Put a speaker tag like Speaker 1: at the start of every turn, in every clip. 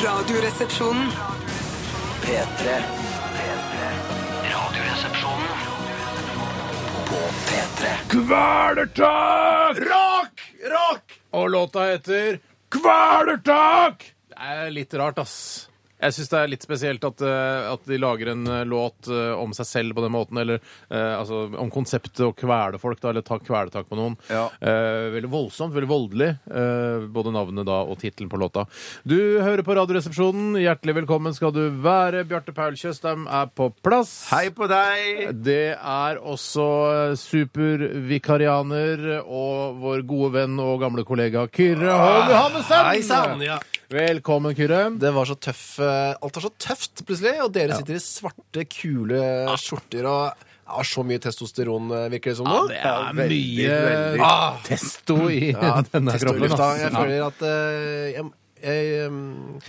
Speaker 1: Radioresepsjonen.
Speaker 2: P3. Radioresepsjonen på P3.
Speaker 3: Kvelertak!
Speaker 4: Rock! Rock!
Speaker 3: Og låta heter Kvelertak! Det er litt rart, ass. Jeg syns det er litt spesielt at, eh, at de lager en eh, låt eh, om seg selv på den måten, eller eh, altså, om konseptet å kvele folk, da, eller ta kveletak på noen.
Speaker 4: Ja.
Speaker 3: Eh, veldig voldsomt, veldig voldelig. eh, både navnet da og tittelen på låta. Du hører på Radioresepsjonen. Hjertelig velkommen skal du være. Bjarte Paul Tjøstheim er på plass.
Speaker 4: Hei på deg!
Speaker 3: Det er også eh, supervikarianer og vår gode venn og gamle kollega Kyrre Holm Johannessen.
Speaker 5: Hei sann! Ja.
Speaker 3: Velkommen, Kyrre.
Speaker 5: Det var så tøff eh, Alt var så tøft plutselig, og dere sitter i svarte, kule skjorter og har så mye testosteron, eh, virker det som nå.
Speaker 3: er
Speaker 4: veldig, veldig.
Speaker 3: ah, testo i denne
Speaker 5: testo i
Speaker 3: kroppen.
Speaker 5: lufta.
Speaker 3: ass.
Speaker 5: altså. Jeg føler at eh, jeg, jeg mm,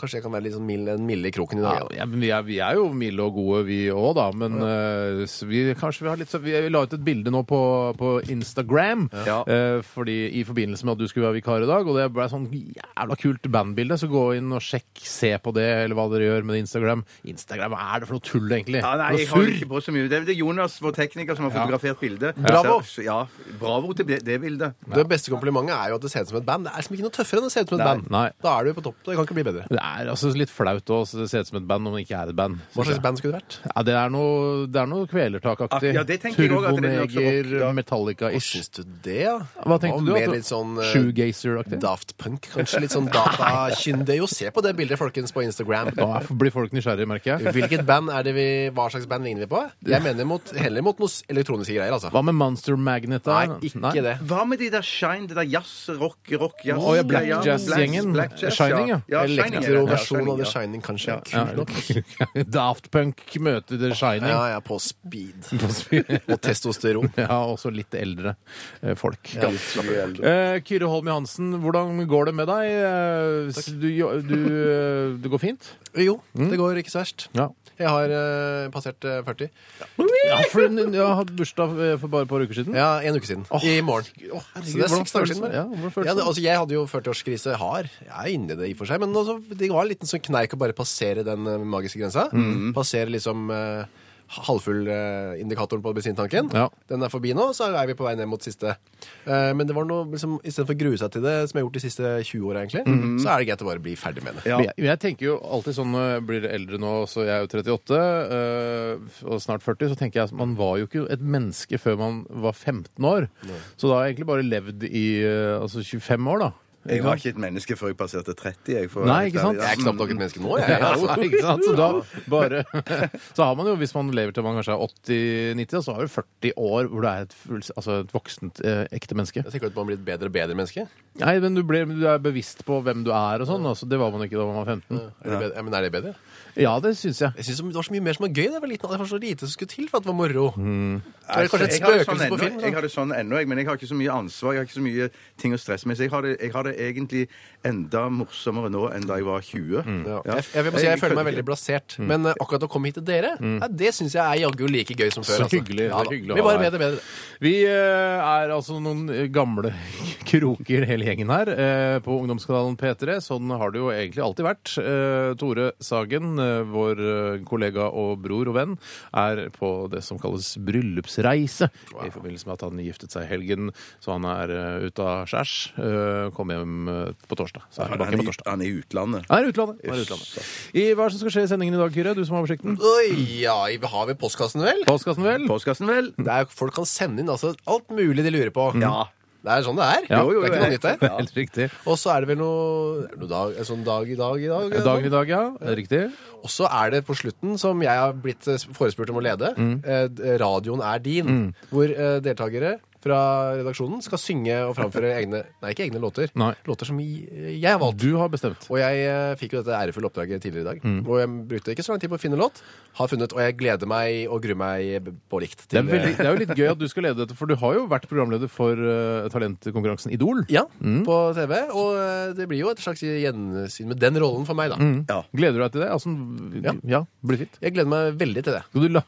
Speaker 5: Kanskje jeg kan være litt sånn mild, en milde i kroken i
Speaker 3: Ja,
Speaker 5: dag. Ja.
Speaker 3: ja, men vi, er, vi er jo milde og gode, vi òg, da. Men eh, s- vi, kanskje vi har litt så, vi, vi la ut et bilde nå på, på Instagram
Speaker 4: Ja.
Speaker 3: eh, fordi, i forbindelse med at du skulle være vikar i dag. Og det ble sånn jævla kult bandbilde, så gå inn og sjekk, se på det, eller hva dere gjør med Instagram. Instagram, hva er det for noe tull, egentlig?
Speaker 4: Ja, nei,
Speaker 3: Noe
Speaker 4: jeg holder
Speaker 3: surr?
Speaker 4: ikke på så mye. Det er- det er Jonas, vår tekniker, som har fotografert bildet.
Speaker 5: Bravo.
Speaker 4: Så- Ja, bravo til det, det bildet.
Speaker 5: Det beste komplimentet er jo at det ser ut som et band. Det er liksom ikke noe tøffere enn det ser ut som et
Speaker 3: Nei,
Speaker 5: band.
Speaker 3: nei.
Speaker 5: Da er du jo på topp. Det kan ikke bli bedre.
Speaker 3: Det er altså litt flaut òg, så det ser ut som et band når man ikke er et band.
Speaker 5: Hva
Speaker 3: synes
Speaker 5: slags
Speaker 3: jeg.
Speaker 5: band skulle det vært?
Speaker 3: Ja, det er noe, det er noe kvelertakaktig.
Speaker 4: Ah, ja, det tenker jeg også, at det er litt
Speaker 3: Turboneger,
Speaker 4: rock, ja.
Speaker 3: Metallica-ish.
Speaker 5: Syns du det, ja?
Speaker 3: Hva tenkte
Speaker 5: Og
Speaker 3: du? at
Speaker 5: Mer
Speaker 3: det-
Speaker 5: litt sånn eh,
Speaker 3: Shoegazer-aktig?
Speaker 5: Daft Punk, kanskje litt sånn datakyndig. Jo, se på det bildet, folkens, på Instagram.
Speaker 3: Nå er- blir folk nysgjerrige, merker jeg.
Speaker 5: Hvilket band er det vi, Hva slags band ligner vi på? Jeg mener mot, heller mot noen elektroniske greier, altså.
Speaker 3: Hva med Monster Magnet? da?
Speaker 5: Nei, ikke det.
Speaker 4: Hva med de der Shine, det der jazz, rock, rock, jazz?
Speaker 3: Å, ja, black
Speaker 4: Ja, ja,
Speaker 3: jazz-gjengen.
Speaker 4: black jazz,
Speaker 3: Shining, ja.
Speaker 4: ja. Shining, ja. Ja,
Speaker 5: Elektroversjon
Speaker 4: Shining,
Speaker 5: av The
Speaker 4: ja.
Speaker 5: Shining, kanskje.
Speaker 3: Ja,
Speaker 5: Kult nok.
Speaker 3: Daft Punk møter The Shining.
Speaker 5: Ja, ja, på speed.
Speaker 3: Ja.
Speaker 5: Og testosteron.
Speaker 3: også litt eldre eh, folk.
Speaker 5: Ja.
Speaker 3: Eh, Kyrre Holm Johansen, hvordan går det med deg? Eh, s- Du, jo- du, eh, det går fint?
Speaker 5: Jo,
Speaker 3: Mm.
Speaker 5: det går ikke så verst.
Speaker 3: Ja.
Speaker 5: Jeg har eh, passert eh, 40.
Speaker 3: for n- jeg hadde bursdag eh, for bare et par uker siden.
Speaker 5: Ja, en uke siden. I morgen. Så det er
Speaker 3: hvordan
Speaker 5: seks dager
Speaker 3: føles
Speaker 5: siden.
Speaker 3: det?
Speaker 5: bare.
Speaker 3: Ja, hvordan føles
Speaker 5: Ja, det,
Speaker 3: det?
Speaker 5: altså, jeg hadde jo 40-årskrise hard. Jeg er inne i det i og for seg, men altså, det var en liten sånn kneik å bare passere den eh, magiske grensa. Passere liksom eh, halvfull eh, indikatoren på bensintanken.
Speaker 3: Ja.
Speaker 5: Den er forbi nå, så er vi på vei ned mot siste. Eh, men det var noe, liksom, istedenfor å grue seg til det, som jeg har gjort de siste 20 åra, egentlig, så er det greit å bare bli ferdig med det.
Speaker 4: Ja.
Speaker 3: Men Jeg, men jeg tenker jo alltid sånn når jeg blir eldre nå, så jeg er jo 38 øh, og snart 40, så tenker jeg at man var jo ikke et menneske før man var 15 år. Så da har jeg egentlig bare levd i øh, altså 25 år, da.
Speaker 4: Jeg var ikke et menneske før jeg passerte 30. Jeg, for å være
Speaker 3: Nei,
Speaker 4: helt
Speaker 3: ikke sant?
Speaker 4: ærlig.
Speaker 5: Jeg er knapt nok et menneske nå, jeg.
Speaker 3: Ja,
Speaker 5: Altså.
Speaker 3: ikke sant? Så da bare Så har man jo, hvis man lever til man kanskje er 80-90, da, så har du 40 år hvor du er et, fulls- altså et voksent, eh, ekte menneske.
Speaker 5: Jeg tenker at man blir et bedre og bedre menneske.
Speaker 3: Nei, men du, ble, du er bevisst på hvem du er og sånn. Altså, det var man ikke da man var 15.
Speaker 5: Er det bedre? Ja, men er det bedre?
Speaker 3: Ja, det syns jeg.
Speaker 5: Jeg synes Det var så mye mer som var gøy da jeg var liten. Det var så lite som skulle til for at det var moro. Det er
Speaker 4: Altså,
Speaker 5: kanskje et
Speaker 4: jeg har det sånn
Speaker 5: spøkelse på
Speaker 4: ennå.
Speaker 5: film. da.
Speaker 4: Jeg har det sånn ennå, jeg, men jeg har ikke så mye ansvar. Jeg har ikke så mye ting å stresse med. Så jeg har det, jeg har det egentlig enda morsommere nå enn da jeg var 20.
Speaker 5: Ja. Mm. Jeg, jeg, vil bare si, jeg føler meg veldig blasert, men eh, akkurat å komme hit til dere, ja, det syns jeg er jaggu like gøy som før. altså.
Speaker 3: Så hyggelig,
Speaker 5: Ja,
Speaker 3: det er
Speaker 5: da.
Speaker 3: hyggelig å
Speaker 5: Vi
Speaker 3: ha
Speaker 5: bare
Speaker 3: deg.
Speaker 5: bedre, bedre.
Speaker 3: Vi eh, er altså noen gamle kroker, hele gjengen her, eh, på ungdomskanalen P3. Sånn har det jo egentlig alltid vært. Eh, Tore Sagen, eh, vår eh, kollega og bror og venn, er på det som kalles bryllupsreise. I forbindelse med at han giftet seg i helgen, så han er eh, ute av skjærs. Eh, kom hjem eh, på torsdag. Så er han
Speaker 4: Han
Speaker 3: tilbake
Speaker 4: er,
Speaker 3: på
Speaker 4: i-
Speaker 3: torsdag.
Speaker 4: han er i utlandet.
Speaker 3: Han er i utlandet. Han er i utlandet. I, hva er det som skal skje i sendingen i dag, Kyrre? Du som har oversikten.
Speaker 5: Oi, ja, har vi postkassen, vel?
Speaker 3: Postkassen, vel?
Speaker 4: Postkassen, vel?
Speaker 5: Det er, folk kan sende inn altså, alt mulig de lurer på.
Speaker 4: Ja.
Speaker 5: Det er sånn det er.
Speaker 3: Ja. Jo, jo,
Speaker 5: det er
Speaker 4: jo,
Speaker 5: ikke noe nytt der.
Speaker 4: ja.
Speaker 3: Helt riktig.
Speaker 5: Og så er det vel noe, er det noe dag, en sånn dag i dag i dag. eh,
Speaker 3: Dagen i dag, ja. Riktig.
Speaker 5: Og så er det på slutten, som jeg har blitt eh, forespurt om å lede,
Speaker 3: Mm.
Speaker 5: eh, d- Radioen er din, hvor eh, deltakere fra redaksjonen skal synge og framføre egne Nei, ikke egne låter.
Speaker 3: Nei.
Speaker 5: Låter som i- jeg har valgt.
Speaker 3: Du har bestemt.
Speaker 5: Og jeg eh, fikk jo dette ærefulle oppdraget tidligere i dag.
Speaker 3: Mm.
Speaker 5: Og jeg brukte ikke så lang tid på å finne låt. Har funnet, og jeg gleder meg og gruer meg b- på likt.
Speaker 3: Det er,
Speaker 5: til,
Speaker 3: veldig,
Speaker 5: eh,
Speaker 3: det er jo litt gøy at du skal lede dette, for du har jo vært programleder for eh, talentkonkurransen Idol.
Speaker 5: Ja,
Speaker 3: Mm.
Speaker 5: på TV. Og eh, det blir jo et slags gjensyn med den rollen for meg, da.
Speaker 3: Mm.
Speaker 4: Ja.
Speaker 3: Gleder du deg til det? Altså, ja.
Speaker 5: Ja.
Speaker 3: det blir fint.
Speaker 5: Jeg gleder meg veldig til det.
Speaker 3: Skal du, la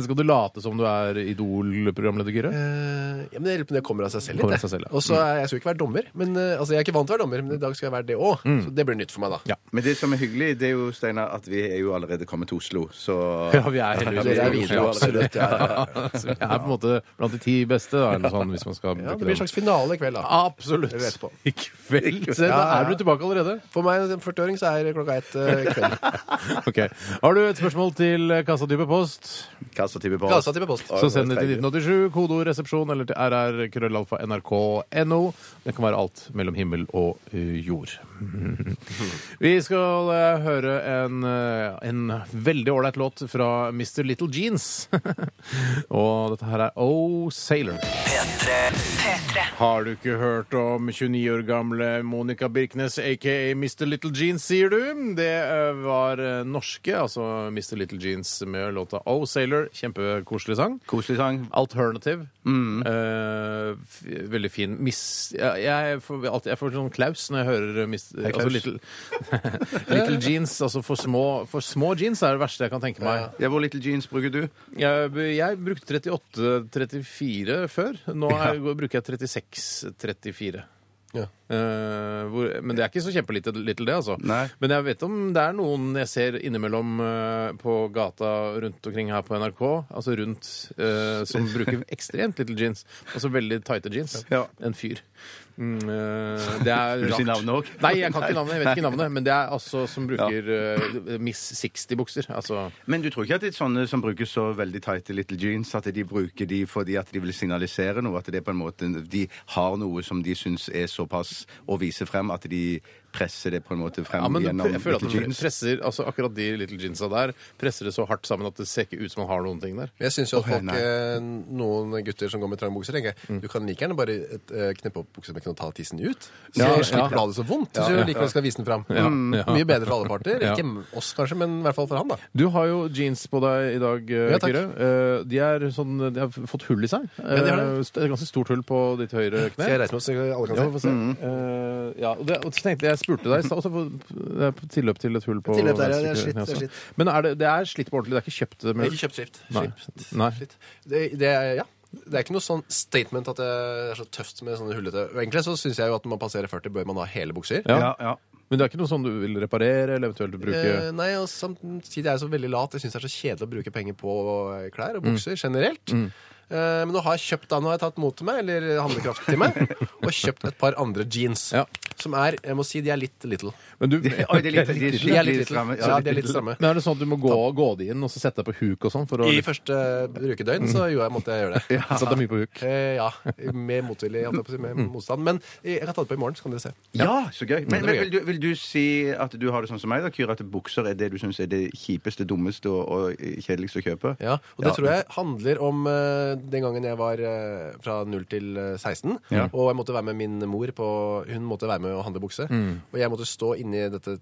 Speaker 3: skal du late som du er Idol-programleder, Kyrre?
Speaker 5: Eh, Eh, ja, men Det hjelper om det kommer av seg selv litt.
Speaker 3: Kommer av
Speaker 5: jeg.
Speaker 3: seg selv, ja. Mm.
Speaker 5: Og så er- Jeg skulle ikke være dommer, men eh, altså, jeg er ikke vant til å være dommer, men i dag skal jeg være det òg. Så det blir nytt for meg, da.
Speaker 3: Mm. Ja.
Speaker 4: Men det som er hyggelig, det er jo, Steinar, at vi er jo allerede kommet til Oslo, så
Speaker 3: Ja, vi er heldigvis
Speaker 5: Dere er
Speaker 3: i
Speaker 5: videre,
Speaker 3: Oslo.
Speaker 5: absolutt. Ja, ja, ja.
Speaker 3: Så vi er på en måte blant de ti beste, da, eller noe sånt, hvis man skal
Speaker 5: Ja, det
Speaker 3: bruke
Speaker 5: blir en slags finale i kveld, da. Eller
Speaker 3: Absolutt.
Speaker 5: etterpå.
Speaker 3: I kveld. Se, da
Speaker 5: Ja, ja.
Speaker 3: er du tilbake allerede.
Speaker 5: For meg, en 40-åring, så er klokka ett eh, kveld.
Speaker 3: Ok. Har du et spørsmål til kassatype post,
Speaker 4: Kassatype på
Speaker 5: Kassa til med post.
Speaker 3: så send det til 1987, kodeord resepsjon, eller til rr.krøllalfa.nrk.no. Det kan være alt mellom himmel og ø, jord. Vi skal ø, høre en, ø, en veldig ålreit låt fra Mr. Little Jeans. og dette her er Oh Sailor.
Speaker 2: P3.
Speaker 3: Har du ikke hørt om 29 år gamle Monica Birknes, aka Mr. Little Jeans, sier du? Det ø, var ø, norske, altså Mr. Little Jeans med låta Oh Sailor. Kjempekoselig sang.
Speaker 4: Koselig sang.
Speaker 3: Alternative.
Speaker 4: Mm.
Speaker 3: Eh, f veldig fin. Miss, ja, jeg, får, alltid- jeg får sånn klaus når jeg hører miss, altså
Speaker 4: klaus.
Speaker 3: little, little jeans. Altså for små, for små jeans er det verste jeg kan tenke meg.
Speaker 4: Ja, hvor little jeans bruker du?
Speaker 3: Jeg, jeg brukte 38-34 før. Nå er, bruker jeg 36-34.
Speaker 5: Ja.
Speaker 3: Eh, hvor, men det er ikke så kjempelite little, det, altså.
Speaker 4: Nei.
Speaker 3: Men jeg vet om det er noen jeg ser innimellom eh, på gata rundt omkring her på NRK, altså rundt, eh, som bruker ekstremt little jeans. Altså veldig tighte jeans.
Speaker 4: Ja.
Speaker 3: En fyr. Mm, eh, det er
Speaker 4: Vil du si
Speaker 3: rart.
Speaker 4: navnet også?
Speaker 3: Nei, jeg kan ikke
Speaker 4: Nei.
Speaker 3: navnet. Jeg vet ikke navnet. Men det er altså som bruker eh, Miss 60-bukser. Altså
Speaker 4: Men du tror ikke at det er sånne som bruker så veldig tighte little jeans, at de bruker de fordi at de vil signalisere noe? At det er på en måte de har noe som de syns er såpass å vise frem, at de presser det på en måte frem
Speaker 3: Ja, men det,
Speaker 4: gjennom
Speaker 3: jeg føler at
Speaker 4: little
Speaker 3: den
Speaker 4: jeans?
Speaker 3: presser altså akkurat de little jeansa der presser det så hardt sammen at det ser ikke ut som man har noen ting der.
Speaker 5: Men Jeg syns jo at
Speaker 4: Åh, ja,
Speaker 5: folk,
Speaker 4: nei.
Speaker 5: eh, noen gutter som går med trange bukser, tenker
Speaker 3: Mm.
Speaker 5: jeg, du kan like gjerne bare eh, kneppe opp buksa, men kan ta tissen ut. Så
Speaker 3: Ja, ja.
Speaker 5: slipper du å ha det så vondt. Hvis du likevel skal vise den fram. Mm,
Speaker 3: ja.
Speaker 5: Mye bedre for alle parter.
Speaker 3: Ja.
Speaker 5: Ikke oss kanskje, men i hvert fall for han, da.
Speaker 3: Du har jo jeans på deg i dag, eh,
Speaker 5: Ja, takk.
Speaker 3: Kyrre. Eh, De, er sånn, de har fått hull i seg.
Speaker 5: de har det.
Speaker 3: Eh, st- et ganske stort hull på ditt høyre kne.
Speaker 5: Skal jeg Mm. reise meg opp, så alle
Speaker 3: Ja,
Speaker 5: kan
Speaker 3: vi
Speaker 5: se?
Speaker 3: får se. Eh, ja, og det, og så tenkte jeg, jeg spurte deg i stad også på- Det er på tilløp til et hull på
Speaker 5: Tilløp der, ja, det er
Speaker 3: venstre
Speaker 5: slitt,
Speaker 3: kne
Speaker 5: det er
Speaker 3: også.
Speaker 5: slitt.
Speaker 3: Men er det, det er slitt på ordentlig? Det er ikke kjøpt?
Speaker 5: Jeg
Speaker 3: Med,
Speaker 5: har Ikke kjøpt skift.
Speaker 3: Nei.
Speaker 5: Skift.
Speaker 3: Nei.
Speaker 5: Skift. Det, det, er- ja. det er ikke noe sånn statement at det er så tøft med sånne hullete Og Egentlig så syns jeg jo at når man passerer 40, bør man ha hele bukser.
Speaker 3: Ja.
Speaker 4: Ja, ja.
Speaker 3: Men det er ikke noe sånn du vil reparere eller eventuelt bruke
Speaker 5: Eh, nei, og samtidig er jeg så veldig lat. Jeg syns det er så kjedelig å bruke penger på eh, klær
Speaker 3: Mm.
Speaker 5: og bukser generelt. Eh, men nå har jeg kjøpt da, nå har jeg tatt mot til meg, eller handlekraft til meg, og kjøpt et par andre jeans.
Speaker 3: Ja.
Speaker 5: Som er, jeg må si, de er litt little.
Speaker 3: Men du
Speaker 4: Oi, det er litt, litt,
Speaker 5: De er litt
Speaker 4: litt
Speaker 5: little.
Speaker 4: stramme.
Speaker 5: Ja, de er litt stramme.
Speaker 3: Men er det sånn at du må gå, gå de inn og så sette deg på huk og sånn? For å,
Speaker 5: I første brukedøgn så gjorde jeg, måtte jeg gjøre det.
Speaker 3: Sette deg mye på huk.
Speaker 5: Eh, ja. Med motvilje, holdt jeg på å si, med
Speaker 3: Mm.
Speaker 5: motstand. Men eh, jeg har tatt det på i morgen, så kan dere se.
Speaker 4: Ja, så gøy. Men,
Speaker 5: det
Speaker 4: men
Speaker 5: var
Speaker 4: vil, du, vil du si at du har det sånn som meg, da, Kyra? At bukser er det du syns er det kjipeste, dummeste og, og kjedeligste å kjøpe?
Speaker 5: Ja, og det
Speaker 4: Ja.
Speaker 5: tror jeg handler om eh, den gangen jeg var eh, fra 0 til eh, 16, og jeg måtte være med min mor på Hun måtte være med og handle bukse.
Speaker 3: Mm.
Speaker 5: Og jeg måtte stå inne i dette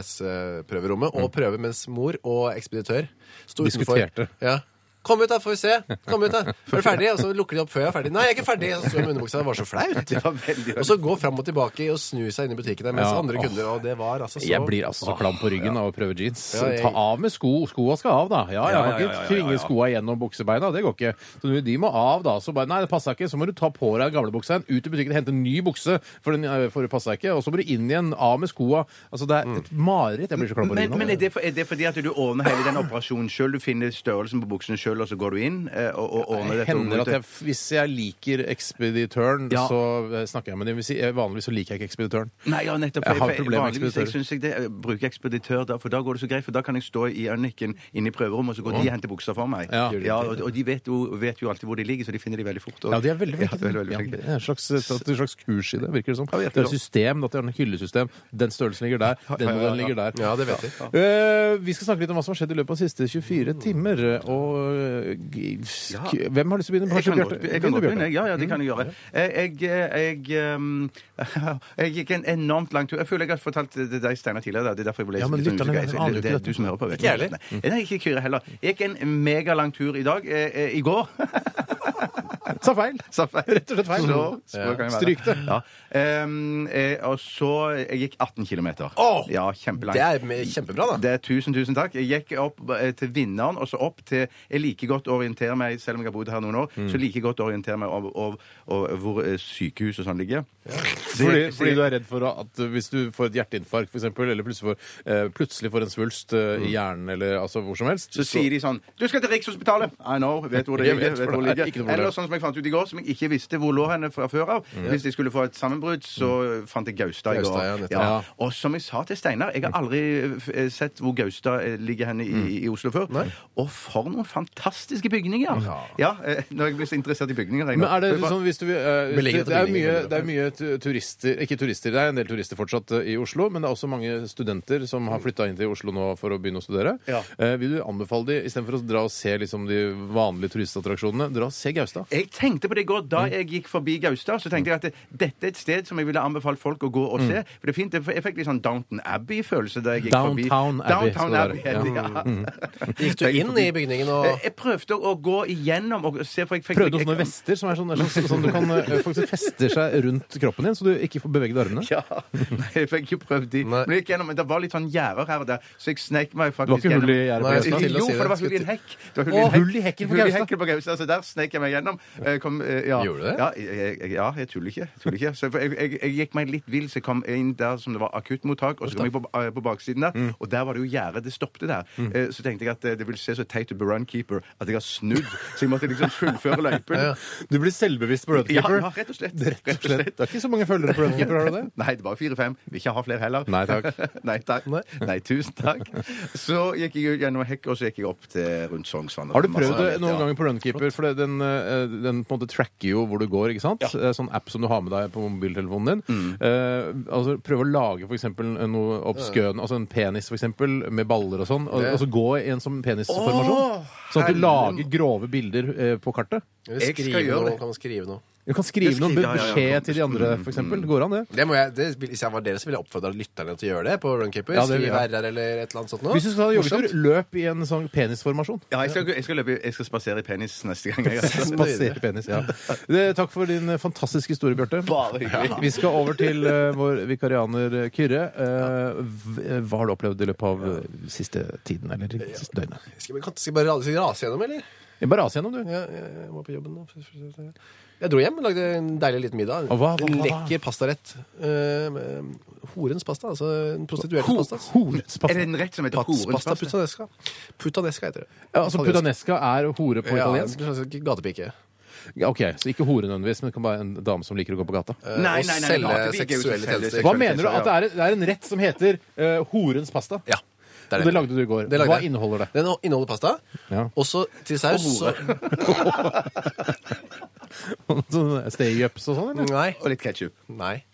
Speaker 5: klesprøverommet
Speaker 3: Mm.
Speaker 5: og prøve mens mor og ekspeditør sto
Speaker 3: Diskuterte.
Speaker 5: utenfor. Ja. Kom ut, da, får vi se. Kom ut, da. Er du ferdig? Og så lukker de opp før jeg er ferdig. Nei, jeg er ikke ferdig. Så sto jeg med underbuksa. Det var så flaut.
Speaker 4: Det var veldig
Speaker 5: Og så gå fram og tilbake og snu seg inn i butikken der mens
Speaker 3: Ja,
Speaker 5: andre
Speaker 3: åh.
Speaker 5: kunder Og det var altså så
Speaker 3: Jeg blir altså så klam på ryggen av å prøve jeans.
Speaker 5: Ja, jeg-
Speaker 3: Ta av med sko. Skoa skal av, da. Ja, jeg
Speaker 4: ja,
Speaker 3: kan
Speaker 4: ja, ja,
Speaker 3: ikke
Speaker 4: ja,
Speaker 3: tvinge
Speaker 4: ja.
Speaker 3: skoa gjennom buksebeina. Det går ikke. Så du- de må av, da. Så bare Nei, det passa ikke. Så må du ta på deg gamlebuksa igjen, ut i butikken, hente en ny bukse, for den eh, for det passa ikke. Og så må du inn igjen, av med skoa. Altså, det er et mareritt. Jeg blir så klam på
Speaker 4: Men,
Speaker 3: ryggen.
Speaker 4: men
Speaker 3: av
Speaker 4: er,
Speaker 3: det.
Speaker 4: det for, er det fordi at du ordner hele den operasjonen sjøl? Du finner størrelsen på buksene sjøl, og så går du inn eh, og, og ordner
Speaker 3: Det
Speaker 4: dette?
Speaker 3: hender at jeg,
Speaker 4: området?
Speaker 3: hvis jeg liker ekspeditøren,
Speaker 4: Ja.
Speaker 3: så eh, snakker jeg med dem. Hvis jeg- Vanligvis så liker jeg ikke ekspeditøren.
Speaker 4: Nei, ja, nettopp.
Speaker 3: Jeg har
Speaker 4: for- for
Speaker 3: problemer med
Speaker 4: vanligvis, jeg
Speaker 3: ekspeditører.
Speaker 4: synes jeg det, jeg bruker ekspeditør, da, for da går det så greit. For da kan jeg stå i Anniken inne i prøverommet, og så går de og henter bukser for meg.
Speaker 3: Ja.
Speaker 4: og, og de vet jo, vet jo alltid hvor de ligger, så de finner de veldig fort. og-
Speaker 3: Ja, de er veldig flinke.
Speaker 4: Ja, veldig, veldig flinke.
Speaker 3: Ja, det er en slags, et slags kurs i det, virker det som.
Speaker 4: virker
Speaker 3: det er et
Speaker 4: sånn.
Speaker 3: system, at de har en hyllesystem. Den størrelsen ligger der, den modellen ligger der.
Speaker 5: Ja, det vet vi.
Speaker 3: Eh, vi skal snakke litt om hva som har skjedd i løpet av de siste 24 timer. Og eh, g-
Speaker 4: Ja.
Speaker 3: k- hvem har lyst til å begynne?
Speaker 4: Jeg
Speaker 3: Kanskje
Speaker 4: kan godt,
Speaker 3: Bjarte?
Speaker 4: jeg kan
Speaker 3: Begynn
Speaker 4: godt
Speaker 3: du,
Speaker 4: begynne.
Speaker 3: Bjarte. Mm.
Speaker 4: Ja, ja, det kan jeg gjøre. Jeg, jeg, jeg, um, jeg gikk en enormt lang tur. Jeg føler jeg har fortalt det til deg, Steinar, tidligere. da. Det er derfor jeg ble
Speaker 3: Ja,
Speaker 4: så-
Speaker 3: men
Speaker 4: så
Speaker 3: lytterne
Speaker 4: usikker. Jeg-
Speaker 3: aner jo ikke Mm.
Speaker 4: det- Det er du
Speaker 3: dette.
Speaker 4: som hører på. vet
Speaker 5: Ikke jeg heller.
Speaker 4: Nei, Nei, ikke Kyrre heller. Jeg gikk en megalang tur i dag. Eh, eh, I går.
Speaker 3: Sa feil.
Speaker 4: Sa feil.
Speaker 3: Rett og slett feil. Mm.
Speaker 4: Så, så
Speaker 3: Ja.
Speaker 4: kan jeg være.
Speaker 3: Stryk det.
Speaker 4: Ja. Ehm, eh, og så Jeg gikk 18 km.
Speaker 5: Åh!
Speaker 4: Ja, kjempelangt.
Speaker 5: Det er me- kjempebra, da.
Speaker 4: Det er tusen, tusen takk. Jeg gikk opp eh, til vinneren, og så opp til Jeg liker godt å orientere meg, selv om jeg har bodd her noen år, så liker jeg godt å orientere meg over, over, over hvor eh, sykehus og sånn ligger. Så
Speaker 3: Fordi,
Speaker 4: jeg- så
Speaker 3: fordi
Speaker 4: jeg-
Speaker 3: du er redd for at eh, hvis du får et hjerteinfarkt, f.eks., eller plutselig får, eh, plutselig får en svulst eh, i hjernen eller altså hvor som helst
Speaker 4: så sier de sånn Du skal til Rikshospitalet! I know. Vet hvor det
Speaker 3: Jeg
Speaker 4: ligger.
Speaker 3: vet
Speaker 4: Vet
Speaker 3: hvor
Speaker 4: hvor
Speaker 3: det
Speaker 4: det
Speaker 3: er. Ikke noe
Speaker 4: ligger.
Speaker 3: problem. Mm.
Speaker 4: Eller sånn som jeg fant ut i går, som jeg ikke visste hvor lå henne fra før av. Hvis jeg skulle få et sammenbrudd, så fant jeg Gaustad i
Speaker 5: Gaustad, ja,
Speaker 4: går.
Speaker 5: nettopp.
Speaker 4: Ja.
Speaker 3: Ja.
Speaker 4: Og som jeg sa til Steinar, jeg har aldri eh, sett hvor Gaustad eh, ligger henne i,
Speaker 3: Mm.
Speaker 4: i Oslo før. Og for noen fantastiske bygninger! Ja, eh, når jeg blir så interessert i bygninger. jeg nå.
Speaker 3: Men er det
Speaker 4: For-
Speaker 3: sånn hvis du vil eh, det,
Speaker 5: Belegget og
Speaker 3: det er mye,
Speaker 5: belegget,
Speaker 3: det er mye tu- turister Ikke turister, det er en del turister fortsatt eh, i Oslo, men det er også mange studenter som har flytta inn til Oslo nå for å begynne å studere.
Speaker 4: Ja.
Speaker 3: Eh, vil du anbefale de, istedenfor å dra og se liksom, de vanlige turistattraksjonene, dra og se Gaustad?
Speaker 4: Jeg tenkte på det i går. Da jeg gikk forbi Gaustad, så tenkte jeg at det, dette er et sted som jeg ville anbefalt folk å gå og se. For det er fint, Jeg fikk litt sånn Downton Abbey-følelse da jeg gikk forbi.
Speaker 3: Downtown Abbey,
Speaker 4: Downtown
Speaker 3: skal
Speaker 4: Abbey,
Speaker 3: det være.
Speaker 4: ja.
Speaker 5: Gikk du inn i bygningen
Speaker 4: Eh,
Speaker 5: og
Speaker 4: Jeg prøvde å gå igjennom og se, for jeg fikk
Speaker 3: Prøvde noen sånne vester som er sånn, er sånn, sånn du kan eh, faktisk fester seg rundt kroppen din, så du ikke får beveget armene?
Speaker 4: Ja. Nei, jeg fikk ikke prøvd de.
Speaker 5: Nei.
Speaker 4: Men jeg gikk gjennom, men det var litt sånn gjerder her og der, så jeg snek meg
Speaker 3: Det var
Speaker 4: faktisk
Speaker 3: ikke hull i gjerdet?
Speaker 5: Nei,
Speaker 3: på
Speaker 5: jeg skulle til å
Speaker 3: Gaustad?
Speaker 4: Jo,
Speaker 5: si
Speaker 4: for det var hull i en hekk. Det var hull i en
Speaker 3: Å,
Speaker 4: hekk.
Speaker 3: hull i hekken på
Speaker 4: Hull
Speaker 3: Gaustad.
Speaker 4: hekken på Gaustad, Så der snek jeg meg gjennom. Eh, Kom, eh, ja.
Speaker 5: Gjorde du det?
Speaker 4: Ja, jeg, jeg- ja, jeg tuller ikke. Jeg, tuller ikke. Så jeg, jeg, jeg gikk meg litt vill, så jeg kom inn der som det var akuttmottak, og så kom jeg på, eh, på baksiden der,
Speaker 3: Mm.
Speaker 4: og der var det jo gjerde. Det stoppet der. Eh, Så tenkte jeg at eh, det ville se så teit ut på Runkeeper at jeg har snudd, så jeg måtte liksom fullføre løypen.
Speaker 3: Du blir selvbevisst på
Speaker 4: Ja,
Speaker 3: Roadkeeper.
Speaker 4: ja, rett og slett.
Speaker 3: Rett og slett. Det er ikke så mange følgere på Roadkeeper, har du det?
Speaker 4: Nei, det var fire-fem. Vil ikke ha flere heller.
Speaker 3: Nei, takk.
Speaker 4: Nei, takk. Nei. tusen takk. Så gikk jeg ut gjennom hekk, og så gikk jeg opp til rundt Sognsvann.
Speaker 3: Har du prøvd det
Speaker 4: Ja.
Speaker 3: noen ganger på Runkeeper? For det- den, eh, den på en måte tracker jo hvor du går. ikke sant? Eh, Sånn app som du har med deg på mobiltelefonen din.
Speaker 4: Mm.
Speaker 3: Eh, altså Prøve å lage for eksempel noe obskøn, altså en penis for eksempel, med baller og sånn. Og, og så gå i en sånn penisformasjon.
Speaker 4: Åh,
Speaker 3: Sånn at du
Speaker 4: herre-
Speaker 3: lager grove bilder eh, på kartet.
Speaker 5: Eller
Speaker 4: Jeg skal
Speaker 5: skrive
Speaker 4: gjøre
Speaker 5: noe?
Speaker 4: det.
Speaker 5: Kan man skrive noe?
Speaker 3: Du kan skrive
Speaker 4: Jeg
Speaker 3: noen
Speaker 4: skriver, ja, Mm. ja, ja.
Speaker 3: beskjed til de andre, for eksempel. Går an, det?
Speaker 5: Det må jeg, det, hvis jeg var dere, så ville jeg oppfordra lytterne til å gjøre det på Runkeeper.
Speaker 3: Ja, det vil
Speaker 5: Skriv
Speaker 3: jeg.
Speaker 5: herrer eller et eller annet sånt noe.
Speaker 3: Hvis du skal ha
Speaker 5: Morsomt.
Speaker 3: joggetur, løp i en sånn penisformasjon.
Speaker 4: Ja, jeg skal, jeg skal løpe, jeg skal spasere i penis neste gang. Jeg, altså.
Speaker 3: Spasere penis, ja. Det, takk for din eh, fantastiske historie, Bjarte.
Speaker 4: Bare hyggelig.
Speaker 3: Vi skal over til eh, vår vikarianer eh, Kyrre. Eh, v- eh, hva har du opplevd i løpet av eh, siste tiden, eller siste døgnet?
Speaker 5: Skal vi, kan, skal vi bare rase, skal vi rase gjennom, eller?
Speaker 3: Jeg bare rase gjennom, du.
Speaker 5: Ja, jeg, jeg var på jobben da. Jeg dro hjem og lagde en deilig liten middag.
Speaker 3: Og hva- hva-
Speaker 5: En
Speaker 3: hva- hva?
Speaker 5: Lekker pastarett. Eh, med horens pasta, altså en prostituertes pasta.
Speaker 4: Er det
Speaker 3: Horespasta.
Speaker 4: en rett som heter
Speaker 5: Pats- Pasta
Speaker 4: horespasta?
Speaker 5: putanesca. Putanesca heter det.
Speaker 3: Ja, altså, putanesca er hore på
Speaker 5: Ja,
Speaker 3: italiensk?
Speaker 5: en slags Gatepike.
Speaker 3: Ja, OK, så ikke hore nødvendigvis, men det kan være en dame som liker å gå på gata.
Speaker 5: Eh, og selge seksuelle tjenester.
Speaker 3: Hva mener du? At det er, det er en rett som heter eh, horens pasta?
Speaker 5: Ja, det
Speaker 3: Og det lagde du i går.
Speaker 5: Det lagde
Speaker 3: Hva
Speaker 5: jeg.
Speaker 3: inneholder det?
Speaker 5: Den inneholder pasta.
Speaker 3: Ja.
Speaker 5: Og så til saus så,
Speaker 3: Sånn Stay ups og sånn, eller?
Speaker 5: Nei.
Speaker 4: Og litt ketsjup.
Speaker 5: Nei.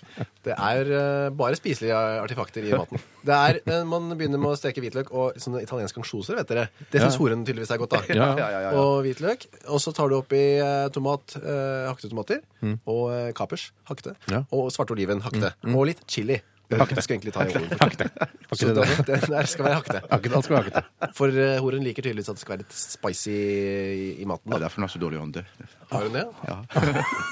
Speaker 5: Det er eh, bare spiselige artefakter i maten. Det er, eh, Man begynner med å steke hvitløk og sånne italienske ansjoser, vet dere. Det syns horen tydeligvis er godt, da.
Speaker 3: Ja,
Speaker 4: Ja, ja, ja, ja.
Speaker 5: Og hvitløk. Og så tar du oppi eh, tomat, eh, hakkede tomater, og eh, kapers, hakkete,
Speaker 3: Mm. Ja. Mm.
Speaker 5: og svarte oliven, hakkete. Og litt chili. Hakkete. Skal egentlig ta i oliven. Så
Speaker 3: det,
Speaker 5: det, det der skal være hakkete.
Speaker 3: Akkurat, skal vi ha akkurat.
Speaker 5: For eh, horen liker tydeligvis at det skal være litt spicy i, i maten.
Speaker 4: Det er
Speaker 5: Da.
Speaker 4: derfor hun har så dårlig ånde.
Speaker 5: Har hun det?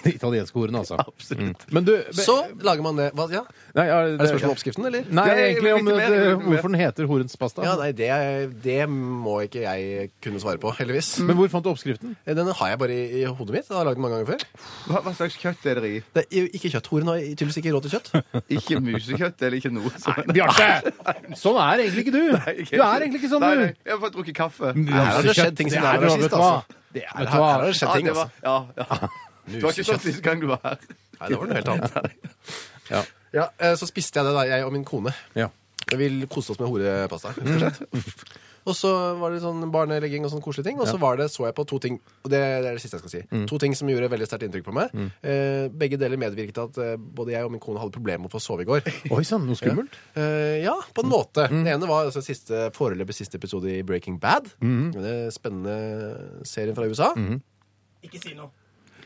Speaker 3: De italienske ordene, altså. Mm. Men du be-
Speaker 5: Så lager man det. Hva, ja?
Speaker 3: nei, ja,
Speaker 5: Er det spørsmål om oppskriften, eller?
Speaker 3: Nei,
Speaker 4: Nei,
Speaker 3: egentlig om
Speaker 4: litt mer,
Speaker 3: det,
Speaker 4: litt mer.
Speaker 3: hvorfor den heter horens pasta.
Speaker 5: Ja, nei, det, det må ikke jeg kunne svare på, heldigvis. Eh,
Speaker 3: Men hvor fant du oppskriften?
Speaker 5: Den har jeg bare i, i hodet mitt. Jeg har lagd den mange ganger før.
Speaker 4: Hva, hva slags kjøtt er det i?
Speaker 5: Det er ikke kjøtt. Horen har tydeligvis ikke råd til kjøtt.
Speaker 4: Ikke musekjøtt eller ikke noe? som-
Speaker 3: Bjarte! Sånn er egentlig ikke du. Du er egentlig ikke sånn,
Speaker 4: Nei, nei,
Speaker 3: du.
Speaker 4: Jeg har fått drukket kaffe.
Speaker 5: Her har det skjedd ting siden jeg var
Speaker 3: vet
Speaker 5: rasist,
Speaker 3: du hva?
Speaker 5: altså.
Speaker 3: Det er-
Speaker 5: Her
Speaker 3: vet du hva?
Speaker 5: har det skjedd
Speaker 4: Ja,
Speaker 5: ting,
Speaker 4: det var,
Speaker 5: altså.
Speaker 4: ja, ja. Det var ikke sånn sist gang du var her.
Speaker 5: Nei, det var noe helt annet.
Speaker 3: Ja.
Speaker 5: Ja, eh, så spiste jeg det, da, jeg og min kone.
Speaker 3: Ja.
Speaker 5: Vi vil kose oss med horepasta. rett og slett. Og så var det sånn barnelegging og sånne koselige ting. Og så var det, så jeg på to ting Og det, det er det siste jeg skal si. To ting som gjorde veldig sterkt inntrykk på meg. Eh, begge deler medvirket til at eh, både jeg og min kone hadde problemer med å få sove i går.
Speaker 3: Oi sann, noe skummelt.
Speaker 5: Eh, ja, på en måte. Det ene var altså siste, foreløpig siste episode i Breaking Bad. Den spennende serien fra USA.
Speaker 1: Ikke si noe.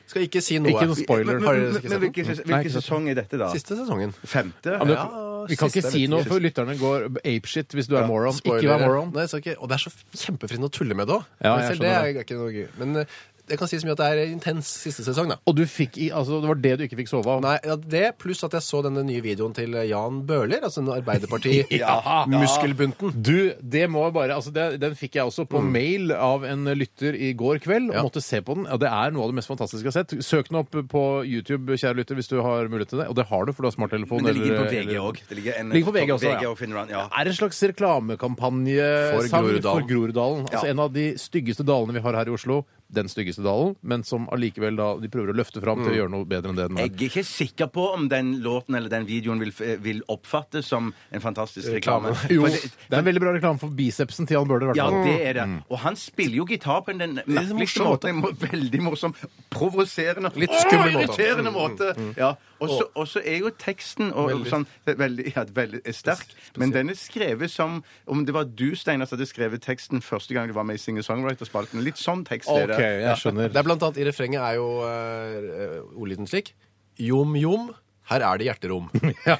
Speaker 5: Skal ikke si noe.
Speaker 3: Ikke noe spoiler.
Speaker 4: Men,
Speaker 5: Har dere ikke sett
Speaker 4: men, men
Speaker 5: den?
Speaker 4: hvilken, ses-
Speaker 3: Nei,
Speaker 4: hvilken
Speaker 3: ikke
Speaker 4: sesong er dette, da?
Speaker 5: Siste sesongen.
Speaker 4: Femte?
Speaker 3: Men,
Speaker 5: Ja,
Speaker 3: vi kan ikke
Speaker 5: siste,
Speaker 3: si
Speaker 5: vet
Speaker 3: noe,
Speaker 5: ikke.
Speaker 3: for lytterne går apeshit hvis du er moron. Ikke
Speaker 5: Spoiler.
Speaker 3: vær moron.
Speaker 5: Nei, så ikke, og det er så f- kjempefritt å tulle med det òg.
Speaker 3: Ja,
Speaker 5: Selv
Speaker 3: jeg
Speaker 5: det
Speaker 3: skjønner
Speaker 5: er ikke noe gøy. Men eh, jeg kan si så mye at det er en intens siste sesong, da.
Speaker 3: Og du fikk i, altså, det var det du ikke fikk sove av?
Speaker 5: Nei, ja, det pluss at jeg så denne nye videoen til Jan Bøhler, altså en Arbeiderparti-muskelbunten.
Speaker 3: Du, det må jeg bare altså det, Den fikk jeg også på
Speaker 5: Mm.
Speaker 3: mail av en lytter i går kveld. Og måtte se på den. Og det er noe av det mest fantastiske jeg har sett. Søk den opp på YouTube, kjære lytter, hvis du har mulighet til det. Og det har du, for du har smarttelefon.
Speaker 4: Men det ligger på
Speaker 3: eller-
Speaker 4: VG
Speaker 3: eller-
Speaker 4: òg. Det ligger, en,
Speaker 3: Ligger på VG også, ja.
Speaker 4: og Finn Run, ja.
Speaker 3: Det er en slags reklamekampanje
Speaker 5: For
Speaker 3: sang
Speaker 5: Groruddalen.
Speaker 3: for Groruddalen. Altså
Speaker 4: Ja.
Speaker 3: En av de styggeste dalene vi har her i Oslo. Den styggeste dalen, men som allikevel da de prøver å løfte fram
Speaker 4: Mm.
Speaker 3: til å gjøre noe bedre enn det den
Speaker 4: Jeg
Speaker 3: er.
Speaker 4: er ikke sikker på om den låten eller den videoen vil, vil oppfattes som en fantastisk reklame.
Speaker 3: Jo,
Speaker 4: For det-
Speaker 3: det er en veldig bra reklame for bicepsen til Jan Bøhler. i hvert
Speaker 4: Ja,
Speaker 3: fall.
Speaker 4: det er det. Og han spiller jo gitar på den merkeligste
Speaker 5: morsomt.
Speaker 4: måten. En mo- Veldig morsom, provoserende
Speaker 5: Litt skummel
Speaker 4: Åh,
Speaker 5: måte.
Speaker 4: irriterende måte. Ja. Og så- Og så er jo teksten og, sånn veldig, ja, veldig eh, sterk, men den er skrevet som om det var du, Steinar, som hadde skrevet teksten første gang du var med i Singer-Songwriter-spalten. Litt sånn tekst er det.
Speaker 3: OK, jeg skjønner.
Speaker 5: Det er blant annet i refrenget er jo eh, ordlyden slik. Jom, jom. Her er det hjerterom.
Speaker 3: ja,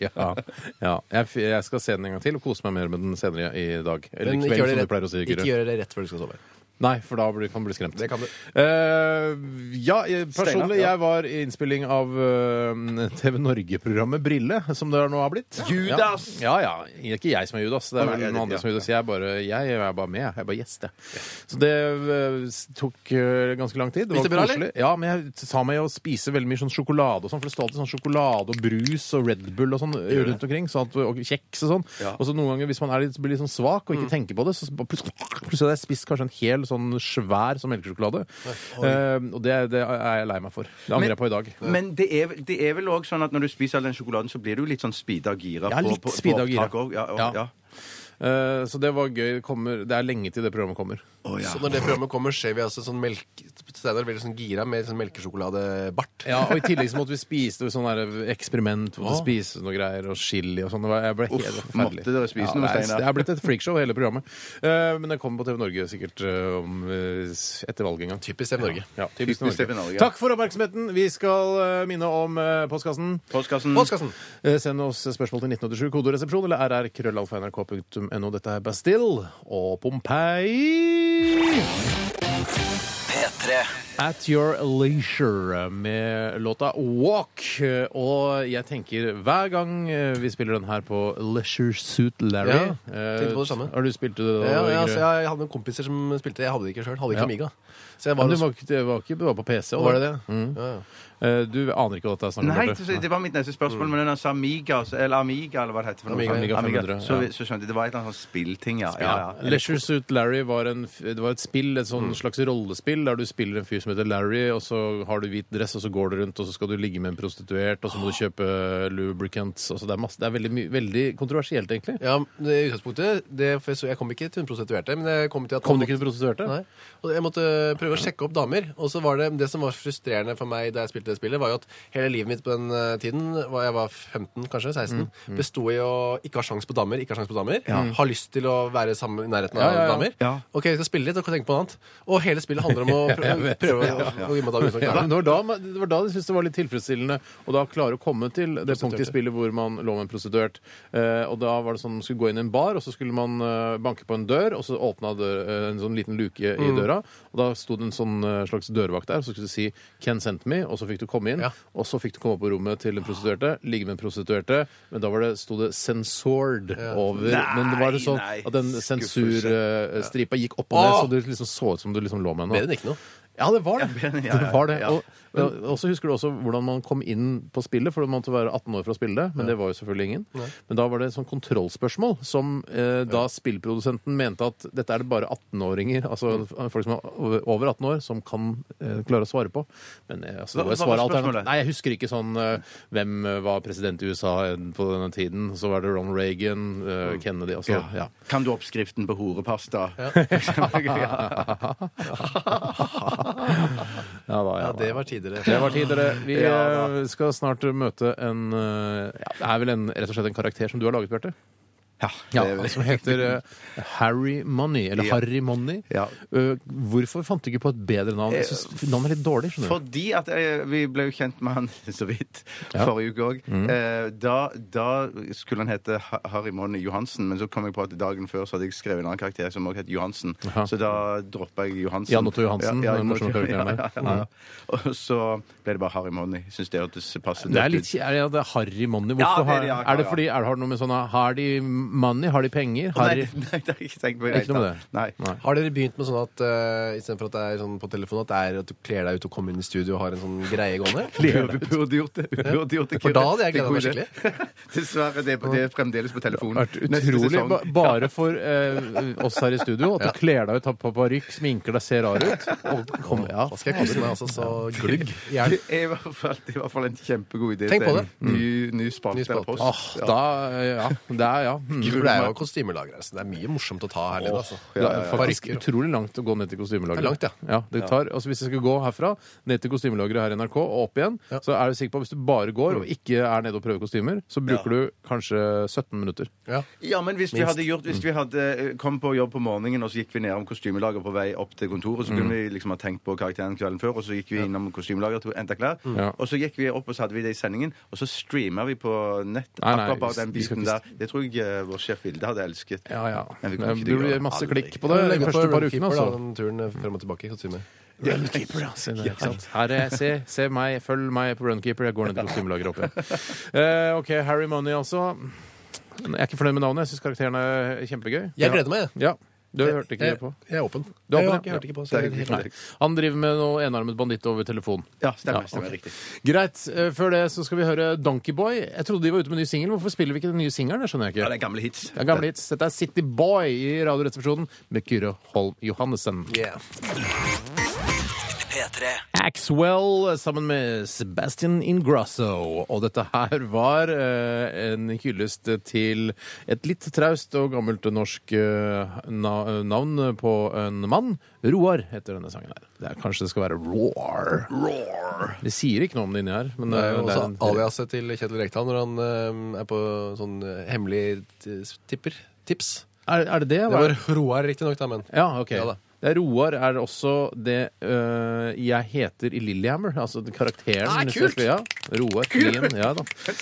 Speaker 3: ja, ja. Jeg, f- jeg skal se den en gang til og kose meg mer med den senere i dag. Eller
Speaker 5: Men
Speaker 3: i
Speaker 5: ikke
Speaker 3: kveld,
Speaker 5: gjør,
Speaker 3: som
Speaker 5: det
Speaker 3: du pleier å
Speaker 5: rett,
Speaker 3: si.
Speaker 5: ikke
Speaker 3: Kyrre.
Speaker 5: gjør det rett før du skal sove.
Speaker 3: Nei, for da blir, kan du bli skremt.
Speaker 5: Det kan du.
Speaker 3: Eh, ja, jeg-
Speaker 4: Steinar,
Speaker 3: personlig,
Speaker 4: ja.
Speaker 3: jeg var i innspilling av eh, TV Norge-programmet Brille, som det nå har blitt.
Speaker 4: Judas!
Speaker 3: Ja, ja. ja. Det er ikke jeg som er Judas, det er
Speaker 4: Å, nei,
Speaker 3: vel
Speaker 4: jeg-
Speaker 3: noen andre
Speaker 4: ja,
Speaker 3: som er Judas. Jeg er bare, jeg, er bare med, jeg er bare gjest, jeg. Så det eh, s- tok eh, ganske lang tid. Det
Speaker 5: Gikk det bra, eller?
Speaker 3: koselig. Ja, men jeg sa meg å spise veldig mye sånn sjokolade og sånn, for det står alltid sånn sjokolade og brus og Red Bull og sånn rundt omkring, sånn at, og kjeks og sånn.
Speaker 4: Ja. Mm.
Speaker 3: Og så noen ganger, hvis man er litt, blir litt sånn svak og ikke tenker på det, så bare plutselig plutselig hadde jeg spist kanskje en hel sånn svær sånn melkesjokolade. Eh, og det, det er jeg lei meg for. Det angrer jeg på i dag.
Speaker 4: Men det er, vel- det er vel òg sånn at når du spiser all den sjokoladen, så blir du litt sånn speeda og gira.
Speaker 3: Ja,
Speaker 4: på-
Speaker 3: litt
Speaker 4: på- på
Speaker 3: speeda og gira.
Speaker 4: opptak også. Ja, og-
Speaker 3: Ja.
Speaker 4: ja.
Speaker 3: Eh, så det var gøy. Det, kommer, det er lenge til det programmet kommer.
Speaker 4: Å, ja.
Speaker 5: Så når det programmet kommer, ser vi altså sånn melk... Steinar blir litt sånn gira med sånn melkesjokoladebart.
Speaker 3: Ja, og i tillegg så måtte vi spise det var sånn der eksperiment. Vi Måtte spise noe greier og chili og sånn. Det var- Jeg ble helt
Speaker 4: Uff,
Speaker 3: forferdelig.
Speaker 4: måtte dere spise noe,
Speaker 3: det er-
Speaker 4: Steinar?
Speaker 3: Det er blitt et freakshow, hele programmet. Eh, men det kommer på TV Norge sikkert eh, om, eh, s- etter valget en gang.
Speaker 5: Typisk TV Norge.
Speaker 3: Ja, typisk
Speaker 4: Typisk
Speaker 3: Norge.
Speaker 4: TV Norge, ja.
Speaker 3: Takk for oppmerksomheten. Vi skal eh, minne om eh, postkassen.
Speaker 4: Postkassen.
Speaker 5: Postkassen.
Speaker 3: Eh, Send oss spørsmål til 1987, kodoresepsjon eller rrkrøllalfa.nrk.no. Dette er Bastille og Pompeii.
Speaker 2: P3
Speaker 3: At Your Leisure med låta Walk. Og jeg tenker hver gang eh, vi spiller den her på Leisure Suit Larry
Speaker 5: Ja, tenkte på det samme.
Speaker 3: eh, Har du spilt det da?
Speaker 5: Ja, ja,
Speaker 3: Ingrid?
Speaker 5: altså, jeg hadde noen kompiser som spilte det. Jeg hadde det ikke sjøl. Hadde ikke
Speaker 3: Ja.
Speaker 5: Amiga. Så jeg
Speaker 3: Men
Speaker 5: var,
Speaker 3: du
Speaker 5: hos-
Speaker 3: var, ikke- det var ikke du var på PC? og-
Speaker 5: var det det?
Speaker 3: Mm.
Speaker 5: Ja, ja.
Speaker 3: Eh, Du aner ikke hva det er snakk om?
Speaker 4: Nei,
Speaker 3: Bjarte.
Speaker 4: det det var mitt neste spørsmål, men den sa Amiga, så- eller Amiga, eller hva det heter. For noe.
Speaker 5: Amiga,
Speaker 3: Mm. Amiga 500,
Speaker 4: Så,
Speaker 3: ja.
Speaker 4: så skjønte jeg, det var et eller annet sånt spillting, ja. ja,
Speaker 3: Ja.
Speaker 4: ja.
Speaker 3: Leisure Suit Larry var, en, f- det var et spill, et sånn slags rollespill, der du spiller en fyr som heter Larry, og så har du hvit dress, og så går du rundt, og så skal du ligge med en prostituert, og så må du kjøpe lubricants, og så det er masse Det er veldig, my- veldig kontroversielt, egentlig.
Speaker 5: Ja, det i utgangspunktet det, for jeg så- Jeg kom ikke til hun prostituerte, men jeg kom til at
Speaker 3: Kom du ikke til prostituerte?
Speaker 5: Nei. Og jeg måtte prøve å sjekke opp damer. Og så var det, det som var frustrerende for meg da jeg spilte det spillet, var jo at hele livet mitt på den eh, tiden, var, jeg var 15, kanskje 16,
Speaker 3: Mm,
Speaker 5: besto i å ikke ha sjans på damer, ikke ha sjans på damer. Ha lyst til å være sammen, i nærheten av
Speaker 3: Ja, ja, ja.
Speaker 5: damer.
Speaker 4: Ja.
Speaker 5: OK, vi skal spille litt og tenke på noe annet. Og hele spillet handler om å prøve, prøve å, å, å gi meg damer uten å
Speaker 3: Ja,
Speaker 5: klare
Speaker 3: men
Speaker 5: det.
Speaker 3: det var da, det var da de syntes det var litt tilfredsstillende, og da klare å komme til det punktet i spillet hvor man lå med en prostituert. Eh, og da var det sånn man skulle gå inn i en bar, og så skulle man eh, banke på en dør, og så åpna dør, eh, en sånn liten luke i døra, og da sto det en sånn eh, slags dørvakt der, og så skulle du si 'Ken sent me', og så fikk du komme inn,
Speaker 5: Ja.
Speaker 3: og så fikk du komme på rommet til den prostituerte, ligge med den prostituerte, men da var det, sto det 'censored' over. men det var det sånn
Speaker 4: Nei, nei.
Speaker 3: at den sensurstripa gikk opp og ned,
Speaker 5: Åh!
Speaker 3: så det liksom så ut som du liksom lå med henne.
Speaker 5: Bedre enn ikke noe.
Speaker 3: Ja, det var det.
Speaker 4: Ja, men- ja, ja,
Speaker 3: det, var det.
Speaker 4: ja.
Speaker 3: Og, men også husker du også hvordan man kom inn på spillet, for man måtte være 18 år for å spille det, men det var jo selvfølgelig ingen. Men da var det et sånt kontrollspørsmål som eh, da spillprodusenten mente at dette er det bare 18-åringer, altså
Speaker 4: Mm.
Speaker 3: folk som er over 18 år, som kan eh, klare å svare på. Men eh, altså, det var
Speaker 4: Hva- hva
Speaker 3: svaret
Speaker 4: var
Speaker 3: alternativ.
Speaker 4: spørsmålet?
Speaker 3: Nei, jeg husker ikke sånn eh, hvem eh, var president i USA på denne tiden. Så var det Ronald Reagan, eh,
Speaker 4: Mm.
Speaker 3: Kennedy altså, ja.
Speaker 4: Kan du oppskriften på horepasta?
Speaker 3: Ja, da,
Speaker 5: Ja,
Speaker 3: da,
Speaker 5: det var tidligere.
Speaker 3: Det var tid, dere. Vi
Speaker 4: Ja, da.
Speaker 3: eh, skal snart møte en eh, ja, Det er vel en, rett og slett en karakter som du har laget, Bjarte?
Speaker 4: Ja,
Speaker 3: Ja,
Speaker 4: det-
Speaker 3: altså heter eh, Harry Money, eller
Speaker 4: Ja.
Speaker 3: Harry Money.
Speaker 4: Ja. Eh,
Speaker 3: Eh, hvorfor fant du ikke på et bedre navn? Jeg synes navnet er litt dårlig, skjønner du.
Speaker 4: Fordi at eh, vi ble jo kjent med han så vidt
Speaker 3: Ja. Mm.
Speaker 4: forrige uke òg. Da, da skulle han hete Ha- Harry Money Johansen, men så kom jeg på at dagen før så hadde jeg skrevet en annen karakter som også het Johansen.
Speaker 3: Aha.
Speaker 4: Så da droppa jeg Johansen.
Speaker 3: Jan Otto Johansen, den
Speaker 4: Jan
Speaker 3: morsomme
Speaker 4: Otto-
Speaker 3: karakteren der. Mm.
Speaker 4: ja, ja. Og så ble det bare Harry Money. Syns det hørtes passe
Speaker 3: Det er
Speaker 4: dødt
Speaker 3: litt
Speaker 4: ut.
Speaker 3: kje- er det, det er Harry Money.
Speaker 4: Ja,
Speaker 3: Hvorfor
Speaker 4: det er
Speaker 3: har,
Speaker 4: det, ja, ja,
Speaker 3: er det
Speaker 4: ja.
Speaker 3: fordi er det, har det noe med sånn ah, Har de money? Har de penger?
Speaker 4: Nei,
Speaker 3: Harry
Speaker 4: nei, det har jeg ikke tenkt på. i
Speaker 3: Det er ikke noe med
Speaker 4: hele tatt.
Speaker 3: det.
Speaker 4: Nei.
Speaker 5: Har dere begynt med sånn at eh, i stedet istedenfor at det er sånn på telefonen at det er at du kler deg ut og kommer inn i studio og har en sånn greie gående?
Speaker 4: Vi burde gjort det. Vi burde gjort det.
Speaker 5: For da hadde jeg
Speaker 4: Det er
Speaker 5: gledet meg
Speaker 4: god idé. Dessverre. Det er, det er fremdeles på telefonen.
Speaker 3: vært
Speaker 4: Neste
Speaker 3: utrolig,
Speaker 4: sesong.
Speaker 3: ba bare for eh, oss her i studio, at du kler deg ut, tar på parykk, sminker deg, ser rar ut. Og kom, ja.
Speaker 5: Da skal jeg kose meg altså så glugg. Jeg
Speaker 4: Det er i hvert fall, det er i hvert fall en kjempegod idé.
Speaker 5: Tenk på
Speaker 4: til
Speaker 5: det.
Speaker 4: en Ny, ny spalte
Speaker 5: Ny
Speaker 4: eller
Speaker 5: spalte.
Speaker 4: post.
Speaker 3: Mm. Åh, da, eh, ja, det er ja. Mm.
Speaker 5: jeg er jo kostymelagere, så det er mye morsomt å ta her nede. Altså.
Speaker 3: Det er faktisk
Speaker 5: Parykker.
Speaker 3: utrolig langt å gå ned til kostymelageret.
Speaker 5: Det er langt, ja.
Speaker 3: det tar, altså Hvis jeg skulle gå herfra, ned til kostymelageret her i NRK og opp igjen,
Speaker 5: Ja. Mm.
Speaker 3: så er du sikker på at hvis du bare går og ikke er nede og prøver kostymer, så bruker du kanskje 17 minutter.
Speaker 5: Ja.
Speaker 4: Ja, men hvis vi hadde gjort Hvis
Speaker 3: Mm.
Speaker 4: vi hadde eh, kom på jobb på morgenen, og så gikk vi ned om kostymelager på vei opp til kontoret, så
Speaker 3: Mm.
Speaker 4: kunne vi liksom ha tenkt på karakteren kvelden før, og så gikk vi innom kostymelageret og henta klær,
Speaker 3: Ja.
Speaker 4: og så gikk vi opp, og så hadde vi det i sendingen, og så streama vi på nett
Speaker 3: Nei, nei,
Speaker 4: akkurat bare den
Speaker 3: vi skal
Speaker 4: biten
Speaker 3: ikke-
Speaker 4: der. Det tror jeg eh, vår sjef Vilde hadde elsket.
Speaker 3: Ja, ja.
Speaker 4: Men vi
Speaker 3: Det
Speaker 4: kan ikke gjøre
Speaker 3: blir
Speaker 4: det.
Speaker 3: masse
Speaker 4: Aldri.
Speaker 3: klikk på det de
Speaker 5: Legge på
Speaker 3: første par ukene.
Speaker 5: Runkeeper, da,
Speaker 3: altså.
Speaker 5: den turen eh, frem og tilbake i kostyme.
Speaker 3: Runkeeper, ja. Se, det, ikke sant? Her er, se, se meg, følg meg på Runkeeper. Jeg går ned til kostymelageret opp igjen. Eh, OK, Harry Money, altså. Jeg er ikke fornøyd med navnet. Jeg syns karakteren er kjempegøy.
Speaker 5: Jeg gleder meg, jeg.
Speaker 3: Ja, Du hørte ikke
Speaker 5: jeg,
Speaker 3: på?
Speaker 5: jeg er åpen.
Speaker 3: Du
Speaker 5: jeg,
Speaker 3: er åpen, ja.
Speaker 5: har ikke hørt ikke på, så jeg,
Speaker 4: Det er
Speaker 5: helt-
Speaker 3: Nei. Han driver med noe enarmet banditt over telefon.
Speaker 4: Ja, stemmer.
Speaker 3: Ja,
Speaker 4: stemmer
Speaker 3: ok.
Speaker 4: riktig.
Speaker 3: Greit. eh, Før det så skal vi høre Donkeyboy. Jeg trodde de var ute med en ny singel. Hvorfor spiller vi ikke den nye singelen? Det skjønner jeg
Speaker 4: Ja, det
Speaker 3: ikke.
Speaker 4: er gamle hits.
Speaker 3: Det er gamle hits. Dette er City Boy i Radioresepsjonen med Kyrre Holm Johannessen.
Speaker 5: Yeah.
Speaker 2: P3.
Speaker 3: Axwell eh, sammen med Sebastian Ingrosso. Og dette her var eh, en hyllest til et litt traust og gammelt norsk eh, na navn på en mann. Roar heter denne sangen her. Det er, kanskje det skal være Roar. Det sier ikke noe om det inni her. Men eh,
Speaker 5: Det er jo
Speaker 3: altså, det
Speaker 5: også
Speaker 3: er en-
Speaker 5: Eh, aliaset til Kjetil Rekdal når han eh, er på sånn eh, hemmelig t- tipper. Tips.
Speaker 3: er, er det det?
Speaker 5: Det var Roar, riktignok, da, men
Speaker 3: Ja, ok.
Speaker 5: Ja da.
Speaker 3: det er Roar er også det øh, jeg heter i Lillehammer. Altså den karakteren.
Speaker 5: Ah,
Speaker 3: hvis
Speaker 5: kult!
Speaker 3: jeg- Ja, Roar Klien. Ja da.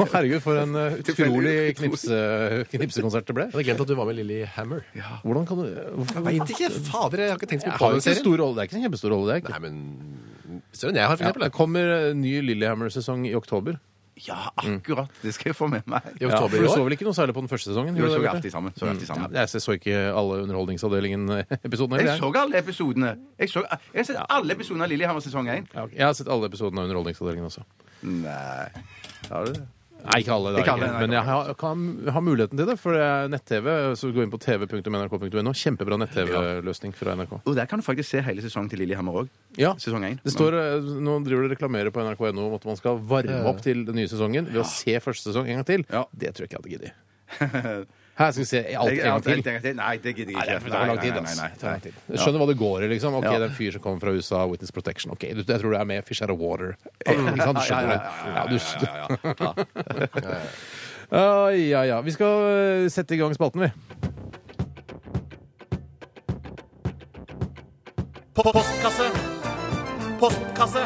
Speaker 3: Å, herregud, for en øh, utrolig knipse, eh, knipsekonsert det ble.
Speaker 5: Jeg hadde glemt at du var med Lilly Hammer.
Speaker 3: Hvordan kan du hvorfor-
Speaker 5: Veit ikke! Fader, jeg har ikke tenkt så
Speaker 3: Jeg
Speaker 5: mye på
Speaker 3: har
Speaker 5: den
Speaker 3: jo ikke en
Speaker 5: serien.
Speaker 3: stor rolle. Det er ikke en kjempestor rolle. det er ikke.
Speaker 5: Nei, men Større enn jeg har, for
Speaker 3: Ja,
Speaker 5: eksempel.
Speaker 3: det kommer øh, ny Lillehammer-sesong i oktober.
Speaker 4: Ja, akkurat.
Speaker 3: Mm.
Speaker 4: Det skal jeg få med meg.
Speaker 5: I
Speaker 3: Ja, for
Speaker 5: oktober
Speaker 3: du
Speaker 5: i
Speaker 3: så
Speaker 5: år.
Speaker 3: vel ikke noe særlig på den første sesongen?
Speaker 4: Jo, så
Speaker 3: gjorde du
Speaker 4: vi
Speaker 3: det,
Speaker 4: alltid sammen. Så vi alltid sammen.
Speaker 3: Bjarte? Mm. Jeg så ikke alle eh, Underholdningsavdelingen-episodene.
Speaker 4: Jeg så alle episodene. Jeg, så, jeg har sett alle episodene av Lillehammer sesong 1.
Speaker 3: Ja, ok. Jeg har sett alle episodene av Underholdningsavdelingen også.
Speaker 4: Nei Har du det?
Speaker 3: Nei, ikke alle dager.
Speaker 4: Ikke alle, nei,
Speaker 3: men
Speaker 4: ikke
Speaker 3: jeg har, kan ha muligheten til det, for det er nett-TV. Så gå inn på tv.nrk.no. Kjempebra nett-TV-løsning fra NRK.
Speaker 4: Og der kan du faktisk se hele sesongen til Lillehammer òg.
Speaker 3: Ja.
Speaker 4: Sesong 1.
Speaker 3: Det står, eh, Nå driver det reklamerer på nrk.no om at man skal varme opp til den nye sesongen ved å se første sesong en gang til.
Speaker 4: Ja.
Speaker 3: Det tror jeg ikke jeg hadde giddet. Her skal vi se alt
Speaker 4: Jeg- jeg-
Speaker 3: en gang til.
Speaker 4: jeg- jeg- jeg- Nei, det gidder jeg
Speaker 3: Nei,
Speaker 4: ikke.
Speaker 3: det tar lang tid, ass. Det tar lang tid. Jeg skjønner hva det går i. liksom. Ok,
Speaker 4: Ja.
Speaker 3: det er en fyr som kommer fra USA, Witness Protection. Ok, du, Jeg tror det er med Fish Out of Water. Ikke sant? Du skjønner det. Ja, du skjønner. Ai, ja, ja. Vi skal eh, sette i gang spalten, vi.
Speaker 1: Postkasse. Postkasse.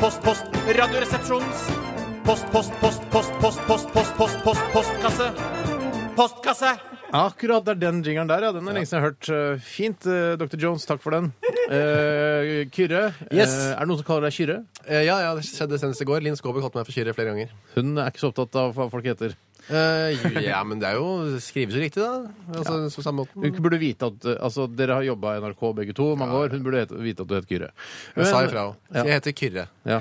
Speaker 1: Post, post. Radioresepsjonens. Post, post, post, post, post, post, post, post, post, postkasse. Postkasse.
Speaker 3: Akkurat, det er den jingeren der, ja. Den er lengst jeg har hørt. Eh, Fint, eh, Dr. Jones, takk for den. Eh, Kyrre,
Speaker 5: Yes.
Speaker 3: eh, er det noen som kaller deg Kyrre?
Speaker 5: Eh, Ja, ja, det skjedde senest i går. Linn Skåber kalte meg for Kyrre flere ganger.
Speaker 3: Hun er ikke så opptatt av hva folk heter.
Speaker 5: Eh, ja, men det er jo skrives jo riktig, da. Altså, på samme måten.
Speaker 3: Hun burde vite at, eh, altså, Dere har jobba i NRK begge to mange år. Hun burde hete- vite at du heter Kyrre. Men-
Speaker 5: Jeg sa ifra òg.
Speaker 3: Ja.
Speaker 5: Jeg heter Kyrre.
Speaker 3: Ja.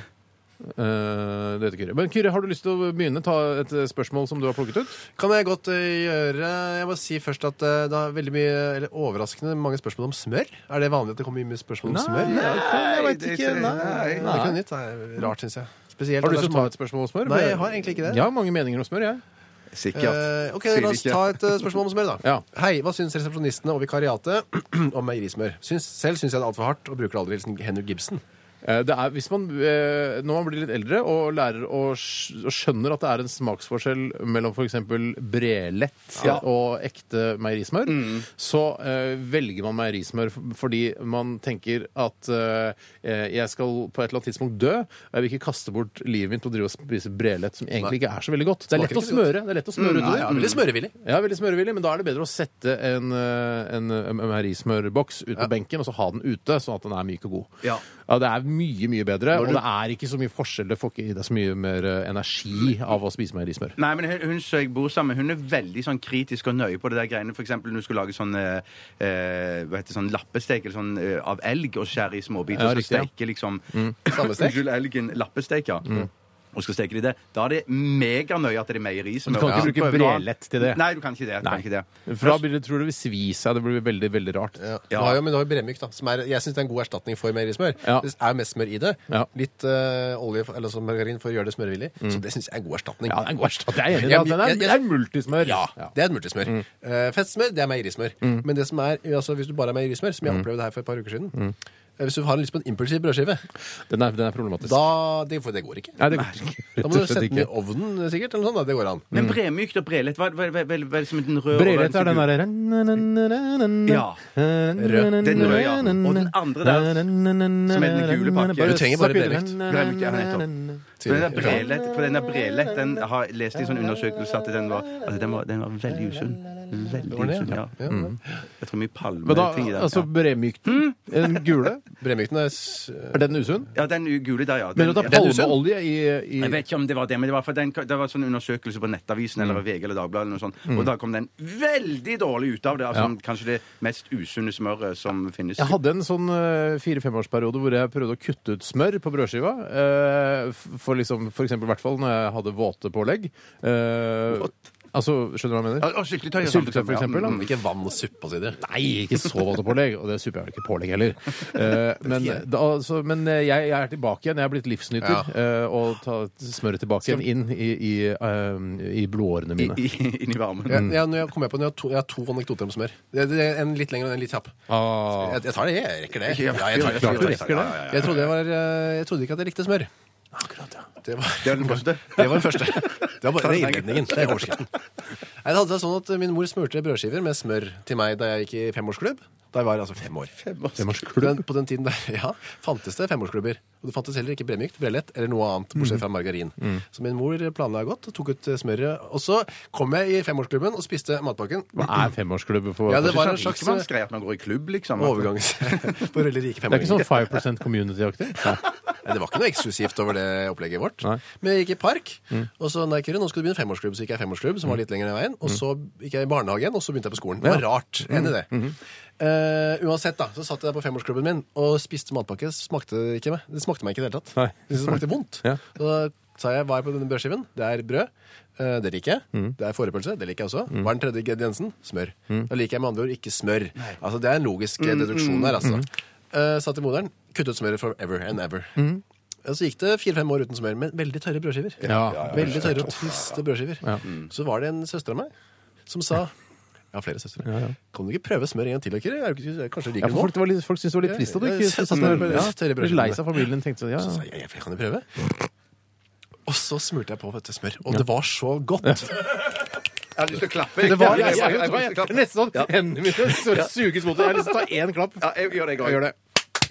Speaker 3: Eh, du heter Kyrre. Men Kyrre, har du lyst til å begynne? Ta et eh, spørsmål som du har plukket ut?
Speaker 5: Kan jeg godt eh, gjøre Jeg må si først at eh, det er veldig mye Eller overraskende mange spørsmål om smør. Er det vanlig at det kommer mye spørsmål om smør?
Speaker 3: Nei, jeg vet
Speaker 4: det-
Speaker 3: ikke. Nei,
Speaker 5: Det er ikke noe nytt. Det er rart, syns jeg. Spesielt
Speaker 3: Har
Speaker 5: at
Speaker 3: du lyst
Speaker 5: det er
Speaker 3: til å
Speaker 5: så
Speaker 3: ta et spørsmål om smør?
Speaker 5: Nei, jeg har egentlig ikke det.
Speaker 3: Jeg har mange meninger om smør, jeg.
Speaker 4: Sikkert.
Speaker 5: Eh, ok,
Speaker 4: Sier
Speaker 5: La oss
Speaker 4: ikke.
Speaker 5: ta et eh, spørsmål om smør, da.
Speaker 3: Ja.
Speaker 5: Hei, hva syns resepsjonistene og vikariatet om meierismør? Syns, selv syns jeg det er altfor hardt og bruker det aldri. Hilsen Henry Gibson.
Speaker 3: Eh, Det er, hvis man, eh, når man blir litt eldre og lærer å sk- og skjønner at det er en smaksforskjell mellom f.eks. brelett
Speaker 5: Ja.
Speaker 3: og ekte meierismør, så eh, velger man meierismør f- fordi man tenker at eh, eh, jeg skal på et eller annet tidspunkt dø, og jeg vil ikke kaste bort livet mitt på å drive og spise brelett som egentlig ikke er så veldig godt. Det er
Speaker 5: Smaker
Speaker 3: lett å
Speaker 5: ikke så godt.
Speaker 3: smøre. Det er lett å smøre utover.
Speaker 5: Mm. Ja, veldig smørevillig.
Speaker 3: Ja, veldig smørevillig, men da er det bedre å sette en, eh, en, en meierismørboks ut på benken og så ha den ute, sånn at den er myk og god.
Speaker 5: Ja.
Speaker 3: Det er mye, mye bedre,
Speaker 5: Når du-
Speaker 3: og det er ikke så mye forskjell. Det får ikke i deg så mye mer eh, energi av å spise meierismør.
Speaker 4: Nei, men hun, hun som jeg bor sammen med, hun er veldig sånn kritisk og nøye på det der greiene. For eksempel når hun skulle lage sånn, eh, eh, hva heter det, sånn lappestek eller sånn, eh, av elg og skjære i småbiter
Speaker 3: Ja,
Speaker 4: og så
Speaker 3: riktig, ja. Mm.
Speaker 4: steke liksom
Speaker 5: Samme stek?
Speaker 4: Unnskyld, elgen. Lappestek, ja. Og skal steke det i det. Da er det meganøye at det er meieri som
Speaker 3: Du kan ikke bruke brelett til det.
Speaker 4: Nei, du kan ikke det. Du kan ikke det.
Speaker 3: For da blir det, tror du det vil svi seg. Det blir veldig, veldig rart.
Speaker 5: Ja. Du har jo, men du har jo bremyk, da. Som er, jeg syns det er en god erstatning for meierismør.
Speaker 3: Ja.
Speaker 5: Det er jo mest smør i det.
Speaker 3: Ja. Mm.
Speaker 5: Litt eh, olje for- eller sånn margarin for å gjøre det smørvillig. Så det syns jeg er en god erstatning.
Speaker 3: Ja, det er en god erstatning. Jeg er enig i
Speaker 5: Jeg-
Speaker 3: det. Det er,
Speaker 5: jeg-
Speaker 3: det er multismør.
Speaker 5: Ja, det er et multismør.
Speaker 3: Mm.
Speaker 5: Eh, festsmør, det er meierismør. Men det som er, altså, hvis du bare er meierismør, som jeg
Speaker 3: Mm.
Speaker 5: opplevde her for et par uker siden eh, Hvis du har lyst på en impulsiv brødskive,
Speaker 3: Den, er, den er problematisk.
Speaker 5: da det, For det går ikke.
Speaker 3: Nei, det går ikke.
Speaker 5: Da må
Speaker 3: Rett og
Speaker 5: du sette
Speaker 3: slett
Speaker 5: den i
Speaker 3: ikke.
Speaker 5: ovnen, sikkert. eller noe sånt, da. Det går an.
Speaker 4: Men bremykt og brelett, hva, hva, hva, hva, hva er det som er den røde
Speaker 3: Brelett er den
Speaker 4: der
Speaker 3: derre
Speaker 4: Ja.
Speaker 3: Rød.
Speaker 4: Den røde, ja. Og den andre der, som er den gule pakken.
Speaker 5: Du trenger bare brelett.
Speaker 4: Brelett, ja, nettopp. For den der brelett, for den der brelett den har jeg lest i en sånn undersøkelse at den var, at den var, den var veldig usunn. Veldig
Speaker 5: det,
Speaker 4: usunn, ja. Mm. Jeg tror mye
Speaker 3: Men da,
Speaker 4: palmeting i den.
Speaker 3: altså
Speaker 4: ja.
Speaker 3: bremykten, den gule,
Speaker 5: Bremykten er s-
Speaker 3: er den usunn?
Speaker 4: ja, den gule der, ja.
Speaker 3: Men
Speaker 4: Den,
Speaker 3: at det er
Speaker 4: ja.
Speaker 3: palmeolje i, i
Speaker 4: Jeg vet ikke om det var det, men det var, for den, det var sånn undersøkelse på Nettavisen
Speaker 3: Mm.
Speaker 4: eller VG eller Dagbladet, eller noe sånt, og da kom den veldig dårlig ut av det. Altså, Kanskje det mest usunne smøret som finnes.
Speaker 3: Jeg hadde en sånn eh, fire-femårsperiode hvor jeg prøvde å kutte ut smør på brødskiva. eh, f- For liksom, for eksempel i hvert fall når jeg hadde våte pålegg. Eh, Altså, skjønner du hva jeg
Speaker 4: Ja,
Speaker 3: mener?
Speaker 4: og Syltetøy,
Speaker 3: Syltetøy,
Speaker 4: ja, samtidig,
Speaker 3: for
Speaker 4: ja.
Speaker 3: eksempel, da.
Speaker 4: Mm.
Speaker 5: ikke vann og suppe og så videre.
Speaker 3: Nei, ikke så våte pålegg. Og det supper jeg jo ikke pålegg heller. Eh, men da, altså, men jeg, jeg er tilbake igjen. Jeg er blitt livsnyter. eh, og tar smøret tilbake igjen inn i, i, eh, i blodårene
Speaker 4: I,
Speaker 3: mine.
Speaker 4: i, inn i varmen.
Speaker 3: Mm.
Speaker 5: Jeg, jeg, nå kom jeg på, jeg har, to, jeg har to anekdoter om smør. Det, det, en litt lengre og en litt kjapp.
Speaker 3: Ah.
Speaker 5: Jeg, jeg tar det, jeg rekker det. Ja, jeg, tar det.
Speaker 3: Klart du rekker det.
Speaker 5: jeg, trodde jeg, var, eh, jeg trodde ikke at jeg likte smør. Det var,
Speaker 4: Det var den første.
Speaker 5: det var den første. Det var bare innledningen. Det er overskriften. Nei, det hadde seg sånn at Min mor smurte brødskiver med smør til meg da jeg gikk i femårsklubb. Da jeg var altså fem år. Men på den tiden der, ja, fantes det femårsklubber. Og det fantes heller ikke bremykt, brelett eller noe annet, bortsett fra margarin. Så min mor planla godt og tok ut eh, smøret. Og så kom jeg i femårsklubben og spiste matpakken.
Speaker 3: Hva er femårsklubben for
Speaker 5: Ja, det var en
Speaker 4: Sånn
Speaker 5: slags eh,
Speaker 4: rikemannsgreie at man går i klubb, liksom.
Speaker 5: overgangs... For veldig rike
Speaker 3: Det er ikke
Speaker 5: femåringer.
Speaker 3: sånn 5 community-aktig?
Speaker 5: Nei, Det var ikke noe eksklusivt over det opplegget vårt.
Speaker 3: Nei. Mm.
Speaker 5: Men jeg gikk i park, og så nei, Kyrre, nå skal du begynne femårsklubb. Så gikk jeg i femårsklubb, som var litt lenger ned veien.
Speaker 3: Mm.
Speaker 5: Og så gikk jeg i barnehagen, og så begynte jeg på skolen. Det var rart. Enig i det.
Speaker 3: Mm.
Speaker 5: Eh, uansett, da, så satt jeg der på femårsklubben min og spiste matpakke. Smakte det ikke meg. Det smakte meg ikke i det hele tatt.
Speaker 3: Nei.
Speaker 5: Det smakte vondt.
Speaker 3: Ja.
Speaker 5: Så da sa jeg hva er på denne brødskiven? Det er brød. eh, Det liker jeg.
Speaker 3: Mm.
Speaker 5: Det er fårepølse. Det liker jeg også. Hva er den tredje ingrediensen? Smør. Da liker jeg med andre ord ikke smør. Altså, Det er en logisk
Speaker 3: Mm,
Speaker 5: eh, deduksjon her, altså. Eh, sa til moderen kutt ut smøret forever and ever. Og så gikk det fire-fem år uten smør, men veldig tørre brødskiver.
Speaker 3: Mm. Ja, ja, ja.
Speaker 5: Veldig tørre og triste brødskiver.
Speaker 3: Mm.
Speaker 5: Så var det en søster av meg som sa Jeg har flere søstre. Kan du ikke prøve smør en gang til, da, Kyrre? Er du ikke- Kanskje du liker
Speaker 3: Ja,
Speaker 5: det
Speaker 3: for
Speaker 5: nå?
Speaker 3: folk, det var litt, folk syntes det var litt trist at du
Speaker 5: Ja,
Speaker 3: ikke
Speaker 5: jeg-
Speaker 3: satt der.
Speaker 5: jeg-
Speaker 3: Ja,
Speaker 5: jeg-
Speaker 3: ble lei seg av familien. tenkte sånn, ja,
Speaker 5: Så sa
Speaker 3: ja.
Speaker 5: jeg, jeg kan jo prøve. Og så smurte jeg på vet du, smør, og det var så godt.
Speaker 4: Jeg har lyst til å klappe.
Speaker 3: Det var,
Speaker 4: Ja,
Speaker 3: jeg, jeg,
Speaker 4: jeg
Speaker 3: jeg,
Speaker 4: har lyst til å klappe.
Speaker 3: nesten sånn hendene mine så suges mot det. Jeg har lyst til å ta én klapp.
Speaker 4: Ja, jeg gjør
Speaker 3: Jeg
Speaker 4: det, jeg
Speaker 3: gjør
Speaker 4: òg.
Speaker 3: det.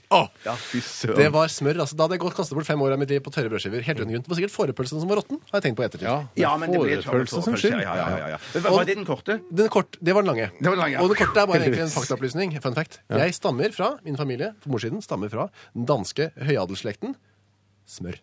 Speaker 5: Åh,
Speaker 4: Ja, fy søren.
Speaker 5: det var smør, altså. Da hadde jeg godt kastet bort fem år av mitt liv på tørre brødskiver. Helt uten grunn. Det var sikkert fårepølsen som var råtten, har jeg tenkt på i ettertid.
Speaker 3: Ja,
Speaker 4: Ja, men det blir
Speaker 3: Forefølelse som skyld.
Speaker 4: Ja, ja, ja, ja. Var var det den korte?
Speaker 5: Den kort, det var den lange.
Speaker 4: var den lange, ja.
Speaker 5: Og den korte er bare egentlig en faktaopplysning. Fun fact. Jeg stammer fra, min familie på morssiden stammer fra den danske høyadelsslekten smør.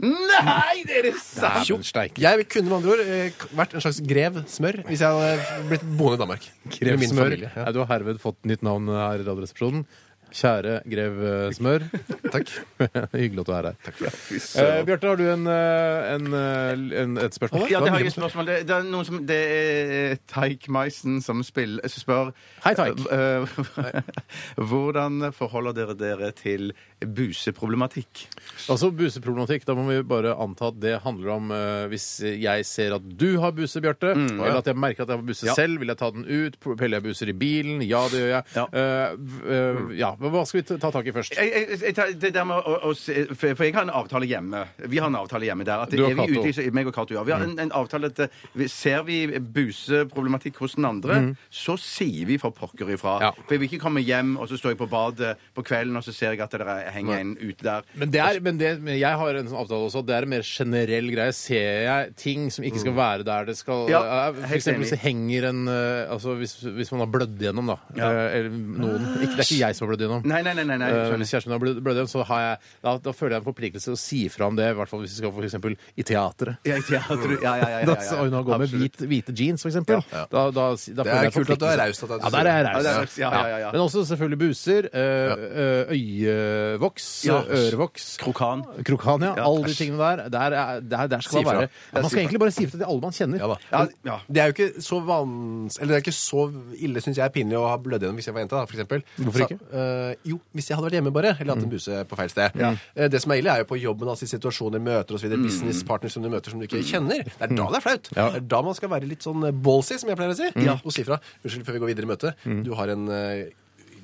Speaker 4: Nei, det er det sant!
Speaker 5: Jo,
Speaker 3: Dæven steike.
Speaker 5: Jeg kunne med andre ord eh, k- vært en slags grev smør hvis jeg hadde blitt boende i Danmark. Med min
Speaker 3: Grevsmør.
Speaker 5: familie, ja.
Speaker 3: Nei, Du har herved fått nytt navn eh, her i Radioresepsjonen. Kjære Grev eh, Smør. Takk. Hyggelig at du er her. Eh, Bjarte, har du en, eh, en, eh, en, et spørsmål?
Speaker 4: Ja, det har jeg et spørsmål. Det, det er noen som Det er Taik Meisen som spiller, som spør
Speaker 3: Hei, Taik.
Speaker 4: Eh, Hvordan forholder dere dere til buseproblematikk?
Speaker 3: Altså buseproblematikk. Da må vi bare anta at det handler om eh, Hvis jeg ser at du har buse, Bjarte, eller at jeg merker at jeg har buse
Speaker 4: Ja.
Speaker 3: selv, vil jeg ta den ut? Peller jeg buser i bilen? Ja, det gjør jeg.
Speaker 4: Ja.
Speaker 3: Eh, v- eh, ja, men Hva skal vi ta- ta tak i først?
Speaker 4: Jeg, jeg, jeg, tar- det der med å, å se, for, for jeg har en avtale hjemme. Vi har en avtale hjemme der. At
Speaker 3: Du og
Speaker 4: er vi
Speaker 3: Cato. Mm.
Speaker 4: ute i- meg og Cato, ja. Vi har en, en avtale at eh, vi- ser vi buseproblematikk hos den andre, så sier vi for pokker ifra.
Speaker 3: Mm. Ja.
Speaker 4: For jeg vil ikke komme hjem, og så står jeg på badet på kvelden, og så ser jeg at det der henger en ute der.
Speaker 3: Men, det er, men, det, men jeg har en sånn avtale også. Det er en mer generell greie. Ser jeg ting som ikke skal være der det skal
Speaker 4: Mm. Ja,
Speaker 3: eh, For
Speaker 4: helt
Speaker 3: eksempel
Speaker 4: enig.
Speaker 3: hvis det henger en eh, Altså hvis, hvis man har blødd gjennom, da.
Speaker 4: Ja.
Speaker 3: eh, Eller noen ikke, Det er ikke jeg som har blødd gjennom.
Speaker 4: Nei, nei, nei. nei, nei
Speaker 3: Eh,
Speaker 4: skjønner.
Speaker 3: Hvis kjæresten min har blødd blødd gjennom, så har jeg, da, da føler jeg en forpliktelse til å si fra om det. I hvert fall hvis vi skal for eksempel i teatret.
Speaker 4: Ja, ja, ja, ja, ja, ja,
Speaker 3: Da sa hun har gått med
Speaker 4: Absolutt.
Speaker 3: hvit, hvite jeans, for eksempel. Da, da, da
Speaker 5: Det
Speaker 3: føler
Speaker 5: er kult at du
Speaker 3: jeg
Speaker 5: er
Speaker 3: forpliktelse.
Speaker 5: raus. at du
Speaker 3: Ja, der er jeg
Speaker 4: Ja,
Speaker 3: raus.
Speaker 4: det er raus. Ja, ja, ja, ja.
Speaker 3: Men også selvfølgelig buser, eh, eh, øyevoks,
Speaker 4: Ja.
Speaker 3: ørevoks.
Speaker 4: Krokan.
Speaker 3: Krokan, ja.
Speaker 4: Ja,
Speaker 3: Alle de
Speaker 4: æsj.
Speaker 3: tingene der. Der, er- der, der skal
Speaker 4: Si
Speaker 3: man
Speaker 4: fra.
Speaker 3: være.
Speaker 4: Ja,
Speaker 3: Man
Speaker 4: si
Speaker 3: skal
Speaker 4: fra.
Speaker 3: egentlig bare si fra til alle man kjenner.
Speaker 5: Ja da.
Speaker 4: Ja, ja.
Speaker 5: Det er jo ikke så vans... Eller det er ikke så ille, syns jeg, pinlig å ha blødd gjennom hvis jeg var jente, da, for eksempel.
Speaker 3: Hvorfor ikke?
Speaker 5: Så, øh, jo, hvis jeg hadde vært hjemme, bare. Eller hatt en buse på feil sted. Eh, Det som er ille, er jo på jobben, altså i situasjoner, møter osv. Businesspartnere som du møter som du ikke kjenner. Det er da det er flaut. Det er da man skal være litt sånn eh, ballsy, som jeg pleier å si. Og si fra. Unnskyld, før vi går videre i møtet. Du har en eh,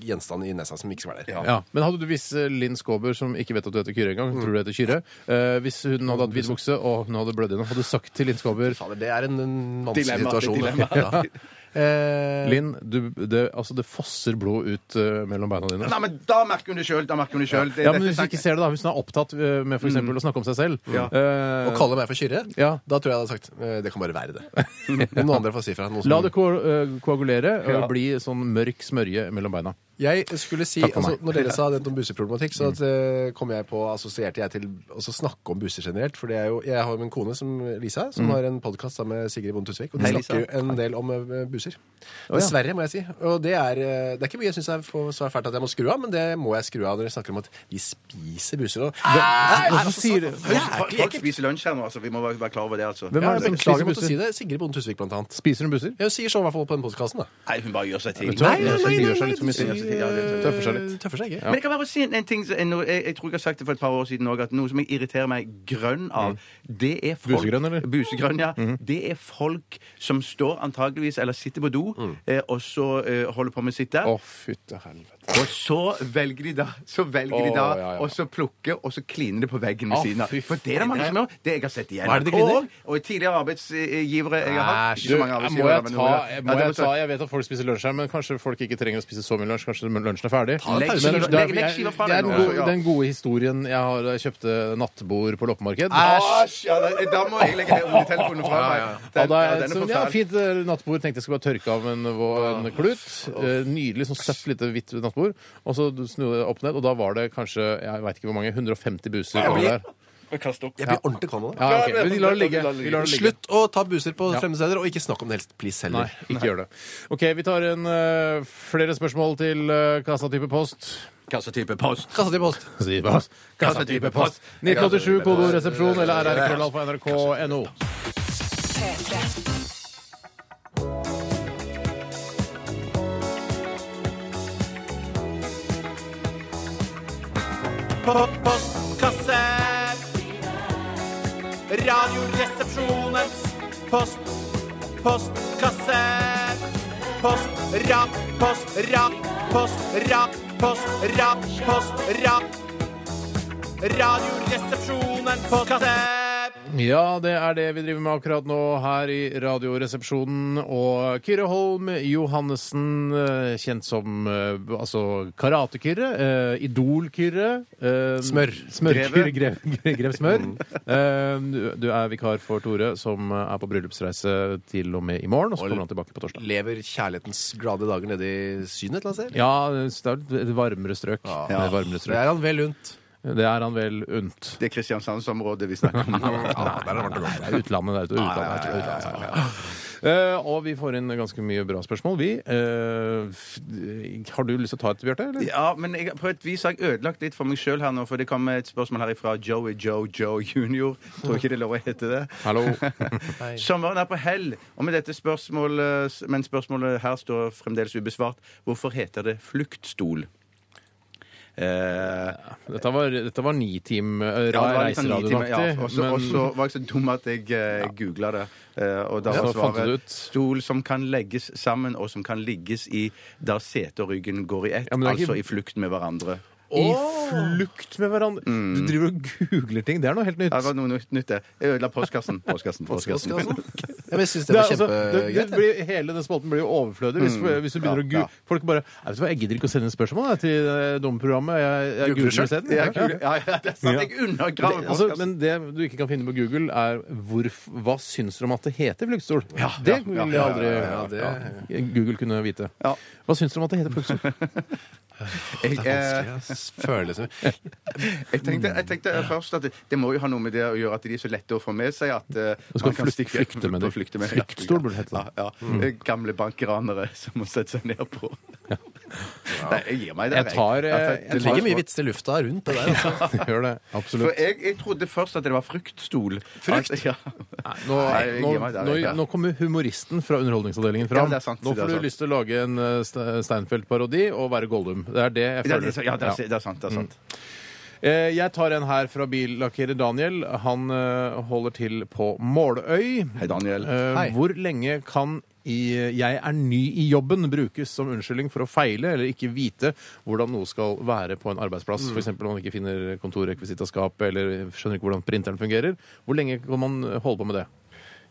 Speaker 5: gjenstand i nesa som ikke skal være der.
Speaker 3: Ja. Men hadde du hvis eh, Linn Skåber, som ikke vet at du heter Kyrre engang, tror du heter Kyrre eh, Hvis hun hadde hatt hvit bukse og hun hadde blødd gjennom, hadde du sagt til Linn Skåber
Speaker 5: Fader, det er en, en vanskelig
Speaker 4: Dilemma,
Speaker 5: situasjon.
Speaker 4: dilemma.
Speaker 5: Ja. Eh,
Speaker 3: Linn, du, det, altså, det fosser blod ut eh, mellom beina dine.
Speaker 4: Nei, men da merker hun det sjøl. Da merker hun det sjøl.
Speaker 3: Ja, men hvis du ikke ser det, da. Hvis hun er opptatt eh, med f.eks. å snakke om seg selv
Speaker 4: Ja.
Speaker 3: eh,
Speaker 5: Å kalle meg for kyrre?
Speaker 3: Ja.
Speaker 5: Da tror jeg jeg hadde sagt eh, det kan bare være det. Men Noen andre får si fra. Noen som...
Speaker 3: La det ko eh, koagulere og
Speaker 4: Ja.
Speaker 3: bli sånn mørk smørje mellom beina.
Speaker 5: Jeg skulle si,
Speaker 3: Takk for
Speaker 5: altså,
Speaker 3: meg.
Speaker 5: Når dere sa det om buseproblematikk, så at, eh, kom jeg på, assosierte jeg til å så snakke om buser generelt. For det er jo, jeg har jo min kone som Lisa,
Speaker 3: Mm.
Speaker 5: som har en podkast sammen med Sigrid Bonde Tusvik. Og de
Speaker 4: Hei, Lisa.
Speaker 5: snakker jo en del om eh, buser.
Speaker 3: ja.
Speaker 5: Dessverre, må jeg si. Og det er, eh, det er ikke mye jeg syns er for- så er fælt at jeg må skru av, men det må jeg skru av når dere snakker om at vi spiser buser. Og... Nei,
Speaker 3: Hvorfor
Speaker 5: altså,
Speaker 3: sier du-
Speaker 5: jæklig
Speaker 4: Folk
Speaker 5: ekkelt.
Speaker 4: spiser lunsj her nå, altså. Vi må være være klar over det, altså.
Speaker 3: Hvem
Speaker 5: Ja,
Speaker 3: er det som
Speaker 5: Beklager, jeg
Speaker 3: spiser
Speaker 5: måtte si
Speaker 3: busser?
Speaker 5: det. Sigrid Bonde Tusvik, blant annet.
Speaker 3: Spiser hun busser?
Speaker 5: Jeg sier sånn i hvert fall på den podkasten, da.
Speaker 4: Nei, hun bare gjør seg ting.
Speaker 3: Vet du hva?
Speaker 5: Nei, nei, nei,
Speaker 3: Gjør
Speaker 5: nei,
Speaker 3: seg litt for mye
Speaker 4: nei,
Speaker 3: ting.
Speaker 4: nei, nei, nei.
Speaker 3: Tøffer seg litt.
Speaker 5: Tøffer seg ikke.
Speaker 4: Men jeg kan bare si en, en ting som- en, jeg, jeg tror jeg har sagt det for et par år siden òg, at noe som jeg irriterer meg grønn av, det er folk
Speaker 3: Mm. Busegrønn, eller? Mm.
Speaker 4: Busegrønn, ja. Det er folk som står antageligvis, eller sitter på do, eh, og så eh, holder på med sitt der.
Speaker 3: Mm. Å, fytte helvete.
Speaker 4: Og så velger de da Så velger de da
Speaker 3: Å, ja, ja.
Speaker 4: Og så plukker Og så kliner de på veggen ved
Speaker 3: Å,
Speaker 4: siden av
Speaker 3: fy
Speaker 4: For det er det mange som gjør Det jeg har sett i
Speaker 5: Hva er det de
Speaker 4: NRK,
Speaker 5: kliner?
Speaker 4: Og i tidligere arbeidsgivere jeg har hatt
Speaker 5: Æsj,
Speaker 3: Du,
Speaker 4: Ikke
Speaker 3: må
Speaker 4: så mange
Speaker 3: jeg,
Speaker 4: arbeidsgivere men
Speaker 3: ta,
Speaker 4: noen- Ja,
Speaker 3: må
Speaker 4: det
Speaker 3: jeg,
Speaker 4: må
Speaker 3: ta, jeg vet at folk spiser lunsj her, men kanskje folk ikke trenger å spise så mye lunsj. Kanskje lunsjen er ferdig.
Speaker 4: en
Speaker 3: Men
Speaker 4: pause.
Speaker 3: det er-
Speaker 4: Legg- legg- legg skiva fra
Speaker 3: det er
Speaker 4: deg
Speaker 3: den
Speaker 4: nå.
Speaker 3: gode,
Speaker 4: Ja.
Speaker 3: den gode historien jeg har da jeg kjøpte nattbord på loppemarked.
Speaker 4: Æsj! Ja, da, da må jeg legge hodetelefonen fra meg.
Speaker 3: Ja,
Speaker 4: Den,
Speaker 3: da,
Speaker 4: ja,
Speaker 3: er-
Speaker 4: den er
Speaker 3: så, ja,
Speaker 4: forferdelig.
Speaker 3: fint eh, nattbord. Tenkte jeg skulle bare tørke av en, vå- en klut. Eh, Nydelig, sånn søtt lite hvitt nattbord. Og så snudde jeg opp ned, og da var det kanskje jeg vet ikke hvor mange, 150 buser over der.
Speaker 5: Jeg blir ordentlig kvalm av det.
Speaker 3: Ja, ok, Men vi lar det ligge. Vi lar det ligge.
Speaker 5: Slutt å ta buser på fremmede steder, og ikke snakk om det helst, please,
Speaker 3: Nei,
Speaker 5: heller.
Speaker 3: ikke gjør det. OK, vi tar en, eh, flere spørsmål til uh, kassatype post.
Speaker 4: Hva slags type post?
Speaker 5: Kassa til post.
Speaker 3: Kassatype post. 1987, kodeord resepsjon eller rrkrøllalfa.nrk.no.
Speaker 6: P3.
Speaker 1: På postkasse. Radioresepsjonens post, postkasse. Post, rap, post, rap, post, rap, post, rap, post, rap. Radioresepsjonens postkasse.
Speaker 3: Ja, det er det vi driver med akkurat nå her i Radioresepsjonen. Og Kyrre Holm Johannessen, eh, kjent som eh, altså Karate-Kyrre, eh, Idol-Kyrre eh,
Speaker 5: Smør.
Speaker 3: Smør-Kyrre Grev, grev Smør. Eh, du- du er vikar for Tore, som er på bryllupsreise til og med i morgen, og så kommer han tilbake på torsdag.
Speaker 5: Lever kjærlighetens glade dager nede i Syden et eller annet sted?
Speaker 3: Ja, så det er et varmere strøk. Det er et varmere
Speaker 5: Det
Speaker 3: strøk.
Speaker 5: er han vel unt.
Speaker 3: Det er han vel unt.
Speaker 4: Det er Kristiansandsområdet vi snakker om.
Speaker 3: Det er utlandet, det er utlandet. Det er utlandet. Eh, og vi får inn ganske mye bra spørsmål, vi. Eh, f- har du lyst til å ta et, Bjarte? eller?
Speaker 4: Ja, men jeg, på et vis har jeg ødelagt litt for meg sjøl her nå, for det kom et spørsmål her fra Joey Joe Joe jr. Tror ikke det er lov å hete det.
Speaker 3: Hallo.
Speaker 4: Sommeren er på hell, og med dette spørsmålet, men spørsmålet her står fremdeles ubesvart. Hvorfor heter det fluktstol? Eh,
Speaker 3: Dette var, dette var ni team eh,
Speaker 4: Ja, det var litt sånn ni timer,
Speaker 3: reiseradioaktig.
Speaker 4: ja. Og så- Og så var jeg så dum at jeg eh, googla det. eh, Og da
Speaker 3: Ja,
Speaker 4: var
Speaker 3: så fant du det ut.
Speaker 4: svaret stol som kan legges sammen, og som kan ligges i der sete og ryggen går i ett.
Speaker 3: Ja, men det er ikke-
Speaker 4: Altså i flukt med hverandre.
Speaker 3: I flukt med hverandre. Du driver og googler ting. Det er noe helt nytt.
Speaker 4: Mm. Ja, Det var noe nytt, nytt det. Jeg ødela postkassen. postkassen, postkassen.
Speaker 5: Ja, men jeg synes det
Speaker 3: Det,
Speaker 5: var
Speaker 3: er, altså, det, det
Speaker 5: kjempegreit.
Speaker 3: blir, hele den spalten blir jo overflødig hvis, hvis du begynner å
Speaker 4: Mm.
Speaker 3: gu...
Speaker 4: Ja, ja.
Speaker 3: Folk bare «Nei, vet du hva, 'Jeg gidder ikke å sende spørsmål jeg, til eh, domprogrammet. Jeg, jeg
Speaker 5: Googler
Speaker 3: googler
Speaker 5: selv.
Speaker 3: isteden.
Speaker 4: Ja,
Speaker 3: Ja,
Speaker 4: kul. ja, ja, det er sant. Jeg
Speaker 3: Det,
Speaker 4: undergraver
Speaker 3: altså,
Speaker 4: postkassen.
Speaker 3: men det du ikke kan finne på Google, er hvorf- hva syns dere om at det heter fluktstol? det
Speaker 4: ja,
Speaker 3: vil
Speaker 4: ja,
Speaker 3: jeg
Speaker 4: ja,
Speaker 3: aldri
Speaker 5: ja, ja,
Speaker 3: Google kunne vite.
Speaker 4: Ja.
Speaker 3: Hva syns dere om at det heter fluktstol?
Speaker 4: Jeg, eh,
Speaker 5: Føler det som
Speaker 4: jeg, tenkte,
Speaker 3: Mm.
Speaker 4: jeg tenkte eh, først at det, det må jo ha noe med det å gjøre at de er så lette å få med seg at eh,
Speaker 3: skal
Speaker 4: man kan
Speaker 3: flyk-
Speaker 4: stikke-
Speaker 3: flykte med det.
Speaker 4: flykte med
Speaker 3: Flyktstol burde det hete, Mm.
Speaker 4: Ja,
Speaker 3: da.
Speaker 4: ja. Eh, Gamle bankranere som må sette seg ned på. Nei, jeg gir meg der.
Speaker 3: Jeg tar, eh,
Speaker 4: Jeg
Speaker 5: Det ligger mye vitser i lufta rundt det der. altså.
Speaker 3: Gjør det.
Speaker 4: For
Speaker 3: Absolutt.
Speaker 4: jeg, jeg trodde først at det var fruktstol. Frukt? ja.
Speaker 3: Nå,
Speaker 4: Nei, jeg
Speaker 3: nå,
Speaker 4: gir meg der,
Speaker 3: nå,
Speaker 4: ja.
Speaker 3: nå kommer humoristen fra Underholdningsavdelingen
Speaker 4: Ja,
Speaker 3: fram.
Speaker 4: men det er sant,
Speaker 3: nå
Speaker 4: det er
Speaker 3: får du
Speaker 4: sant.
Speaker 3: lyst til å lage en eh, Ste- Steinfeld-parodi og være Goldum. Det er det jeg
Speaker 4: Ja,
Speaker 3: føler.
Speaker 4: det, er- ja, det,
Speaker 3: Ja.
Speaker 4: er, det er sant. Det er sant.
Speaker 3: Eh, Jeg tar en her fra billakkerer Daniel. Han eh, holder til på Måløy.
Speaker 4: Hei, Daniel.
Speaker 3: Eh,
Speaker 5: Hei.
Speaker 3: Hvor lenge kan i, 'jeg er ny i jobben' brukes som unnskyldning for å feile eller ikke vite hvordan noe skal være på en arbeidsplass? For F.eks. om man ikke finner kontorrekvisitaskapet eller skjønner ikke hvordan printeren fungerer. Hvor lenge kan man holde på med det?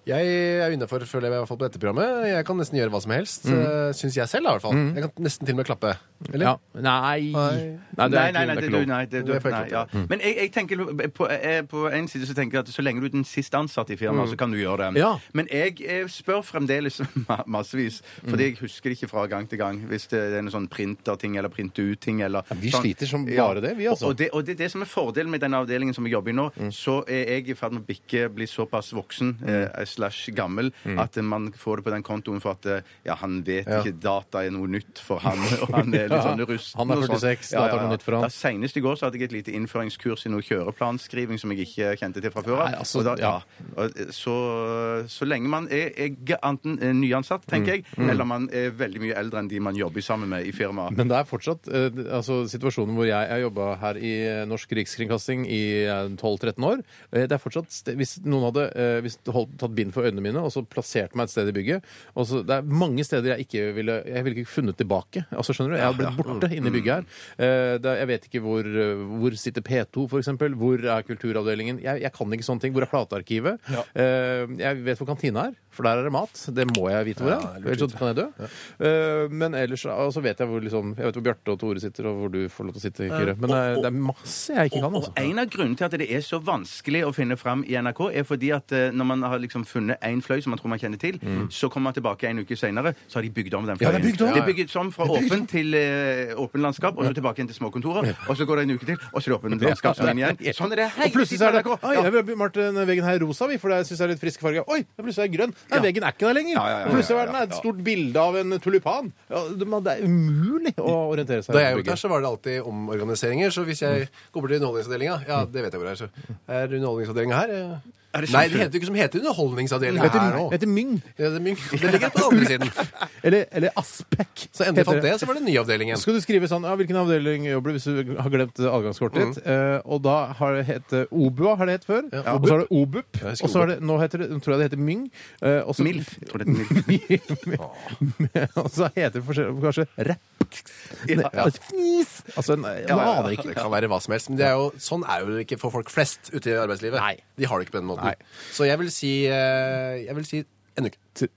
Speaker 5: Jeg er innafor, føler jeg, i hvert fall på dette programmet. Jeg kan nesten gjøre hva som helst, syns jeg selv. i hvert fall. Jeg kan nesten til og med klappe. Eller?
Speaker 3: Ja.
Speaker 5: Nei.
Speaker 3: Nei. Nei, det er
Speaker 4: Nei, nei,
Speaker 3: ikke,
Speaker 4: nei,
Speaker 3: det er
Speaker 4: det,
Speaker 3: ikke
Speaker 4: du,
Speaker 3: lov.
Speaker 4: nei, det, du,
Speaker 5: Det får jeg
Speaker 4: nei
Speaker 5: ikke
Speaker 4: ja.
Speaker 5: lov
Speaker 4: Men jeg, jeg tenker lo- på, eh, på en side så tenker jeg at så lenge du er den sist ansatte i firmaet, så kan du gjøre det.
Speaker 3: Ja.
Speaker 4: Men jeg eh, spør fremdeles ma- massevis,
Speaker 3: Mm.
Speaker 4: fordi jeg husker det ikke fra gang til gang hvis det er en sånn printerting eller printe ut-ting eller
Speaker 3: vi
Speaker 4: sånn.
Speaker 3: sliter som
Speaker 4: Ja.
Speaker 3: bare det, vi, altså. Mm.
Speaker 4: Og det, og det, det som er fordelen med den avdelingen som jeg jobber i nå, så er jeg i ferd med å bikke bli såpass voksen eh, slash gammel
Speaker 3: Mm.
Speaker 4: at eh, man får det på den kontoen for at eh, ja, han vet ikke data er noe nytt for han, og han er litt sånn rusten.
Speaker 3: Han er
Speaker 4: og sånn.
Speaker 3: 46, data er noe nytt for han.
Speaker 4: Da Senest i går så hadde jeg et lite innføringskurs i noe kjøreplanskriving som jeg ikke kjente til fra før
Speaker 3: Nei,
Speaker 4: av.
Speaker 3: altså,
Speaker 4: Og da-
Speaker 3: ja.
Speaker 4: Og, eh, Så, så lenge man er, er g- enten eh, nyansatt, tenker
Speaker 3: Mm.
Speaker 4: jeg, eller man er veldig mye eldre enn de man jobber sammen med i firmaet.
Speaker 3: Men det er fortsatt eh, altså, situasjonen hvor jeg har jobba her i eh, Norsk Rikskringkasting i eh, 12-13 år. Eh, det er fortsatt ste- Hvis noen hadde eh, hvis holdt, tatt bind for øynene mine og så plassert meg et sted i bygget og så, Det er mange steder jeg ikke ville Jeg ville ikke funnet tilbake. Altså, skjønner du? Jeg hadde blitt borte inne i bygget her. Eh, det, er- jeg vet ikke hvor, eh, hvor sitter P2, f.eks. Hvor er kulturavdelingen? Jeg, jeg kan ikke sånne ting. Hvor er platearkivet? Eh, jeg vet hvor kantina er, for der er det mat. Det må jeg vite hvor er. Ellers så kan jeg dø. Eh, men ellers og så vet jeg hvor liksom, Jeg vet hvor Bjarte og Tore sitter, og hvor du får lov til å sitte, Kyrre. Men det er, det er masse jeg ikke kan.
Speaker 4: Og
Speaker 3: Altså.
Speaker 4: En av grunnene til at det er så vanskelig å finne fram i NRK, er fordi at eh, når man har liksom funnet én fløy som man tror man kjenner til, så kommer man tilbake en uke senere, så har de bygd om den
Speaker 3: Ja, det
Speaker 4: fløyen.
Speaker 3: er bygd om.
Speaker 4: Det er bygd om fra åpen til eh, åpen landskap, og så tilbake igjen til småkontoret, og så går det en uke til, og så er det åpen landskap som igjen. Sånn er det
Speaker 3: Og
Speaker 4: hele
Speaker 3: plutselig så er det
Speaker 4: NRK.
Speaker 3: Oi, jeg vil malt den veggen her rosa, vi, for det syns jeg er litt frisk farge. Oi, den plutselig er grønn. Nei, veggen er ikke der lenger.
Speaker 4: Ja, ja, ja, ja,
Speaker 3: Plutselig er
Speaker 4: ja,
Speaker 3: den
Speaker 4: ja,
Speaker 3: et stort bilde av en tulipan. Ja, det, man- det er umulig å orientere seg.
Speaker 5: Da
Speaker 3: i
Speaker 5: jeg jobbet
Speaker 3: bygget.
Speaker 5: her, så var det alltid omorganiseringer. Så hvis jeg går bort til underholdningsavdelinga Ja, det vet jeg hvor det er. Så er underholdningsavdelinga her? eh?
Speaker 4: det
Speaker 5: Nei,
Speaker 4: samfunn?
Speaker 5: det heter jo ikke som heter underholdningsavdelinga
Speaker 3: Det heter-
Speaker 5: her nå.
Speaker 3: det heter Myng.
Speaker 5: Ja, det er mye- det ligger på den andre siden.
Speaker 3: Eller, eller Aspek.
Speaker 5: Så endelig fant det, så var det nyavdelingen.
Speaker 3: Så skal du skrive sånn, ja, hvilken avdeling jobber du hvis du har glemt eh, adgangskortet
Speaker 4: Mm.
Speaker 3: ditt. Eh, og da har det hett eh, OBUA, har det hett før. Og så er det OBUP.
Speaker 5: jeg husker
Speaker 3: Og så er det, nå heter det, nå tror jeg det heter MYNG. eh, og så-
Speaker 4: Milf. Jeg tror det heter Milf.
Speaker 3: og så heter det forskjell- kanskje RAP. Ja. Fnis! Altså, en, man aner ikke.
Speaker 5: Det kan være hva som helst, men det er jo, sånn er jo ikke for folk flest ute i arbeidslivet.
Speaker 3: Nei.
Speaker 5: De har det ikke på den måten.
Speaker 3: Nei.
Speaker 5: Så jeg vil si eh, Jeg vil si en uke.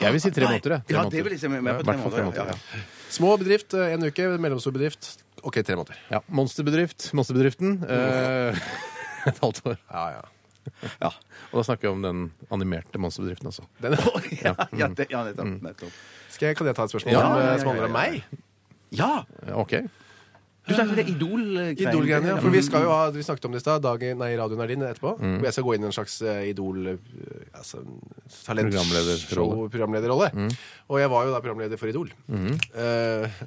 Speaker 3: Jeg vil si tre
Speaker 4: Nei.
Speaker 3: måneder, jeg. Tre
Speaker 4: Ja,
Speaker 3: måneder.
Speaker 4: det vil jeg si. Med, med
Speaker 3: I
Speaker 4: på tre
Speaker 3: hvert fall
Speaker 4: måneder.
Speaker 3: tre
Speaker 4: ja,
Speaker 3: måneder.
Speaker 4: ja, ja.
Speaker 5: Små bedrift, eh, en uke. Mellomstor bedrift, OK, tre måneder.
Speaker 3: Ja, monsterbedrift. Monsterbedriften. eh,
Speaker 4: Mm.
Speaker 3: et halvt år.
Speaker 5: Ja, ja.
Speaker 3: Og da snakker vi om den animerte monsterbedriften, altså.
Speaker 5: Den,
Speaker 4: Ja, ja, det, ja, nettopp. nettopp.
Speaker 5: skal jeg, kan jeg ta et spørsmål
Speaker 3: Ja,
Speaker 5: som, eh,
Speaker 4: ja, ja,
Speaker 5: som handler om
Speaker 4: ja,
Speaker 5: meg?
Speaker 4: Ja!
Speaker 3: Eh, OK.
Speaker 4: Du snakket om det Idol-greiene.
Speaker 5: Idol-greiene, ja. For vi, skal jo ha, vi snakket om det i stad. dagen- Nei, radioen er din etterpå. Hvor jeg skal gå inn i en slags eh, Idol eh, altså, talent-
Speaker 3: Programlederrolle.
Speaker 5: show- programlederrolle. Og jeg var jo da programleder for Idol eh,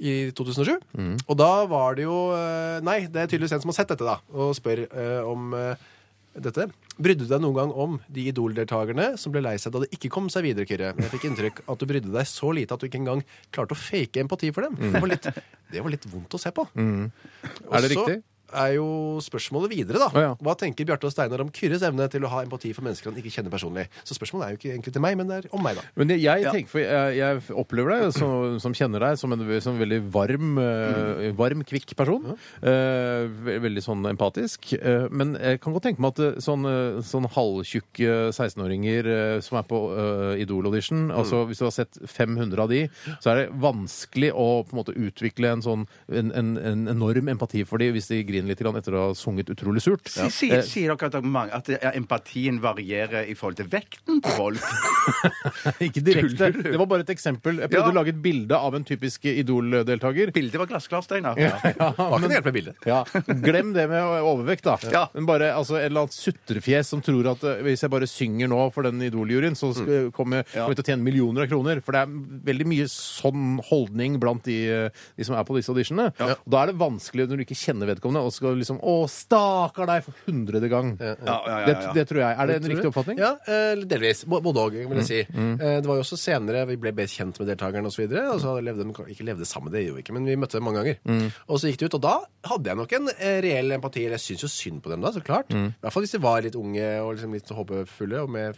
Speaker 5: i 2007. Og da var det jo eh, Nei, det er tydeligvis en som har sett dette, da, og spør eh, om eh, dette. Brydde du deg noen gang om de Idol-deltakerne som ble lei seg da det ikke kom seg videre, Kyrre? Jeg fikk inntrykk at du brydde deg så lite at du ikke engang klarte å fake empati for dem. Det, var litt, det var litt vondt å se på.
Speaker 3: Er det
Speaker 5: Og så
Speaker 3: riktig?
Speaker 5: er jo spørsmålet videre, da.
Speaker 3: Å, ja.
Speaker 5: Hva tenker Bjarte og Steinar om Kyrres evne til å ha empati for mennesker han ikke kjenner personlig? Så spørsmålet er jo ikke egentlig til meg, men det er om meg, da.
Speaker 3: Men jeg, jeg tenker, for jeg, jeg opplever deg som, som kjenner deg som en, som en veldig varm, eh, varm, kvikk person. Eh, ve- veldig sånn empatisk. Eh, men jeg kan godt tenke meg at eh, sånn, eh, sånn halvtjukke 16-åringer eh, som er på eh, Idol-audition altså Hvis du har sett 500 av de, så er det vanskelig å på en måte utvikle en sånn en, en, en enorm empati for de hvis de griner litt grann etter å ha sunget utrolig surt.
Speaker 4: Si- si- Sier dere at, det er mange- at det er- empatien varierer i forhold til vekten på folk?
Speaker 3: Ikke direkte. Det var bare et eksempel. Jeg prøvde
Speaker 4: Ja.
Speaker 3: å lage et bilde av en typisk Idol-deltaker.
Speaker 4: Bildet var glassklart, Steinar.
Speaker 5: Hva kan det hjelpe med bildet?
Speaker 3: Ja, Glem det med overvekt, da.
Speaker 4: Ja.
Speaker 3: Men bare altså, et eller annet sutrefjes som tror at eh, hvis jeg bare synger nå for den Idol-juryen, så skal jeg komme kommer jeg til å tjene millioner av kroner. For det er veldig mye sånn holdning blant de, eh, de som er på disse auditionene. Og Da er det vanskelig når du ikke kjenner vedkommende, og skal liksom Å, stakkar deg! For hundrede gang.
Speaker 4: Ja, ja, ja, ja.
Speaker 3: Det, det tror jeg. Er det en riktig oppfatning? Mm.
Speaker 5: Ja, eh, delvis. Bå- Både òg, vil jeg si. Eh, Det var jo også senere vi ble bedre kjent med deltakerne osv. Altså, levde, de- ikke levde sammen, det gjorde vi ikke, men vi møtte dem mange ganger.
Speaker 3: Mm.
Speaker 5: Og så gikk det ut, og da hadde jeg nok en eh, reell empati. Eller jeg syns jo synd på dem da, så klart.
Speaker 3: Mm.
Speaker 5: I hvert fall hvis de var litt unge og liksom litt håpefulle. og mer...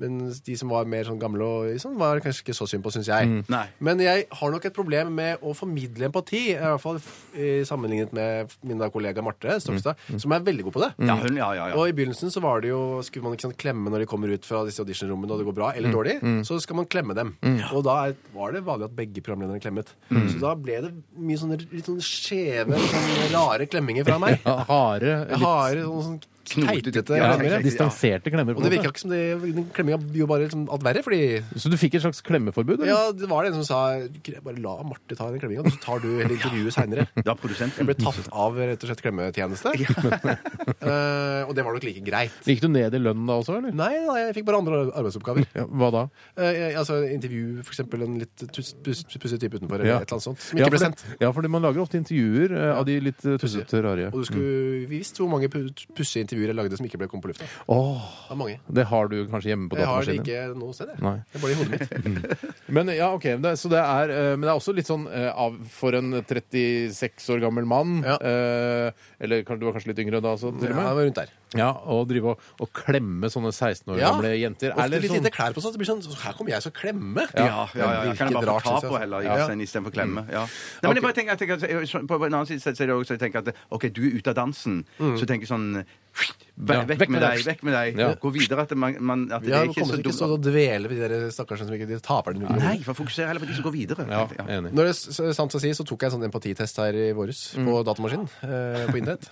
Speaker 5: Men de som var mer sånn gamle, og sånn, var kanskje ikke så synd på, syns jeg.
Speaker 3: Mm.
Speaker 4: Nei.
Speaker 5: Men jeg har nok et problem med å formidle empati, i hvert fall eh, sammenlignet med min da kollega Marte Stokstad,
Speaker 3: Mm.
Speaker 5: som er veldig god på det.
Speaker 4: Ja, hun, ja, ja, ja.
Speaker 5: Og i begynnelsen så var det jo, skulle man ikke sant, klemme når de kommer ut fra disse auditionrommene og det går bra
Speaker 4: Mm.
Speaker 5: eller dårlig, så skal man klemme dem. Og da er, var det vanlig at begge programlederne klemmet.
Speaker 4: Mm.
Speaker 5: Så da ble det mye sånne litt sånne skjeve, sånne rare klemminger fra meg.
Speaker 3: Ja, harde, litt
Speaker 5: Harde, sånn, sånn
Speaker 4: Knotete,
Speaker 5: teitete
Speaker 4: ja,
Speaker 5: klemminger.
Speaker 3: distanserte klemmer. på
Speaker 5: Og det
Speaker 3: en
Speaker 5: virka
Speaker 3: måte.
Speaker 5: ikke som det, den klemminga gjorde bare liksom alt verre, fordi
Speaker 3: Så du fikk et slags klemmeforbud? eller?
Speaker 5: ja, det var det en som sa "Kre- Bare la Marte ta den klemminga, så tar du hele intervjuet seinere.
Speaker 4: Da produsenten
Speaker 5: Ble tatt av rett og slett klemmetjeneste. Eh, og det var nok like greit.
Speaker 3: Gikk du ned i lønnen da også, eller?
Speaker 5: Nei, nei, jeg fikk bare andre arbeidsoppgaver.
Speaker 3: Ja, hva da?
Speaker 5: Eh, jeg- altså Intervju for eksempel en litt tus- pus- pussig type utenfor, eller
Speaker 3: Ja.
Speaker 5: et eller annet sånt. Som ikke ble
Speaker 3: for
Speaker 5: sendt.
Speaker 3: Det, ja, fordi man lager ofte intervjuer eh, av de litt eh, tussete, rare.
Speaker 5: Og du skulle vi visste hvor mange pu- pussige intervjuer jeg lagde som ikke ble kommet på lufta. Det
Speaker 3: Mm. Åh,
Speaker 5: er mange.
Speaker 3: det har du kanskje hjemme på
Speaker 5: Jeg har det
Speaker 3: datamaskinen?
Speaker 5: ikke noe sted, jeg.
Speaker 3: Nei.
Speaker 5: Det er bare i hodet mitt.
Speaker 3: Men ja, ok, men det, så det er, eh, men det er også litt sånn eh, av, for en 36 år gammel mann
Speaker 5: Ja.
Speaker 3: eh, Eller kan- du var kanskje litt yngre da? Så, til
Speaker 5: Ja,
Speaker 3: og
Speaker 5: det
Speaker 3: med.
Speaker 5: var rundt der.
Speaker 3: Ja, Å drive og, og klemme sånne 16 år
Speaker 5: Ja.
Speaker 3: gamle jenter.
Speaker 5: Ofte
Speaker 3: Er det
Speaker 5: litt
Speaker 3: sånn,
Speaker 5: lite klær på sånn. Det blir sånn Her kommer jeg så klemme!
Speaker 4: Ja, ja, ja, ja.
Speaker 5: Hvilket
Speaker 4: Kan jeg bare
Speaker 5: rart,
Speaker 4: få
Speaker 5: synes
Speaker 4: ta
Speaker 5: jeg,
Speaker 4: på
Speaker 5: altså.
Speaker 4: heller,
Speaker 5: Ja.
Speaker 4: ja. istedenfor klemme. Ja. Nei, men jeg bare tenker, jeg tenker, at- så- på en annen side så er det også, jeg tenker at OK, du er ute av dansen.
Speaker 5: Mm.
Speaker 4: Så tenker jeg sånn ve-
Speaker 3: Ja,
Speaker 4: Vekk med deg, vekk med deg.
Speaker 3: Ja.
Speaker 4: Gå videre. At man, man at det
Speaker 5: Ja,
Speaker 4: er
Speaker 5: nå
Speaker 4: ikke
Speaker 5: kommer
Speaker 4: så
Speaker 5: det ikke
Speaker 4: dumt.
Speaker 5: stå og dvele ved de der stakkarsene som ikke de taper den mikrofonen.
Speaker 4: Nei, for fokuser heller på de som går videre.
Speaker 3: ja,
Speaker 4: Ja.
Speaker 3: enig.
Speaker 5: Når det s- s- sant skal sies, så tok jeg en sånn empatitest her i våres
Speaker 3: Mm.
Speaker 5: på datamaskinen. Eh, på internett.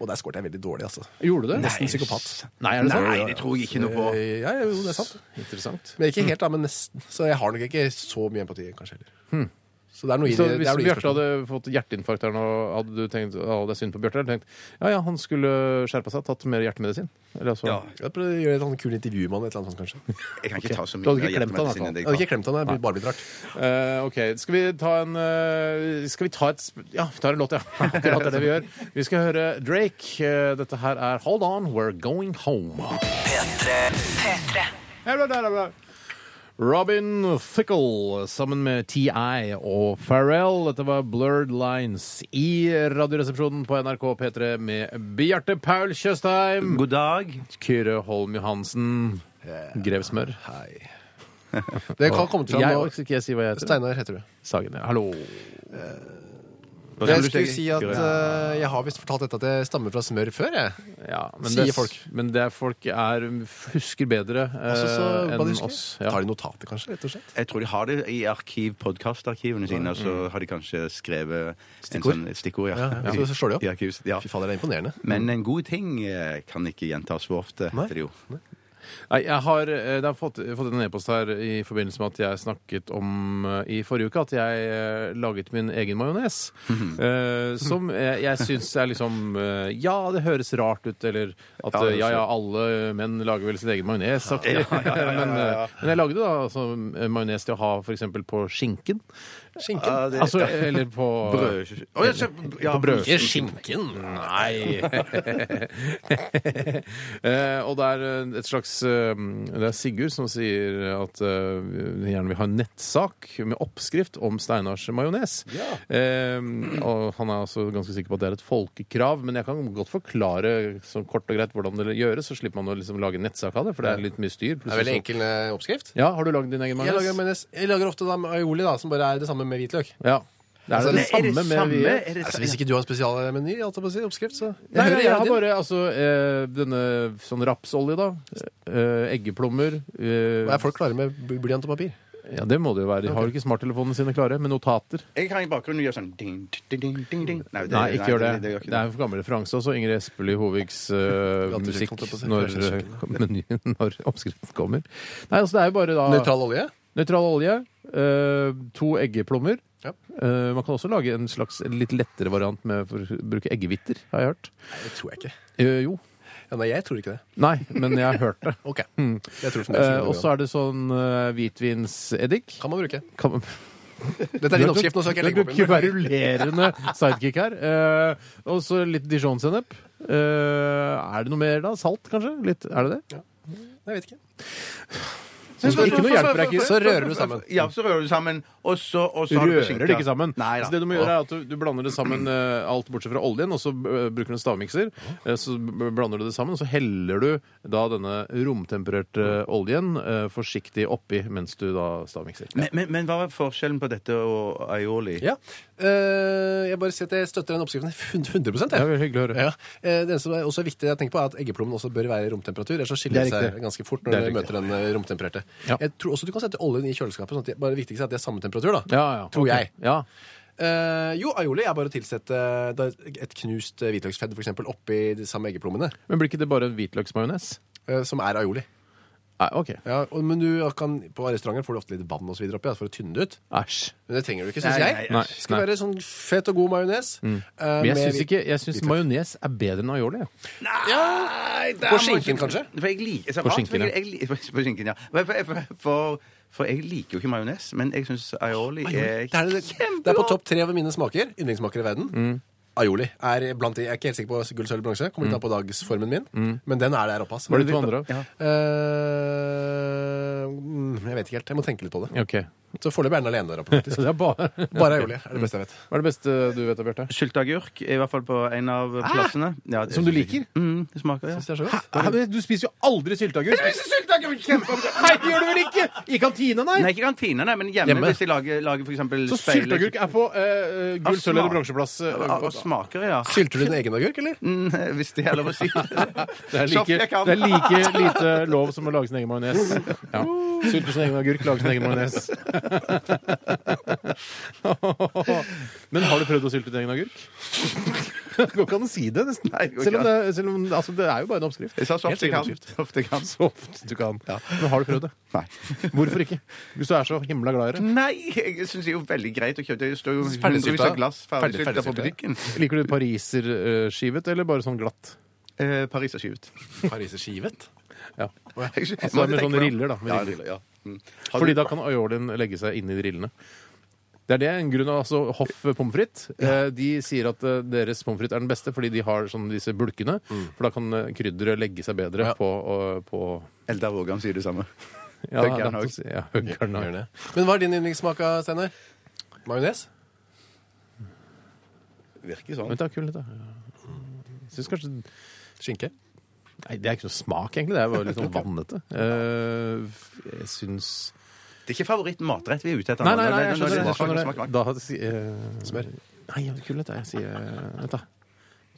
Speaker 5: Og der skåret jeg veldig dårlig, altså.
Speaker 3: Gjorde du det?
Speaker 5: Nesten psykopat.
Speaker 3: Nei, er det sant?
Speaker 4: Nei, det tror jeg ikke noe på.
Speaker 5: Eh, Ja, ja, jo, det er sant.
Speaker 3: Interessant.
Speaker 5: Men ikke helt, da, men nesten. Så jeg har nok ikke så mye empati, kanskje heller. Så det er noe i
Speaker 3: Hmm. Så
Speaker 5: det. det
Speaker 3: hvis
Speaker 5: er noe i
Speaker 3: Bjarte
Speaker 5: spørsmålet.
Speaker 3: hadde fått hjerteinfarkt her nå, hadde du tenkt å, det er synd på Bjarte? Eller tenkt ja ja, han skulle skjerpa seg, tatt mer hjertemedisin? Eller altså
Speaker 4: Ja.
Speaker 5: Jeg prøvde å gjøre et sånn kult intervju med han, et eller annet sånt, kanskje.
Speaker 4: Jeg kan ikke ta så mye.
Speaker 3: Du hadde ikke
Speaker 4: Jeg
Speaker 3: klemt han, i
Speaker 4: hjelper meg
Speaker 5: Jeg hadde
Speaker 4: til siden
Speaker 5: ikke klemt han, jeg hadde bare blitt rart.
Speaker 3: Eh, ok, skal vi ta en eh, Skal vi ta et sp- Ja, vi tar en låt, ja. Akkurat det er det vi gjør. Vi skal høre Drake. Eh, dette her er Hold On, We're Going Home.
Speaker 2: P3.
Speaker 6: P3.
Speaker 3: Robin Fickle sammen med TI og Pharrell. Dette var Blurred Lines i Radioresepsjonen på NRK P3 med Bjarte Paul Tjøstheim.
Speaker 4: God dag.
Speaker 3: Kyrre Holm Johansen. Grevsmør.
Speaker 5: Hei. Det kan komme til
Speaker 3: Eh, Jeg
Speaker 5: fram nå.
Speaker 3: orker ikke jeg si hva jeg heter.
Speaker 5: Steinar heter du.
Speaker 3: Sagen, ja. Hallo.
Speaker 4: Hva
Speaker 5: Jeg
Speaker 4: du
Speaker 5: skulle
Speaker 4: si?
Speaker 5: si at eh, jeg har visst fortalt dette at jeg stammer fra smør før, jeg.
Speaker 3: Ja, men
Speaker 5: Sier
Speaker 3: det,
Speaker 5: folk.
Speaker 3: Men det er folk er, husker bedre eh,
Speaker 5: Altså, så, hva
Speaker 3: enn
Speaker 5: de husker.
Speaker 3: oss. Ja.
Speaker 5: Tar de notater, kanskje, rett og slett?
Speaker 4: Jeg tror de har det i arkiv, podkastarkivene sine, og så har de kanskje skrevet
Speaker 5: Mm. Stikkord?
Speaker 4: en sånn et stikkord. Ja.
Speaker 5: Ja, ja. Så- så slår de opp.
Speaker 4: I arkiv, ja.
Speaker 5: Fy fader, det er imponerende.
Speaker 4: Men en god ting eh, kan ikke gjentas for ofte,
Speaker 5: Nei.
Speaker 4: heter det jo.
Speaker 3: Nei, jeg har, eh, det har fått, jeg har fått en e-post her i forbindelse med at jeg snakket om eh, i forrige uke at jeg eh, laget min egen majones.
Speaker 4: Mhm.
Speaker 3: eh, som jeg, jeg syns er liksom eh, Ja, det høres rart ut, eller at
Speaker 4: Ja, det
Speaker 3: eh, ja
Speaker 4: høres-
Speaker 3: ja, alle menn lager vel sin egen majones, aktig.
Speaker 4: Ja, ja, ja, ja, ja, ja.
Speaker 3: men, eh, men jeg lagde da altså, majones til å ha f.eks. på skinken.
Speaker 5: Skinken?
Speaker 4: Ja, det-
Speaker 3: Altså, eller på
Speaker 4: Brød- Å, jeg ser- ja,
Speaker 3: På brød.
Speaker 5: Ikke skinken!
Speaker 3: Nei Eh, Og det er eh, et slags eh, Det er Sigurd som sier at eh, hun gjerne vil ha en nettsak med oppskrift om Steinars majones. Eh, og han er altså ganske sikker på at det er et folkekrav, men jeg kan godt forklare sånn kort og greit hvordan det gjøres, så slipper man å liksom lage en nettsak av det, for det er litt mye styr.
Speaker 5: Det er veldig enkel eh, oppskrift.
Speaker 3: Ja, har du lagd din egen
Speaker 5: Jeg
Speaker 3: majones?
Speaker 5: lager, majones- jeg lager ofte da med aioli, da, som bare er det samme med hvitløk.
Speaker 3: Ja. Det er
Speaker 5: Altså,
Speaker 3: det,
Speaker 4: Er det
Speaker 3: samme med
Speaker 4: samme?
Speaker 3: vi-
Speaker 4: Er det
Speaker 5: Altså,
Speaker 4: samme?
Speaker 5: hvis ikke du har spesialmeny, alt jeg på å si, oppskrift, så jeg
Speaker 3: Nei,
Speaker 5: hører
Speaker 3: jeg har
Speaker 5: gjerne din.
Speaker 3: bare altså, eh, denne sånn rapsolje, da. Eh, eggeplommer. Eh,
Speaker 5: Er folk klare med bl- blyant og papir?
Speaker 3: ja, det må det jo være. De har jo ikke smarttelefonene sine klare, men notater.
Speaker 4: Jeg kan i bakgrunnen gjøre sånn ding, ding, ding, ding, ding. det-
Speaker 3: Nei, ikke gjør det.
Speaker 4: Det,
Speaker 3: Det
Speaker 4: gjør Mm. ikke
Speaker 3: er en for gammel referanse også. Ingrid Espelid Hovigs eh,
Speaker 5: Gatekjøkken,
Speaker 3: musikk
Speaker 5: holdt jeg på å si.
Speaker 3: når, eh, menyen, når oppskriften kommer. Nei, altså det er jo bare da
Speaker 5: Nøytral olje?
Speaker 3: nøytral olje, eh, to eggeplommer.
Speaker 5: Ja.
Speaker 3: Eh, man kan også lage en slags en litt lettere variant med for å bruke eggehviter, har jeg hørt.
Speaker 5: Det tror jeg ikke.
Speaker 3: Eh, jo.
Speaker 5: Ja, nei, jeg tror ikke det.
Speaker 3: Nei, men jeg har hørt det.
Speaker 5: Ok. Jeg tror fremdeles
Speaker 3: Eh,
Speaker 5: ikke det.
Speaker 3: og så er det sånn eh, hvitvinseddik.
Speaker 5: Kan man bruke.
Speaker 3: Kan man
Speaker 5: Dette er din oppskrift, nå så jeg ikke
Speaker 3: Du
Speaker 5: legge
Speaker 3: er
Speaker 5: på
Speaker 3: ikke
Speaker 5: min.
Speaker 3: kverulerende sidekick her. Eh, og så litt dijon-sennep. Eh, er det noe mer da? Salt, kanskje? Litt, er det det?
Speaker 5: Nei, Jeg vet ikke.
Speaker 3: Så ikke noe hjelper deg, Chris.
Speaker 5: Så rører du sammen.
Speaker 4: Ja, så rører du sammen, og så, og så har du på
Speaker 3: Rører
Speaker 4: skinka.
Speaker 3: det ikke sammen.
Speaker 4: Nei da.
Speaker 3: Så det Du må gjøre er at du, du blander det sammen eh, alt bortsett fra oljen, og så eh, bruker du en stavmikser. eh, så b- blander du det sammen, og så heller du da denne romtempererte oljen eh, forsiktig oppi mens du da stavmikser.
Speaker 4: Men, men, men hva er forskjellen på dette og aioli?
Speaker 5: Ja. Eh, jeg bare sier at jeg støtter den oppskriften hund- 100
Speaker 3: Det er
Speaker 5: jeg.
Speaker 3: veldig hyggelig å høre.
Speaker 5: Ja. Eh, Det eneste som er også viktig jeg tenker på, er at eggeplommen også bør være i romtemperatur. Ellers så skiller
Speaker 3: Det
Speaker 5: det
Speaker 3: er
Speaker 5: seg
Speaker 3: riktig.
Speaker 5: ganske fort
Speaker 3: Det er
Speaker 5: når du
Speaker 3: riktig.
Speaker 5: møter den eh, romtempererte.
Speaker 3: Ja.
Speaker 5: Jeg tror også du kan sette oljen i kjøleskapet. Sånn at det, bare det viktigste er at det er samme temperatur, da.
Speaker 3: Ja, ja.
Speaker 5: Tror
Speaker 3: Ok.
Speaker 5: jeg.
Speaker 3: Ja.
Speaker 5: Eh, jo, aioli er bare å tilsette da, et knust eh, hvitløksfedd for eksempel, oppi de samme eggeplommene,
Speaker 3: Men blir ikke det bare en hvitløksmajones?
Speaker 5: eh, som er aioli.
Speaker 3: Nei, OK.
Speaker 5: Ja, og, men du kan, på restauranter får du ofte litt vann og så videre oppi ja, for å tynne det ut.
Speaker 3: Æsj.
Speaker 5: Men det trenger du ikke, syns
Speaker 4: Nei,
Speaker 5: jeg.
Speaker 4: nei,
Speaker 3: nei. Mm.
Speaker 5: det skal være sånn fet og god majones. eh,
Speaker 3: Men jeg
Speaker 5: med
Speaker 3: syns
Speaker 5: hvit-
Speaker 3: ikke- jeg syns majones er bedre enn aioli. jeg.
Speaker 4: Nei, der
Speaker 5: På
Speaker 4: må jeg
Speaker 5: skinken,
Speaker 4: ikke-
Speaker 5: kanskje?
Speaker 4: For jeg liker, så
Speaker 3: På
Speaker 4: rart,
Speaker 3: skinken,
Speaker 4: for jeg- jeg li- På skinken, ja. For, for, for, for, for jeg liker jo ikke majones, men jeg syns aioli er
Speaker 5: Det er, det, det er på topp tre av mine smaker. Yndlingssmaker i verden.
Speaker 3: Mm.
Speaker 5: Aioli er blant de Jeg er ikke helt sikker på gull, sølv, bronse. Kommer litt an på dagsformen min. Men den er der oppe. altså. ass.
Speaker 3: Mm. Hva er de to andre?
Speaker 4: Ja.
Speaker 5: Eh, mm, jeg vet ikke helt. Jeg må tenke litt på det.
Speaker 3: OK.
Speaker 5: Så foreløpig er den alene der oppe. faktisk.
Speaker 3: Så det er bare
Speaker 5: Bare aioli er det beste jeg vet.
Speaker 3: Hva er det beste du vet da, Bjarte?
Speaker 4: Sylteagurk, i hvert fall på en av plassene. Ja, det-
Speaker 3: Som du liker?
Speaker 4: Mm, det smaker, ja.
Speaker 5: Det er så godt.
Speaker 3: Hæ, men du spiser jo aldri sylteagurk!
Speaker 4: Sylteagurk, kjempegodt!
Speaker 3: Nei, det gjør du vel ikke! I kantina, nei!
Speaker 4: Nei, ikke kantina, nei, men hjemme,
Speaker 5: Hjemme.
Speaker 4: hvis de lager, lager for eksempel
Speaker 3: Så
Speaker 4: speil-
Speaker 3: sylteagurk er på eh, gull,
Speaker 4: Av
Speaker 3: sølv eller
Speaker 4: smak.
Speaker 3: bronseplass. eh,
Speaker 4: Av av smaker, ja.
Speaker 5: Sylter du din egen agurk, eller?
Speaker 4: Mm, Hvis det er lov å si.
Speaker 3: Det er,
Speaker 4: Soft
Speaker 3: like,
Speaker 4: jeg kan.
Speaker 3: det er like lite lov som å lage sin egen majones. Ja. Sylte sin egen agurk, lage sin egen majones. Men har du prøvd å sylte din egen agurk? Det går ikke an å si det, nesten.
Speaker 4: Nei, det går
Speaker 3: selv om, det,
Speaker 4: ikke
Speaker 3: selv om altså, det er jo bare en oppskrift.
Speaker 4: Jeg sa
Speaker 3: Helt
Speaker 4: soft jeg kan.
Speaker 3: sikkert
Speaker 4: Soft jeg kan.
Speaker 3: Så ofte du kan. Men har du prøvd det?
Speaker 4: Nei.
Speaker 3: Hvorfor ikke? Hvis du er så himla glad i det.
Speaker 4: Nei, jeg syns det er jo veldig greit å kjøpe. Det står jo
Speaker 5: Ferdigsylta.
Speaker 4: hundrevis av glass ferdigsylta på
Speaker 5: Ferdig-
Speaker 4: butikken.
Speaker 3: Liker du pariserskivet eller bare sånn glatt?
Speaker 4: Eh, Paris er skivet.
Speaker 5: Pariserskivet?
Speaker 3: Ja.
Speaker 4: Jeg sy-
Speaker 3: Altså
Speaker 4: måtte
Speaker 3: med
Speaker 4: tenke
Speaker 3: sånne
Speaker 4: på det.
Speaker 3: riller, da. Med
Speaker 4: Ja,
Speaker 3: riller.
Speaker 4: riller, ja. Mm. Har
Speaker 3: Fordi
Speaker 4: du-
Speaker 3: da kan aiolien legge seg inn i de rillene. Det er det en grunn av altså, Hoff pommes frites. Eh, de sier at eh, deres pommes frites er den beste fordi de har sånn, disse bulkene. For da kan eh, krydderet legge seg bedre på, og, på
Speaker 4: Eldar Vågan sier det samme.
Speaker 3: ja,
Speaker 4: Huggeren
Speaker 3: det er
Speaker 4: også.
Speaker 3: å si- ja, huggeren
Speaker 5: Gjør
Speaker 3: også.
Speaker 5: det. Men hva er din yndlingssmak, av, Steinar? Majones?
Speaker 4: Virker sånn.
Speaker 3: Vent, da. Kul litt, da. Syns kanskje Nei,
Speaker 5: Skinke?
Speaker 3: det er ikke noe smak, egentlig. Det er bare litt sånn vannete. Eh, f- jeg syns
Speaker 4: Det er ikke favorittmatrett vi er ute etter.
Speaker 3: Nei,
Speaker 4: nå.
Speaker 3: nei, nei,
Speaker 4: Nå-
Speaker 3: jeg
Speaker 4: nå- nå-
Speaker 3: skjønner det.
Speaker 4: nå-
Speaker 3: Jeg skjønner det.
Speaker 4: smak, smak, smak.
Speaker 3: Da si- eh,
Speaker 5: Smør.
Speaker 3: Nei, jeg kull litt, jeg. Jeg sier eh, Vent, da.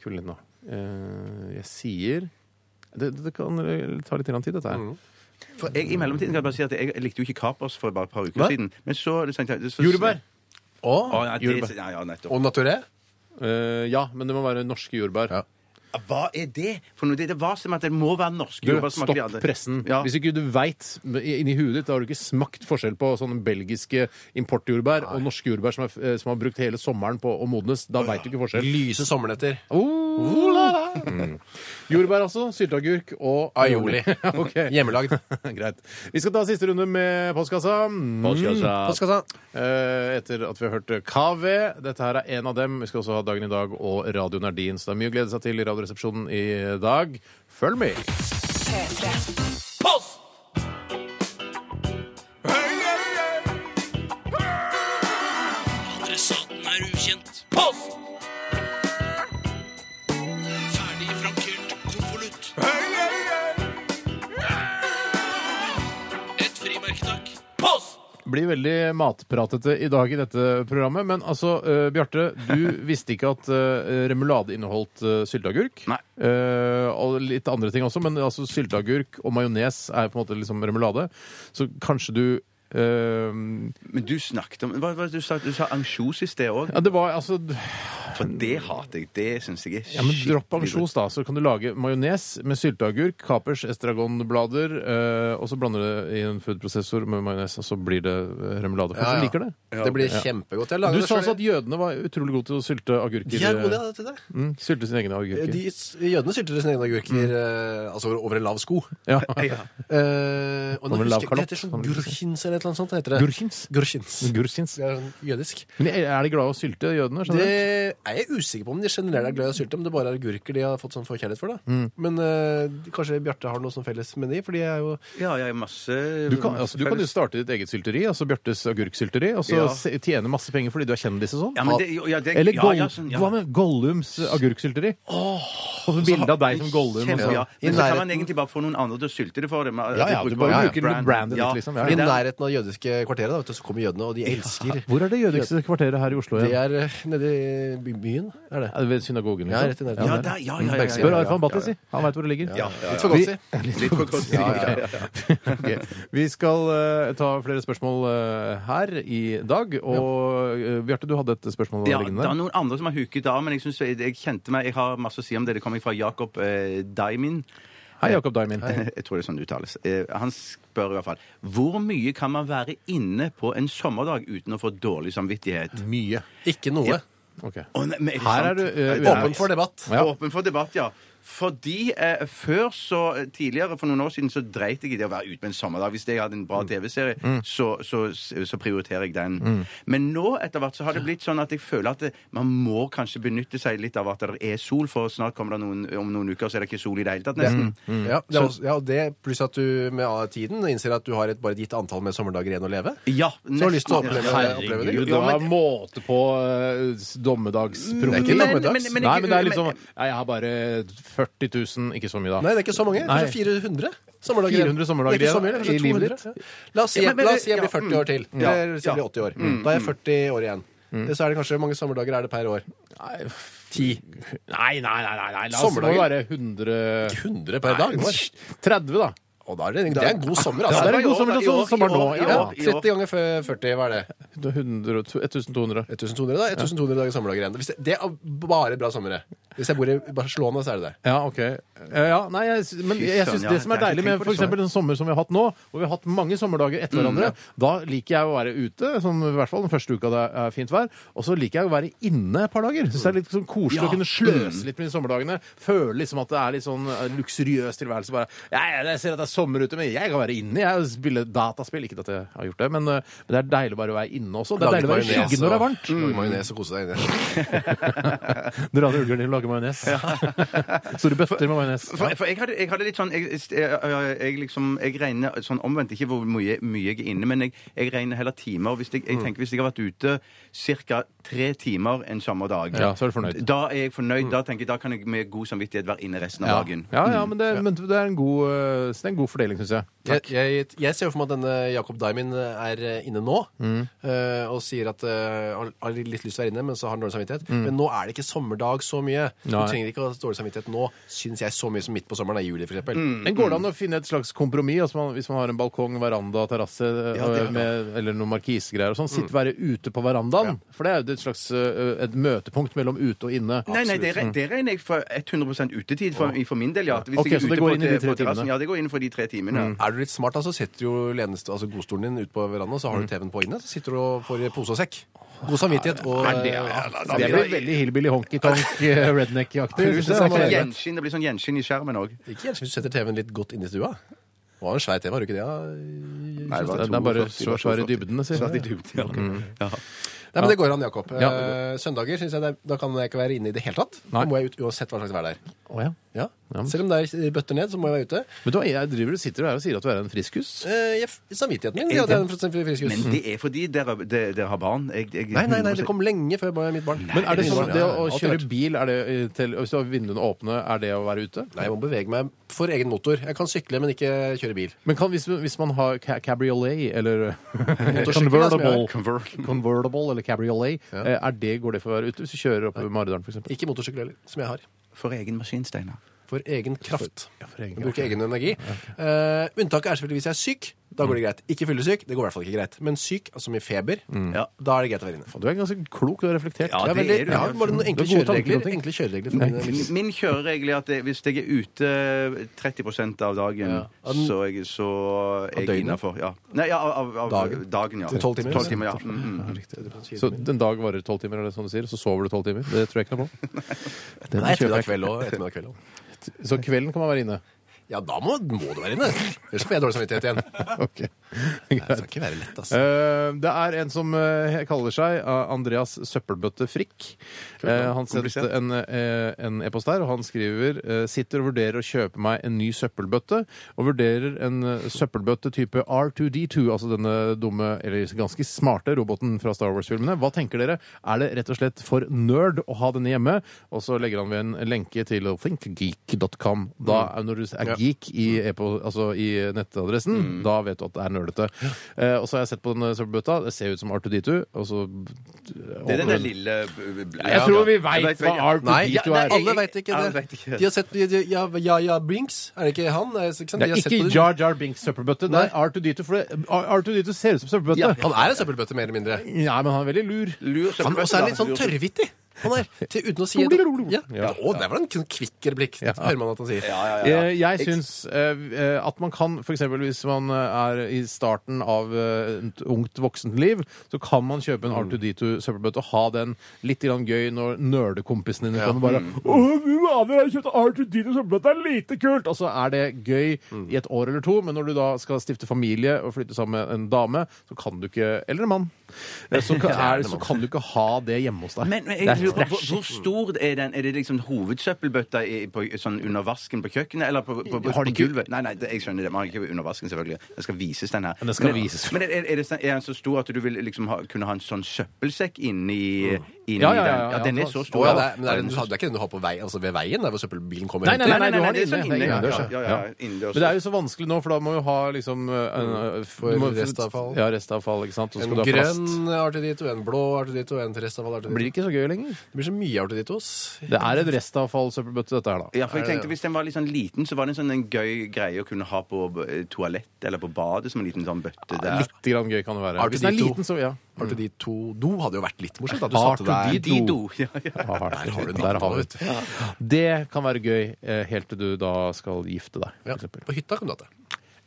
Speaker 3: Kull litt nå. Eh, jeg sier det, det kan ta litt grann tid, dette her.
Speaker 4: For jeg, I mellomtiden kan jeg bare si at jeg likte jo ikke Kapers for bare et par uker
Speaker 3: Hva?
Speaker 4: siden. Men så, tenkte jeg så-
Speaker 3: Jordbær!
Speaker 5: Og,
Speaker 4: Å, ja,
Speaker 3: Jordbær.
Speaker 4: det, ja, ja, nettopp.
Speaker 5: og naturé?
Speaker 3: Eh, ja, men det må være norske jordbær.
Speaker 5: Ja.
Speaker 4: Hva er det? For noe, det, det var som at det må være norske
Speaker 3: Du,
Speaker 4: jordbær. som
Speaker 3: stopp
Speaker 4: smaker de andre.
Speaker 3: pressen.
Speaker 4: Ja.
Speaker 3: Hvis ikke du veit inni huet ditt, da har du ikke smakt forskjell på sånne belgiske importjordbær og norske jordbær som, er, f- eh, som har brukt hele sommeren på å modnes. Da veit du ikke forskjell.
Speaker 5: Lyse sommernetter.
Speaker 3: Oh, Jordbær altså, sylteagurk og
Speaker 5: Aioli.
Speaker 3: ok,
Speaker 5: Hjemmelagd.
Speaker 3: Greit. Vi skal ta siste runde med postkassa. Mm.
Speaker 5: Postkassa.
Speaker 3: Eh, Etter at vi har hørt KV. Dette her er en av dem. Vi skal også ha Dagen i dag og Radio Nardin. Så det er mye å glede seg til i Radioresepsjonen i dag. Følg med!
Speaker 6: P3.
Speaker 1: Post!
Speaker 7: Adressaten er ukjent.
Speaker 1: Post!
Speaker 7: Ferdig frankert konvolutt. Et frimerke, takk.
Speaker 1: Post!
Speaker 3: Blir veldig matpratete i dag i dette programmet. Men altså, eh, Bjarte, du visste ikke at eh, remulade inneholdt eh, sylteagurk.
Speaker 4: Nei.
Speaker 3: Eh, og litt andre ting også, men altså, sylteagurk og majones er på en måte liksom remulade. Så kanskje du eh,
Speaker 4: Men du snakket om Hva var det du sa? Du sa ansjos i sted òg?
Speaker 3: Ja, det var altså
Speaker 4: For det hater jeg. Det syns jeg er
Speaker 3: Ja, men
Speaker 4: skikkelig
Speaker 3: Dropp ansjos, da. Så kan du lage majones med sylteagurk, kapers, estragonblader, eh, og så blander du det i en foodprosessor med majones, og så blir det eh, remulade. Kanskje du liker det?
Speaker 5: Det blir kjempegodt. Jeg lager
Speaker 3: Du
Speaker 5: det
Speaker 3: sa
Speaker 5: selv.
Speaker 3: også at jødene var utrolig gode til å sylte agurker.
Speaker 5: De er gode til det.
Speaker 3: Mm, sylte sine egne agurker.
Speaker 5: De, s- jødene sylter sine egne
Speaker 3: Mm.
Speaker 5: agurker eh, altså over, over en lav sko.
Speaker 3: Ja.
Speaker 5: Eh, og nå
Speaker 3: Over en
Speaker 5: husker jeg,
Speaker 3: lav
Speaker 5: det
Speaker 3: kalott,
Speaker 5: heter sånn
Speaker 3: kan man si.
Speaker 5: gurkins eller et eller annet sånt. Heter det.
Speaker 3: Gurkins?
Speaker 5: Gurkins.
Speaker 3: Gursins.
Speaker 5: Det er sånn jødisk.
Speaker 3: Men er er de glad i å sylte, jødene?
Speaker 5: Det
Speaker 3: skjønner du?
Speaker 5: er jeg usikker på om de generelt er glad i å sylte, om det bare er agurker de har fått sånn forkjærlighet for. da.
Speaker 3: Mm.
Speaker 5: Men eh, kanskje Bjarte har noe som felles med de, for de er jo
Speaker 4: Ja, jeg har masse
Speaker 3: Du kan, altså, du kan jo starte ditt eget sylteri, altså Bjørtes agurksylteri, og så
Speaker 4: Ja.
Speaker 3: se- tjene masse penger fordi du er kjendis og sånn.
Speaker 4: Ja, men det, jo, ja, det,
Speaker 3: Eller
Speaker 4: ja,
Speaker 3: Goll
Speaker 4: ja, sånn, ja.
Speaker 3: hva med Gollums agurksylteri? Oh, og så bilde av deg som Gollum. og
Speaker 4: Kjempe,
Speaker 3: sånn.
Speaker 4: ja. Men så kan man egentlig bare få noen andre til å sylte det for det. men-
Speaker 3: Ja, ja,
Speaker 4: de
Speaker 3: du
Speaker 4: bruker
Speaker 3: bare
Speaker 4: bare
Speaker 3: bruker den brandet ditt, liksom. Ja.
Speaker 5: I
Speaker 4: Fordi det er-
Speaker 5: nærheten av jødiske kvarteret, da, vet du, så kommer jødene, og de elsker
Speaker 3: Hvor er det jødiske kvarteret her i Oslo?
Speaker 5: Det er
Speaker 3: igjen?
Speaker 5: eh, nede i by- byen, er det?
Speaker 3: Ja, Ved synagogen?
Speaker 5: Ja,
Speaker 3: liksom.
Speaker 5: rett i
Speaker 4: Ja,
Speaker 5: nærheten.
Speaker 4: der, ja, ja, ja, ja,
Speaker 3: Spør
Speaker 4: ja,
Speaker 3: Arfan
Speaker 4: ja,
Speaker 3: Bhatti, si. Han veit hvor det ligger.
Speaker 4: Ja, ja,
Speaker 5: Litt
Speaker 4: ja.
Speaker 5: for godt, si.
Speaker 4: Litt for godt. Ja, ja, ja.
Speaker 3: Ok. Vi skal eh, ta flere spørsmål eh, her i dag. Og eh, Bjarte, du hadde et spørsmål
Speaker 4: Ja, det
Speaker 3: liggende
Speaker 4: er
Speaker 3: der.
Speaker 4: noen andre som har huket av, men jeg, synes jeg, jeg kjente meg Jeg har masse å si om det. Det kommer fra Jakob eh, Daimin.
Speaker 3: Hei, Jakob Daimin.
Speaker 4: Jeg tror det er sånn det uttales. Eh, han spør i hvert fall Hvor mye kan man være inne på en sommerdag uten å få dårlig samvittighet?
Speaker 3: Mye.
Speaker 5: Ikke noe.
Speaker 4: Ja.
Speaker 3: Ok.
Speaker 4: Å, nei, men
Speaker 3: Her
Speaker 4: sant?
Speaker 3: er du, eh,
Speaker 4: Nei, det
Speaker 3: uenig.
Speaker 5: Åpen for debatt.
Speaker 3: Ja.
Speaker 4: Åpen for debatt, ja. Fordi eh, før så Tidligere, for noen år siden, så dreit jeg i det å være ute på en sommerdag. Hvis jeg hadde en bra TV-serie, så, så, så prioriterer jeg den. Men nå etter hvert så har det blitt sånn at jeg føler at det, man må kanskje benytte seg litt av at det er sol, for snart kommer det noen Om noen uker så er det ikke sol i det hele tatt, nesten.
Speaker 3: Mm.
Speaker 5: Ja, Mm. det er også, ja, og det, Pluss at du med ah, tiden innser at du har et, bare et gitt antall med sommerdager igjen å leve.
Speaker 4: Ja, nesten.
Speaker 5: Så har du lyst til å oppleve, oppleve det.
Speaker 3: Herregud,
Speaker 4: Ja,
Speaker 3: da er
Speaker 4: men-
Speaker 3: måte på eh,
Speaker 5: Det
Speaker 3: s-
Speaker 5: er ikke
Speaker 3: dommedagsprofeti.
Speaker 5: dommedags.
Speaker 4: men-
Speaker 3: Nei, men det er
Speaker 4: men-
Speaker 3: liksom Nei, Jeg har bare 40 000, ikke så mye da.
Speaker 5: Nei, det er ikke så mange.
Speaker 3: Nei.
Speaker 5: Kanskje 400 sommerdager
Speaker 3: 400 sommerdager
Speaker 5: Det er ikke
Speaker 3: igjen
Speaker 5: så mye, det er
Speaker 3: i
Speaker 5: kanskje
Speaker 3: livet
Speaker 5: 200. Ja. La oss si,
Speaker 4: Ja, men- men-
Speaker 5: la oss si jeg
Speaker 4: ja,
Speaker 5: blir 40 år til.
Speaker 4: Ja,
Speaker 5: Eller si jeg blir 80 år.
Speaker 3: Mm.
Speaker 5: Da er jeg 40 år igjen. Så er det kanskje hvor mange sommerdager er det per år?
Speaker 3: Nei, Nei, nei, nei. nei, nei. La oss må
Speaker 5: Sommerdager.
Speaker 3: være 100
Speaker 4: Eh,
Speaker 5: 100 per dag?
Speaker 3: Nei, 30, da.
Speaker 5: Og da er det, det er en god sommer,
Speaker 3: Ja, det er
Speaker 5: altså.
Speaker 3: en god
Speaker 4: i år,
Speaker 3: sommer
Speaker 4: da, i
Speaker 3: sånn
Speaker 4: år,
Speaker 3: som er
Speaker 4: i
Speaker 3: nå.
Speaker 4: år, i
Speaker 3: Ja.
Speaker 4: år.
Speaker 5: 30 ganger 40, hva er det?
Speaker 3: 100 og to- 1200.
Speaker 5: 1200 da? 1200 dager sommerdager igjen. Hvis det, det er bare bra sommer. det. Hvis jeg bor i Barcelona, så er det det.
Speaker 3: Ja, OK. Eh, Ja, nei, jeg, s- men
Speaker 4: Fy
Speaker 3: jeg
Speaker 4: søren,
Speaker 3: syns
Speaker 4: ja.
Speaker 3: det som er
Speaker 4: Jeg Mm, har ikke
Speaker 3: deilig med
Speaker 4: tenkt på det
Speaker 3: f.eks.
Speaker 4: sånn.
Speaker 3: en sommer som vi har hatt nå, hvor vi har hatt mange sommerdager etter hverandre, da liker jeg å være ute, som i hvert fall den første uka det er fint vær, og så liker jeg å være inne et par dager. Syns det er litt sånn koselig å
Speaker 4: Ja. Mm.
Speaker 3: kunne sløse litt med de sommerdagene. Føle liksom at det er litt sånn eh, luksuriøs tilværelse. Bare ja, ja, jeg ser at det er sommer ute, men jeg kan være inne, jeg og spille dataspill. Ikke at jeg har gjort det, men eh, men det er deilig bare å være inne også. Det er deilig å være i skyggen når det er varmt.
Speaker 5: Lage majones og kose deg inni.
Speaker 3: Dra til Ullern og lage majones. Store bøtter med majones.
Speaker 4: For, for jeg, hadde, jeg hadde litt sånn jeg, jeg, jeg liksom, jeg regner sånn omvendt ikke hvor mye, mye jeg er inne, men jeg, jeg regner heller timer. Hvis jeg,
Speaker 3: Mm.
Speaker 4: jeg tenker hvis jeg har vært ute ca. tre timer en sommerdag,
Speaker 3: Ja, så er du fornøyd. Mm.
Speaker 4: Da er jeg fornøyd. Da tenker jeg, da kan jeg med god samvittighet være inne resten av
Speaker 3: Ja,
Speaker 4: dagen. Mm.
Speaker 3: ja, ja men, det, men det er en god, øh, så det er en god fordeling, syns jeg.
Speaker 5: Jeg, jeg, jeg ser jo for meg at denne Jacob Diamond er eh, inne nå eh, og sier at eh, han har litt lyst til å være inne, men så har han dårlig samvittighet. Men nå er det ikke sommerdag så mye.
Speaker 3: Nei.
Speaker 5: Du trenger ikke å ha dårlig samvittighet nå, syns jeg, så mye som midt på sommeren, i juli f.eks. eksempel
Speaker 3: Men Går det an å finne et slags kompromiss altså man, hvis man har en balkong, veranda, terrasse øh, med- eller noen markisegreier og sånn? Sitte
Speaker 4: Mm.
Speaker 3: være ute på verandaen. For det er jo et slags øh, et møtepunkt mellom ute og inne.
Speaker 4: Nei, nei, det, re- det regner jeg for 100 utetid for, for min del. ja. At Hvis
Speaker 3: Ok,
Speaker 4: jeg er
Speaker 3: så det
Speaker 4: ute
Speaker 3: går
Speaker 4: på
Speaker 3: inn i de
Speaker 4: te-
Speaker 3: tre
Speaker 4: på
Speaker 3: timene.
Speaker 4: terrassen,
Speaker 3: Mm.
Speaker 4: Ja, det går inn for de tre timene. ja.
Speaker 5: Er du litt smart, da, så setter du jo lenest, altså godstolen din ut på verandaen, så har du TV-en på inne, så sitter du og får i pose og sekk. God samvittighet og
Speaker 3: det,
Speaker 5: eh,
Speaker 3: blir veldig hillbilly honky-tonk øh, redneck-aktig.
Speaker 4: Pluss
Speaker 3: Det
Speaker 4: det,
Speaker 3: er
Speaker 4: sånn
Speaker 3: ikke det.
Speaker 4: gjenskinn, det blir sånn gjenskinn i skjermen òg.
Speaker 5: Ikke helt hvis du setter TV-en litt godt inn i stua. Det var en svær TV, var det ikke det? Ja?
Speaker 4: Nei, var
Speaker 3: Det er bare
Speaker 4: 42, det var
Speaker 3: så svær i
Speaker 4: 42.
Speaker 3: dybden, sier
Speaker 4: Svær i
Speaker 3: jeg.
Speaker 4: dybden, ja.
Speaker 3: Mm.
Speaker 4: Ja.
Speaker 5: Nei, men det går an, Jakob.
Speaker 3: Ja.
Speaker 5: Eh, Søndager synes jeg det, er- da kan jeg ikke være inne i det hele tatt.
Speaker 3: Nei.
Speaker 5: Da må jeg ut uansett hva slags vær det er.
Speaker 3: Å, ja.
Speaker 5: Ja.
Speaker 3: Ja.
Speaker 5: Selv om det er bøtter ned, så må jeg være ute.
Speaker 3: Men du, jeg driver og sitter her og sier at du er en friskus.
Speaker 5: Eh, jeg, samvittigheten min sier at jeg er en prosent friskus.
Speaker 4: Men det er fordi dere, de- dere har barn. Jeg, jeg,
Speaker 5: Nei, nei, nei, det kom lenge før bare mitt barn.
Speaker 3: Men er det
Speaker 5: Mitt
Speaker 3: sånn
Speaker 5: barn,
Speaker 3: det
Speaker 5: ja,
Speaker 3: å
Speaker 5: alltid
Speaker 3: kjøre
Speaker 5: vært.
Speaker 3: bil, er det eh, til, hvis du har vinduene åpne, er det å være ute?
Speaker 5: Nei, jeg må bevege meg for egen motor. Jeg kan sykle, men ikke kjøre bil.
Speaker 3: Men kan, hvis, hvis man har ca cabriolet eller
Speaker 5: Motorsykkel, som jeg har.
Speaker 3: altså. convertible, convertible eller cabriolet, eh, er det, går det for å være ute hvis du kjører oppe i Maridalen f.eks.?
Speaker 5: Ikke motorsykkel heller, som jeg har.
Speaker 4: For egen maskin, Steinar.
Speaker 5: For egen kraft.
Speaker 3: for egen
Speaker 5: Å Bruke egen energi. Eh, unntaket er selvfølgelig hvis jeg er syk. Da går det greit. Ikke fyllesyk, det går i hvert fall ikke greit. Men syk, altså med feber,
Speaker 3: Mm.
Speaker 4: Ja.
Speaker 5: da er det greit å være inne.
Speaker 3: Du er ganske klok og reflektert.
Speaker 4: Ja,
Speaker 5: Jeg, er
Speaker 4: det
Speaker 5: veldig,
Speaker 4: er du,
Speaker 5: jeg har
Speaker 4: ja.
Speaker 5: bare noen enkle
Speaker 3: Du har gode tanker om
Speaker 5: kjøreregler.
Speaker 3: ting.
Speaker 5: Enkle kjøreregler for mine,
Speaker 4: Min- Min kjøreregel er at det- hvis jeg er ute 30 av dagen, så er jeg, så er jeg
Speaker 5: døgnet?
Speaker 4: innafor. Ja. Nei, ja, av, av
Speaker 5: Dagen?
Speaker 4: dagen ja.
Speaker 5: Til 12 timer?
Speaker 4: ja. Mm, mm.
Speaker 3: Så en dag varer tolv timer, er det sånn du sier? Så sover du tolv timer? Det tror jeg ikke noe på. Den
Speaker 5: Nei, ettermiddag
Speaker 3: kjøper jeg ikke.
Speaker 5: kveld og ettermiddag kveld også.
Speaker 3: Så kvelden kan man være inne?
Speaker 5: Ja, da må, må du være inne. Ellers får jeg dårlig samvittighet igjen. Nei,
Speaker 3: Ok.
Speaker 5: Det
Speaker 3: Greit.
Speaker 5: skal ikke være lett, altså.
Speaker 3: Eh, det er en som eh, kaller seg eh, Andreas Søppelbøtte Frikk. Eh, han sendte
Speaker 4: Komplisert.
Speaker 3: en eh, en e-post der, og han skriver eh, sitter og vurderer å kjøpe meg en ny søppelbøtte, og vurderer en eh, søppelbøtte type R2D2, altså denne dumme, eller ganske smarte roboten fra Star Wars-filmene. Hva tenker dere? Er det rett og slett for nerd å ha denne hjemme? Og så legger han ved en lenke til thinkgeek.com. Da
Speaker 4: Mm.
Speaker 3: er når du er geek i, e-po- altså i nettadressen,
Speaker 4: Mm.
Speaker 3: da vet du at det er nerdete. Eh, og så har jeg sett på den søppelbøtta, det ser ut som R2D2, og så
Speaker 4: Det er den der lille eh, Jeg
Speaker 3: Jeg tror vi veit hva
Speaker 5: Nei, ja,
Speaker 3: R2D2
Speaker 5: nei,
Speaker 3: er.
Speaker 5: alle veit ikke
Speaker 4: alle
Speaker 5: det.
Speaker 4: vet ikke det.
Speaker 5: De har sett de, de, ja, ja, ja, Brinks. Er det ikke han? Nei, ikke sant?
Speaker 3: Det
Speaker 5: De
Speaker 3: er
Speaker 5: har sett på
Speaker 3: ikke
Speaker 5: det.
Speaker 3: Jar Jar Binks søppelbøtte. Det er R2D2, for det- R2D2 ser ut som søppelbøtte.
Speaker 5: Ja, han er en søppelbøtte, mer eller mindre.
Speaker 3: Nei, men han er veldig lur.
Speaker 4: Lur
Speaker 5: Han
Speaker 4: søppelbøtte,
Speaker 5: også er
Speaker 4: da.
Speaker 5: litt sånn
Speaker 4: Lur-
Speaker 5: tørrvittig. Han er, til, uten å si et ja.
Speaker 3: Ja.
Speaker 5: Å, der var det en kn- kvikk replikk,
Speaker 3: Ja.
Speaker 5: hører man at han sier.
Speaker 4: Ja, ja, ja.
Speaker 3: Eh, Jeg syns eh, eh, at man kan, f.eks. hvis man eh, er i starten av eh, et ungt voksentliv, så kan man kjøpe en
Speaker 4: Mm.
Speaker 3: R2D2-søppelbøtte og ha den litt grann gøy når nerdekompisene dine kommer
Speaker 4: Mm.
Speaker 3: bare 'Å, fy fader, jeg har kjøpt R2D2-søppelbøtte, det er lite kult!' Og så er det gøy
Speaker 4: Mm.
Speaker 3: i et år eller to, men når du da skal stifte familie og flytte sammen med en dame, så kan du ikke Eller en mann. eh, Så kan, er, så kan du ikke ha det hjemme hos deg.
Speaker 4: Men, men
Speaker 3: Det
Speaker 4: jeg
Speaker 3: er
Speaker 4: lurer på, hvor,
Speaker 3: trashy.
Speaker 4: hvor stor er den? Er det liksom hovedsøppelbøtta i, på, sånn under vasken på kjøkkenet? Eller på, på, på,
Speaker 3: Har de
Speaker 4: på
Speaker 3: ikke-
Speaker 4: gulvet? Nei, nei, det, jeg skjønner det. Man har ikke under vasken, selvfølgelig. Den skal vises, den her.
Speaker 3: Den skal vises.
Speaker 4: Men er, er, det, sånn- er den så stor at du vil liksom ha, kunne ha en sånn søppelsekk inni, inni
Speaker 3: Ja, ja, ja,
Speaker 4: den?
Speaker 3: ja,
Speaker 4: Ja, den
Speaker 3: ja.
Speaker 4: er så
Speaker 5: Å,
Speaker 4: stor.
Speaker 5: ja, det, er, men det, er, den du har- det er ikke den du har på vei, altså ved veien, der hvor søppelbilen kommer.
Speaker 3: Nei, nei, nei, du har
Speaker 4: Nei, nei, nei,
Speaker 3: den
Speaker 4: det er
Speaker 3: inne. Det
Speaker 4: sånn
Speaker 3: er
Speaker 4: inne,
Speaker 3: innendørs,
Speaker 4: ja, ja, ja, innendørs.
Speaker 3: Men det er jo så vanskelig nå, for da må du ha liksom eh, en- du må-
Speaker 5: restavfall.
Speaker 3: Ja, restavfall, ikke sant. Og så
Speaker 5: En
Speaker 3: skal du ha
Speaker 5: grønn
Speaker 3: plast.
Speaker 5: artidito, en blå artidito, en restavall
Speaker 3: Det blir
Speaker 5: artidito.
Speaker 3: ikke så gøy lenger.
Speaker 5: Det blir så mye artiditos.
Speaker 3: Det er en restavfallsøppelbøtte, dette her, da.
Speaker 4: Ja, for jeg tenkte Hvis den var litt sånn liten, så var det en sånn en gøy greie å kunne ha på eh, toalett eller på badet som en liten sånn bøtte der.
Speaker 3: Litt grann gøy kan det være.
Speaker 5: R2D2.
Speaker 3: Hvis den er liten, så ja.
Speaker 5: Artidito do hadde jo vært litt morsomt. At du satte deg
Speaker 3: R2D2.
Speaker 4: Dido. Ja, ja.
Speaker 3: Der har
Speaker 5: Der har
Speaker 3: du
Speaker 5: du
Speaker 3: den.
Speaker 5: den.
Speaker 3: Der har vi den. Det kan være gøy eh, helt til du da skal gifte deg,
Speaker 5: ja,
Speaker 3: for eksempel.
Speaker 5: På hytta kan du ha det.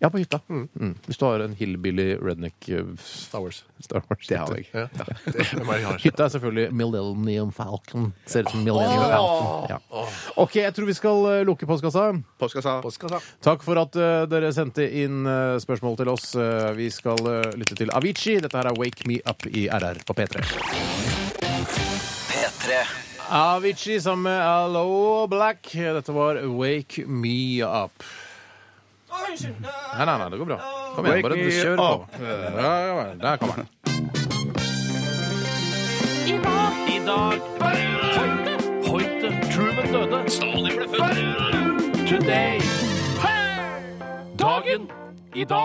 Speaker 3: Ja, på hytta. Mm. Hvis du har en hillbilly redneck eh,
Speaker 5: Star Wars.
Speaker 3: Star Wars.
Speaker 4: Det har jeg.
Speaker 5: Ja. Det, hvem er det har?
Speaker 3: Hytta er selvfølgelig Millennium Falcon. Ser ut som Millennium Falcon. Ja. OK, jeg tror vi skal eh, lukke postkassa.
Speaker 4: Postkassa.
Speaker 5: Postkassa.
Speaker 3: Takk for at eh, dere sendte inn eh, spørsmål til oss. Eh, vi skal eh, lytte til Avicii. Dette her er Wake Me Up i RR på P3.
Speaker 2: P3.
Speaker 3: Avicii sammen med Allo Black. Dette var Wake Me Up. Nei, nei, nei, det går bra. Kom igjen,
Speaker 4: Wake
Speaker 3: bare
Speaker 4: me
Speaker 3: kjør på.
Speaker 4: up.
Speaker 3: Ja, ja, ja, der kommer den.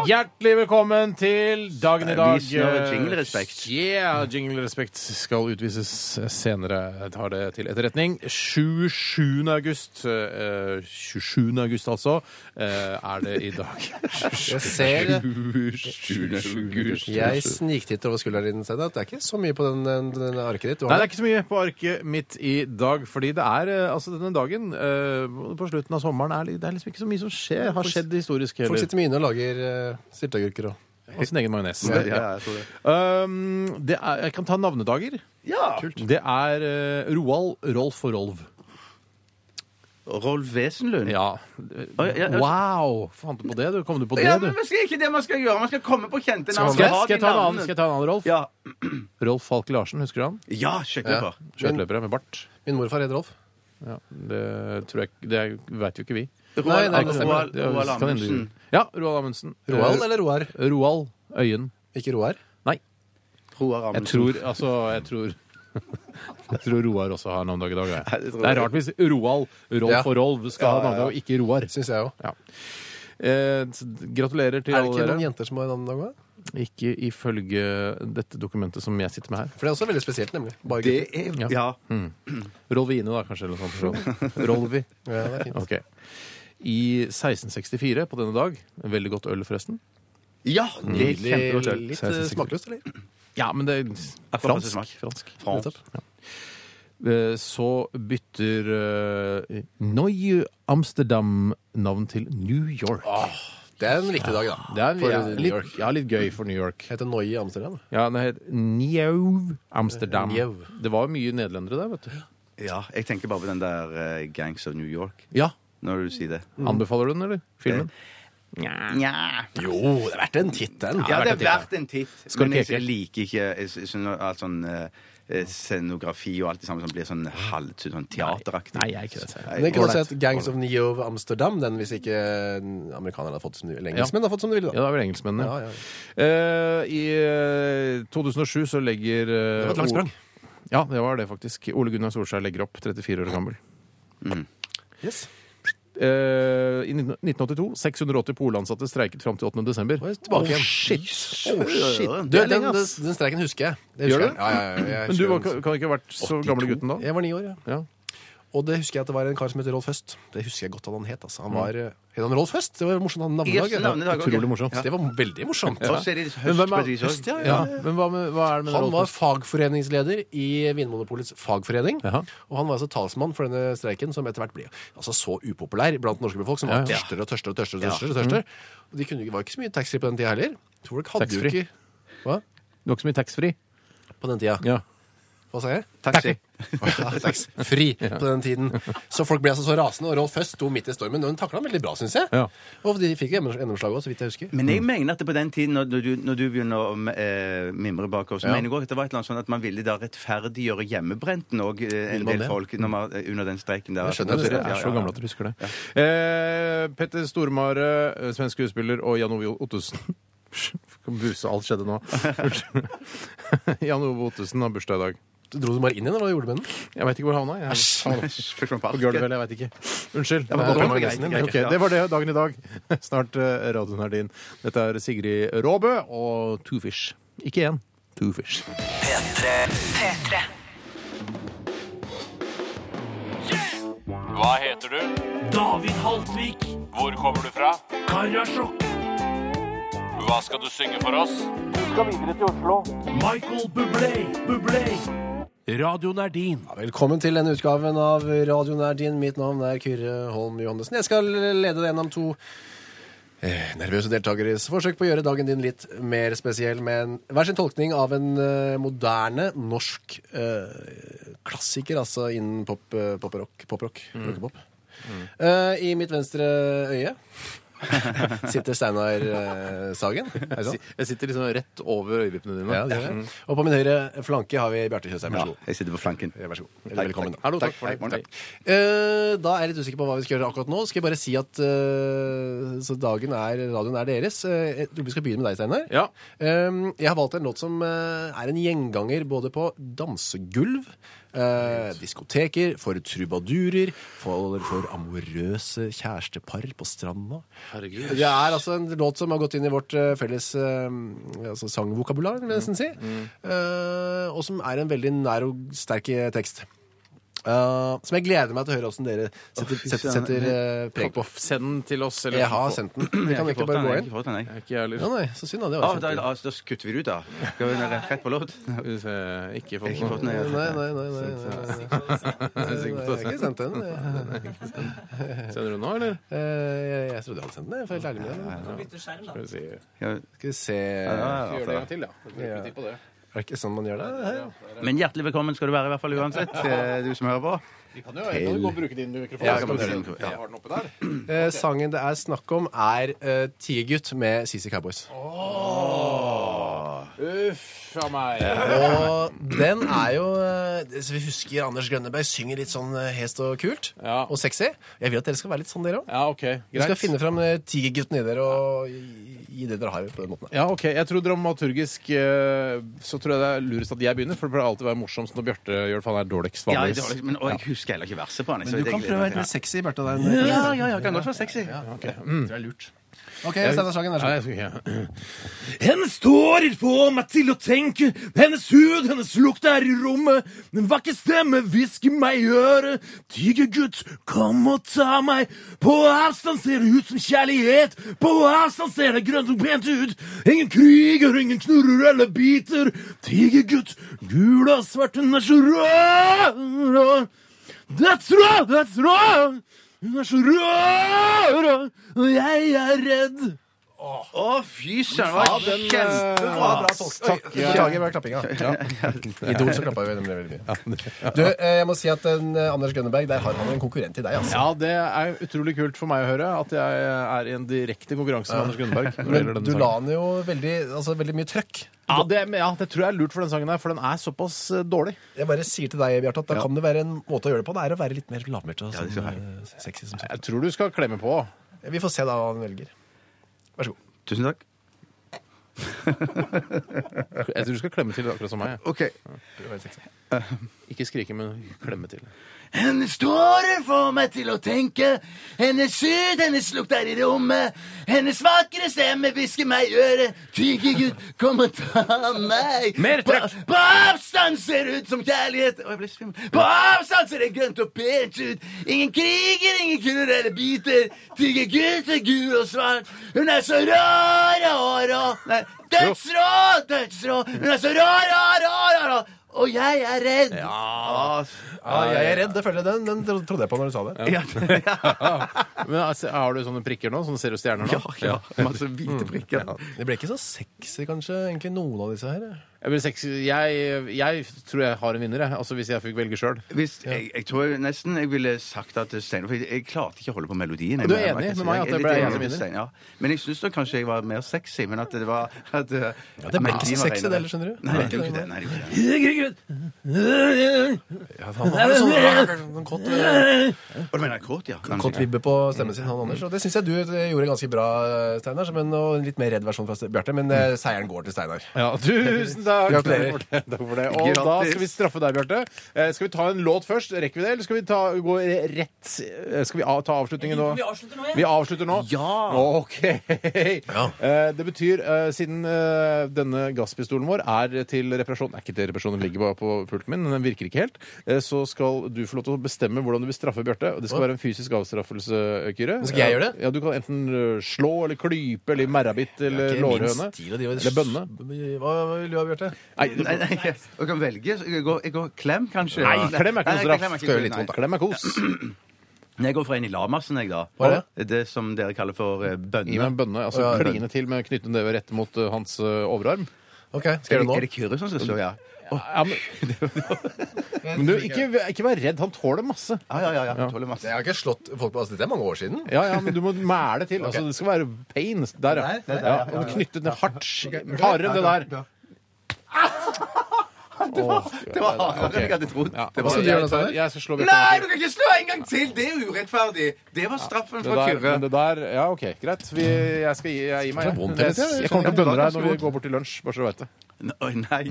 Speaker 3: Hjertelig velkommen til dagen i dag.
Speaker 4: Vi snører jinglerespekt.
Speaker 3: Yeah, jinglerespekt skal utvises senere. Jeg tar det til etterretning. 27. august, eh, 27. august altså, eh, er det i dag.
Speaker 5: Jeg ser
Speaker 4: August.
Speaker 5: Jeg sniktitter over skulderen din, Steinar. Det er ikke så mye på den, den, den arket ditt. Du
Speaker 3: Nei,
Speaker 5: har
Speaker 3: det er ikke så mye på arket mitt i dag, fordi det er eh, altså denne dagen eh, på slutten av sommeren er, li- Det er liksom ikke så mye som skjer, har skjedd historisk
Speaker 5: Folk
Speaker 3: heller.
Speaker 5: sitter mye inne og lager uh, sylteagurker og
Speaker 3: Og sin egen majones.
Speaker 4: Ja, ja, jeg tror det.
Speaker 3: Um, det er, jeg kan ta navnedager.
Speaker 4: Ja.
Speaker 3: Det er eh, Roald, Rolf og Rolv.
Speaker 4: Rolf Wesenlund?
Speaker 3: Ja.
Speaker 4: Oi, ja, ja.
Speaker 3: Eh, Wow! Fant du på det, du? Kom du på det,
Speaker 4: Ja,
Speaker 3: du?
Speaker 4: men det er ikke det man skal gjøre. Man skal komme på kjente navn.
Speaker 3: Skal jeg,
Speaker 4: Ha
Speaker 3: skal, jeg
Speaker 4: de
Speaker 3: ta en annen,
Speaker 4: navnene.
Speaker 3: skal jeg ta en annen Rolf?
Speaker 4: Ja,
Speaker 3: Rolf Falk Larsen, husker du han?
Speaker 4: ja skøyteløper.
Speaker 3: Skøyteløpere med bart.
Speaker 5: Min morfar heter Rolf.
Speaker 3: Ja, det tror jeg, det veit jo ikke vi.
Speaker 5: Nei, nei,
Speaker 4: Roald-
Speaker 5: det stemmer.
Speaker 4: Roald Roald
Speaker 3: Kan hende du-
Speaker 4: Amundsen.
Speaker 3: Ja, Roald Amundsen.
Speaker 5: Roald eller Roar?
Speaker 3: Eh, Roald Øyen.
Speaker 5: Ikke Roar.
Speaker 3: Nei,
Speaker 4: Roald
Speaker 3: jeg
Speaker 4: Amundsen.
Speaker 3: tror altså Jeg tror jeg tror Roar også har navnedag i dag. Jeg.
Speaker 4: Nei, det tror
Speaker 3: Det er
Speaker 4: jeg.
Speaker 3: rart hvis Roald, Rolf
Speaker 5: Ja.
Speaker 3: og Rolv skal ha navnedag, og ikke Roar.
Speaker 5: Syns jeg òg.
Speaker 3: Ja. Eh, s- gratulerer til
Speaker 5: Er det
Speaker 3: alle
Speaker 5: ikke noen
Speaker 3: dere.
Speaker 5: jenter som har navn i dag òg?
Speaker 3: Ikke ifølge dette dokumentet som jeg sitter med her.
Speaker 5: For det er også veldig spesielt, nemlig. Bare
Speaker 4: Det
Speaker 5: gutter.
Speaker 4: er
Speaker 3: Ja. Mm.
Speaker 4: Ja.
Speaker 3: Rolvine, da, kanskje. eller noe sånt. Rolvi.
Speaker 5: Ja, det er fint.
Speaker 3: Ok. I 1664, på denne dag Veldig godt øl, forresten.
Speaker 4: ja
Speaker 3: Mm.
Speaker 4: det er kjempegodt
Speaker 5: Litt,
Speaker 4: øl.
Speaker 5: litt eh, smakløst, eller?
Speaker 3: Ja, men det er
Speaker 4: Akkurat passe
Speaker 3: fransk.
Speaker 4: smak.
Speaker 3: fransk.
Speaker 4: Fransk.
Speaker 3: Eh, Så bytter eh, Neue Amsterdam navn til New York.
Speaker 5: Det er en viktig dag, da.
Speaker 3: Det er
Speaker 5: for
Speaker 3: ja,
Speaker 5: New
Speaker 3: litt,
Speaker 5: York.
Speaker 3: ja, litt gøy for New York.
Speaker 5: Heter Noi i Amsterdam.
Speaker 3: Ja, det het Nieuw Amsterdam.
Speaker 5: Nieuw.
Speaker 3: Det var mye nederlendere der, vet du.
Speaker 4: Ja, jeg tenker bare på den der eh, Gangs of New York,
Speaker 3: Ja.
Speaker 4: når du sier det.
Speaker 3: Anbefaler du den, eller? Filmen? Eh,
Speaker 4: Nja.
Speaker 5: Jo, det er verdt en titt, den.
Speaker 4: Ja, det
Speaker 3: det
Speaker 4: har vært en titt.
Speaker 3: Skal du
Speaker 4: men jeg,
Speaker 3: peke?
Speaker 4: jeg liker ikke jeg sy- synes alt sånn eh, eh, scenografi og alt det samme som blir sånn halvt sånn teateraktig.
Speaker 3: Nei, jeg er ikke det, sier jeg.
Speaker 5: Men jeg kunne
Speaker 3: Ålreit.
Speaker 5: sett Gangs of Neo of Amsterdam, den hvis ikke amerikanerne hadde fått som de ville. Engelskmenn hadde fått som de ville,
Speaker 3: Ja, det
Speaker 5: da.
Speaker 3: er vel engelskmennene.
Speaker 5: Ja, ja.
Speaker 3: Eh, I eh, 2007 så legger eh,
Speaker 5: Det var et langt
Speaker 3: O-
Speaker 5: sprang.
Speaker 3: Ja, det var det, faktisk. Ole Gunnar Solskjær legger opp, 34 år gammel.
Speaker 5: Yes.
Speaker 3: Eh, I 19- 1982 680 polansatte streiket fram til 8. desember.
Speaker 5: Oi, tilbake igjen.
Speaker 3: shit!
Speaker 4: Å, shit.
Speaker 5: Du,
Speaker 3: Det er
Speaker 5: den,
Speaker 3: lenge,
Speaker 5: den,
Speaker 3: ass.
Speaker 5: den streiken husker jeg. Det husker
Speaker 3: Gjør du?
Speaker 5: jeg. Ja, ja, ja, jeg
Speaker 3: Men du
Speaker 5: husker
Speaker 3: var,
Speaker 5: den.
Speaker 3: kan ikke ha vært så gamle gutten da?
Speaker 5: Jeg var ni år, ja.
Speaker 3: Ja.
Speaker 5: Og det husker jeg at det var en kar som het Rolf Høst. Det husker jeg godt at han het. Altså.
Speaker 3: Mm.
Speaker 5: Han var, eh, het han Rolf Høst? Det var morsomt han
Speaker 4: Yes,
Speaker 5: navnedag.
Speaker 4: navnet i dag, ok.
Speaker 3: Utrolig morsomt.
Speaker 5: Ja. Det var veldig morsomt.
Speaker 4: Og så er det høst
Speaker 3: Men hvem er-
Speaker 4: på et vis også.
Speaker 5: Høst, ja,
Speaker 3: Ja, men hva, med, hva er det med
Speaker 5: Han
Speaker 3: Rolf
Speaker 5: var
Speaker 3: Høst?
Speaker 5: fagforeningsleder i Vinmonopolets fagforening.
Speaker 3: Jaha.
Speaker 5: Og han var altså talsmann for denne streiken, som etter hvert ble altså, så upopulær blant norske folk, som var
Speaker 3: Ja. Mm.
Speaker 5: tørstere og tørstere og tørstere. og tørstere, og tørstere. Og de kunne, jo ikke- var ikke så mye taxfree på den tida heller. Folk hadde jo
Speaker 3: Taxfree.
Speaker 5: ikke Hva?
Speaker 3: Det var ikke så mye taxfree.
Speaker 5: På den tida.
Speaker 3: Ja.
Speaker 5: Hva sa jeg?
Speaker 4: Taxi.
Speaker 5: Ja, Taxfree på den tiden. Så folk ble altså så rasende, og Rolf Høst sto midt i stormen. Og hun takla han veldig bra, syns jeg.
Speaker 3: Ja.
Speaker 5: Og de fikk jo gjennomslag òg, så vidt jeg husker.
Speaker 4: Men jeg mener at det på den tiden, når du, når du begynner å eh, mimre bakover, så mener jeg også at det var et eller annet sånn at man ville da rettferdiggjøre hjemmebrenten òg, eh, en
Speaker 5: Ville man
Speaker 4: del
Speaker 5: det?
Speaker 4: folk, når man, eh, under den streiken der.
Speaker 5: Jeg skjønner
Speaker 3: Altså,
Speaker 5: det.
Speaker 3: dere er så gamle at dere husker det. Eh, Petter Stormare, eh, svensk skuespiller, og Jan Ove Ottesen. Kan buse, alt skjedde nå. Unnskyld. Jan Ove Ottesen har bursdag i dag.
Speaker 5: Dro du bare inn igjen, eller hva gjorde du med den?
Speaker 3: Jeg veit ikke hvor han havna. Jeg havna på gulvet, eller jeg veit ikke. Unnskyld.
Speaker 4: var
Speaker 3: Det er-
Speaker 4: godt, det var greit,
Speaker 3: Ok,
Speaker 4: greit.
Speaker 3: det var det dagen i dag. Snart eh, radioen er din. Dette er Sigrid Råbø og Two Fish. Ikke én, Two Fish.
Speaker 2: P3.
Speaker 6: P3.
Speaker 8: Hva heter du? David Haltvik. Hvor kommer du fra? Karasjok. Hva skal du synge for oss? Du skal videre til Oslo. Michael Bublé, Bublé. Radioen er din.
Speaker 5: Ja, velkommen til denne utgaven av Radioen er din. Mitt navn er Kyrre Holm Johannessen. Jeg skal lede deg gjennom to eh, nervøse deltakeres forsøk på å gjøre dagen din litt mer spesiell med en, hver sin tolkning av en eh, moderne norsk eh, klassiker, altså innen pop, eh, pop og rock. Pop rock,
Speaker 3: Mm.
Speaker 5: rockepop. Eh, I mitt venstre øye sitter Steinar eh, Sagen. Er det sånn?
Speaker 3: Jeg sitter liksom rett over øyevippene dine.
Speaker 5: Ja, det gjør jeg. Og på min høyre flanke har vi Bjarte Tjøstheim.
Speaker 4: Ja,
Speaker 5: Vær så god.
Speaker 4: jeg sitter på flanken. Vær så god.
Speaker 5: Eller velkommen.
Speaker 3: Hallo, takk,
Speaker 4: Takk,
Speaker 3: for
Speaker 4: takk,
Speaker 3: det.
Speaker 4: takk.
Speaker 5: Eh, da er jeg litt usikker på hva vi skal gjøre akkurat nå. Skal jeg bare si at eh, så dagen er, radioen er deres. Eh, jeg tror vi skal begynne med deg, Steinar.
Speaker 3: Ja.
Speaker 5: Eh, jeg har valgt en låt som eh, er en gjenganger både på dansegulv, eh, diskoteker, for trubadurer, for, for amorøse kjærestepar på stranda.
Speaker 3: Herregud.
Speaker 5: Det er altså en låt som har gått inn i vårt eh, felles eh, altså sangvokabular, vil jeg nesten si.
Speaker 3: Mm,
Speaker 5: Eh, og som er en veldig nær og sterk eh, tekst. Eh, som jeg gleder meg til å høre åssen dere setter,
Speaker 4: fy
Speaker 5: setter,
Speaker 4: søren.
Speaker 5: setter eh, preg på.
Speaker 3: Send den til oss. eller-
Speaker 5: Jeg har sendt den. Vi
Speaker 4: Jeg
Speaker 5: kan ikke
Speaker 4: har ikke fått
Speaker 5: bare
Speaker 4: den,
Speaker 5: gå
Speaker 4: jeg har
Speaker 5: inn.
Speaker 4: ikke fått den, jeg.
Speaker 3: Ikke jeg heller.
Speaker 5: Ja, nei, så synd, da. Det
Speaker 4: Ah,
Speaker 5: var
Speaker 4: da,
Speaker 5: kjempegøy.
Speaker 4: da, da kutter vi det ut, da. Skal vi rett rett på låt?
Speaker 3: Skal vi se, Ikke fått
Speaker 4: Ikke fått
Speaker 3: den.
Speaker 4: den, jeg.
Speaker 5: Nei, nei, nei. nei, nei, nei. Nei, Jeg har ikke sendt den. Jeg,
Speaker 3: Sender du den nå, eller?
Speaker 5: Eh, jeg, jeg trodde jeg hadde sendt den. Jeg er helt ærlig med deg.
Speaker 3: Skal vi si.
Speaker 4: Ja,
Speaker 5: Skal vi se
Speaker 4: ja, ja, ja, ja.
Speaker 3: til, ja.
Speaker 5: bruker tid
Speaker 3: på det.
Speaker 5: Er det ikke sånn man gjør det?
Speaker 4: Men hjertelig velkommen skal du være, i hvert fall uansett, eh, du som hører på.
Speaker 3: Kan jo kan du gå og bruke din mikrofon.
Speaker 4: Ja,
Speaker 3: Skal
Speaker 4: kan
Speaker 3: vi se.
Speaker 4: bruke den. Ja.
Speaker 3: Jeg har den oppe der.
Speaker 5: Eh, sangen det er snakk om, er eh, Tigergutt med CC Cowboys.
Speaker 3: Uff a meg.
Speaker 5: Og den er jo eh, så Vi husker Anders Grønneberg synger litt sånn eh, hest og kult
Speaker 3: Ja.
Speaker 5: og sexy. Jeg vil at dere skal være litt sånn, dere òg.
Speaker 3: Ja, OK.
Speaker 5: Vi skal
Speaker 3: Greit.
Speaker 5: finne fram eh, tigergutten i dere og gi gi det dere har på den måten.
Speaker 3: Ja, ok. Jeg tror dramaturgisk eh, så tror jeg det er lurest at jeg begynner, for det pleier alltid å være morsomst når Bjarte gjør det, for han er dårligst
Speaker 4: Ja,
Speaker 3: vanligvis.
Speaker 4: det var liksom- men, og jeg husker heller ikke verset på han. så det gleder jeg meg til.
Speaker 5: sexy, Bjarte.
Speaker 4: Ja, ja, ja, kan godt være sexy.
Speaker 5: Det er lurt. Mm. OK, Steinar Sagen, vær så god.
Speaker 3: Nei, jeg skal ikke.
Speaker 9: Hennes tårer får meg til å tenke, hennes hud, hennes lukt er i rommet. En vakker stemme hvisker meg i øret. Tigergutt, kom og ta meg. På avstand ser det ut som kjærlighet, på avstand ser det grønt og pent ut. Ingen kriger, ingen knurrer eller biter. Tigergutt, gul og svart, hun er så rå. That's raw, that's raw. Hun er så rå, og jeg er redd.
Speaker 4: Å, fy søren, det var kjempebra!
Speaker 3: eh,
Speaker 5: Takk. Beklager bare klappinga. Idol, så klappa vi nemlig veldig mye. Du, eh, jeg må si at den, eh, Anders Grønneberg, der har han en konkurrent til deg, altså.
Speaker 3: Ja, det er utrolig kult for meg å høre at jeg er i en direkte konkurranse med Anders Grønneberg. når det gjelder
Speaker 5: Men
Speaker 3: denne
Speaker 5: du
Speaker 3: sangen.
Speaker 5: la han jo veldig, altså, veldig mye trøkk.
Speaker 3: Ja det, men ja, det tror jeg er lurt for den sangen her, for den er såpass eh, dårlig.
Speaker 5: Jeg bare sier til deg, Bjarte, at da kan det være en måte å gjøre det på. Det er å være litt mer lavmælt og sånn, eh, sexy som sagt.
Speaker 3: Jeg tror du skal klemme på.
Speaker 5: Vi får se da hva han velger. Vær så god.
Speaker 4: Tusen takk.
Speaker 3: Jeg tror du skal klemme til akkurat som meg.
Speaker 4: Ok.
Speaker 5: Prøv å være sexy.
Speaker 3: Ikke skrike, men klemme til.
Speaker 4: Hennes tårer får meg til å tenke, hennes hud, hennes lukt er i rommet, hennes vakre stemme hvisker meg i øret, tigergutt, kom og ta meg.
Speaker 9: Mer trøkk.
Speaker 4: På, på avstand ser det ut som kjærlighet. Å, jeg ble svimmel. På avstand ser det grønt og pent ut. Ingen kriger, ingen kurer eller biter. Tigergutt er gul og svart. Hun er så rå, rå, rå. Nei, dødsrå, dødsrå. Hun er så rå, rå, rå, rå, rå. Og jeg er redd.
Speaker 5: Ja, jeg er redd, det føler jeg den. Den tro- trodde jeg på når du sa det.
Speaker 4: Ja.
Speaker 3: Men altså, Har du sånne prikker nå? Sånne ser du stjerner nå?
Speaker 4: Ja, masse hvite prikker.
Speaker 5: Det ble ikke så sexy, kanskje, egentlig, noen av disse her.
Speaker 3: Jeg, blir sexy. jeg, jeg tror jeg har en vinner, jeg. Altså, hvis jeg fikk velge sjøl.
Speaker 4: Hvis, jeg, jeg tror jeg nesten jeg ville sagt at Steinar For jeg, jeg klarte ikke å holde på melodien. Jeg
Speaker 3: Du er
Speaker 4: må- jeg
Speaker 3: enig
Speaker 4: merker-
Speaker 3: med meg at
Speaker 4: jeg er
Speaker 3: det
Speaker 4: litt
Speaker 3: ble
Speaker 4: enig
Speaker 3: jeg som
Speaker 4: med
Speaker 3: vinner?
Speaker 4: Stein, Ja. Men jeg syns kanskje jeg var mer sexy. Men at det var at, uh, ja,
Speaker 5: det ble ikke så sexy det heller, skjønner du.
Speaker 4: Nei, det er jo ikke det. Nei, det er jo ikke det.
Speaker 9: Tigergutt.
Speaker 5: Ja, han har en sånn, en kort,
Speaker 4: Og du mener kåt, ja. kanskje.
Speaker 5: kort vibbe på stemmen sin, han Anders. Og det syns jeg du eh, gjorde ganske bra, Steinar. Men, og en litt mer redd versjon fra Ste- Bjarte. Men eh, seieren går til Steinar.
Speaker 3: Ja, tusen takk!
Speaker 5: Gratulerer.
Speaker 3: Takk for det. Og da skal vi straffe deg, Bjarte. Eh, Skal vi ta en låt først? Rekker vi det, eller skal vi ta, gå re- rett eh, Skal vi a- ta avslutningen nå?
Speaker 9: Vi avslutter nå, ja.
Speaker 3: Vi avslutter nå? Ja! OK. Eh, Det betyr, eh, siden eh, denne gasspistolen vår er til reparasjon Det er ikke til reparasjon, den ligger bare på pulten min, men den virker ikke helt. Eh, Så skal du få lov til å bestemme hvordan du vil straffe Bjarte. Og Det skal være en fysisk avstraffelse, eh, Kyrre.
Speaker 5: Skal jeg gjøre det?
Speaker 3: Ja, du kan enten eh, slå eller klype eller merrabitt
Speaker 5: Eh,
Speaker 3: eller lårhøne. Eller bønne.
Speaker 5: Hva hva vil du ha, Bjarte?
Speaker 4: Nei, nei, jeg, jeg kan velge. så Jeg går, jeg går klem, kanskje.
Speaker 3: Nei, klem er ikke
Speaker 4: Nei,
Speaker 3: noe
Speaker 4: jeg- klem er
Speaker 3: straff.
Speaker 4: ikke- nei.
Speaker 3: Klem er kos.
Speaker 4: Nei, Jeg går for en i lamasen, jeg, da.
Speaker 5: Hva er
Speaker 4: Det som dere kaller for
Speaker 3: Gi
Speaker 4: eh,
Speaker 3: meg en
Speaker 4: bønne.
Speaker 3: bønne. altså
Speaker 5: Ja, ja.
Speaker 3: Kline til med å knytte neven rett mot uh, hans uh, overarm.
Speaker 5: Ok, skal
Speaker 4: Er
Speaker 5: jeg
Speaker 4: det,
Speaker 5: gjøre
Speaker 4: er
Speaker 5: det
Speaker 4: det Kyrre som skal slå, ja?
Speaker 3: Ja, men,
Speaker 5: nå?
Speaker 3: men du, ikke, ikke vær redd. Han tåler masse.
Speaker 4: Ja, ja, ja. ja. jeg Tåler masse.
Speaker 5: Jeg har ikke slått folk på altså, Dette er mange år siden.
Speaker 3: Ja, ja, men du må mæle til. altså Det skal være pain. Der, ja.
Speaker 5: Der, der,
Speaker 3: ja, og Knyttet ned hardt. Hardere enn det der.
Speaker 4: Det var hardere enn jeg hadde trodd.
Speaker 3: Ja,
Speaker 4: Det
Speaker 5: Hva
Speaker 4: var
Speaker 5: skal du gjøre nå, Steinar?
Speaker 3: jeg skal slå
Speaker 4: Nei, du
Speaker 3: Bjarte.
Speaker 4: kan ikke slå en gang til! Det er urettferdig. Det var straffen
Speaker 3: Det
Speaker 4: fra
Speaker 3: der,
Speaker 4: Kyrre.
Speaker 3: men det der Ja, OK, greit. Vi, jeg skal gi, jeg gir meg.
Speaker 5: Det er vondt,
Speaker 3: Jeg,
Speaker 5: jeg vet
Speaker 3: jeg,
Speaker 5: ikke.
Speaker 3: jeg kommer til å bønne
Speaker 4: Ja, det
Speaker 3: deg
Speaker 4: var
Speaker 3: når vi
Speaker 4: ganske
Speaker 3: går bort til lunsj. bare så du vet det.
Speaker 4: Oi, nei.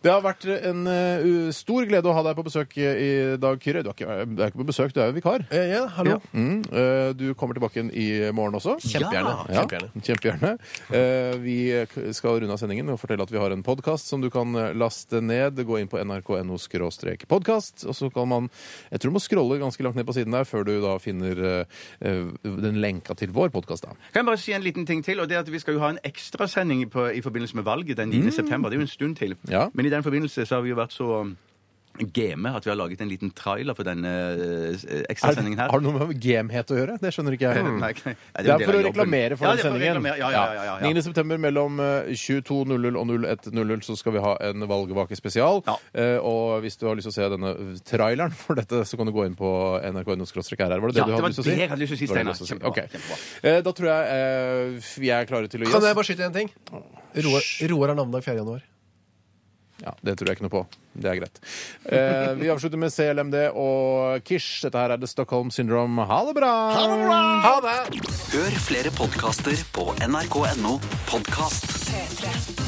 Speaker 3: Det har vært en eh, u- stor glede å ha deg på besøk eh, i dag, Kyrre. Du er ikke, eh, du er ikke på besøk, du er jo vikar.
Speaker 5: Eh, ja, hallo.
Speaker 3: Mm, eh, du kommer tilbake igjen i morgen også.
Speaker 5: Kjempegjerne.
Speaker 3: Ja,
Speaker 5: Kjempegjerne.
Speaker 3: kjempegjerne. Eh, vi k- skal runde av sendingen og fortelle at vi har en podkast som du kan eh, laste ned. Gå inn på nrk.no podkast, og så kan man Jeg tror du må scrolle ganske langt ned på siden der før du da finner eh, eh, den lenka til vår podkast, da.
Speaker 4: Kan jeg bare si en liten ting til? og det er at Vi skal jo ha en ekstrasending på- i forbindelse med valget den 9. september. Det er jo en stund til.
Speaker 3: Mm. Ja.
Speaker 4: Men i den forbindelse så har vi jo vært så game at vi har laget en liten trailer for denne eh,
Speaker 3: Er det-
Speaker 4: ekstrasendingen her.
Speaker 3: Har det noe med gamhet å gjøre? Det skjønner ikke jeg.
Speaker 4: Nei, nei,
Speaker 3: Det
Speaker 4: jo
Speaker 3: er
Speaker 4: en del
Speaker 3: for å
Speaker 4: av jobben.
Speaker 3: reklamere for
Speaker 4: Ja,
Speaker 3: den
Speaker 4: det er å
Speaker 3: sendingen.
Speaker 4: reklamere. Ja, ja, ja, ja, ja.
Speaker 3: 9. september mellom eh, 22.00 og 01.00 så skal vi ha en valgvake spesial.
Speaker 4: Ja.
Speaker 3: Eh, og hvis du har lyst til å se denne traileren for dette, så kan du gå inn på nrk.no-rr. Var det det
Speaker 4: Ja,
Speaker 3: du hadde
Speaker 4: det var
Speaker 3: lyst til å si?
Speaker 4: det jeg hadde lyst til å si,
Speaker 3: Det var det jeg hadde
Speaker 4: Steinar.
Speaker 3: lyst til å si.
Speaker 4: Kjempebra,
Speaker 3: Ok.
Speaker 4: kjempebra.
Speaker 3: Eh, da tror jeg eh, vi er klare til å gi
Speaker 5: Kan
Speaker 3: oss.
Speaker 5: jeg bare skyte en ting? Roar, Roar har navnedag 4. januar.
Speaker 3: Ja, Det tror jeg ikke noe på. Det er greit. Eh, vi avslutter med CLMD og Kish. Dette her er The Stockholm Syndrome. Ha det bra! Ha det bra!
Speaker 2: Hør flere podkaster på nrk.no podkast.
Speaker 6: P3.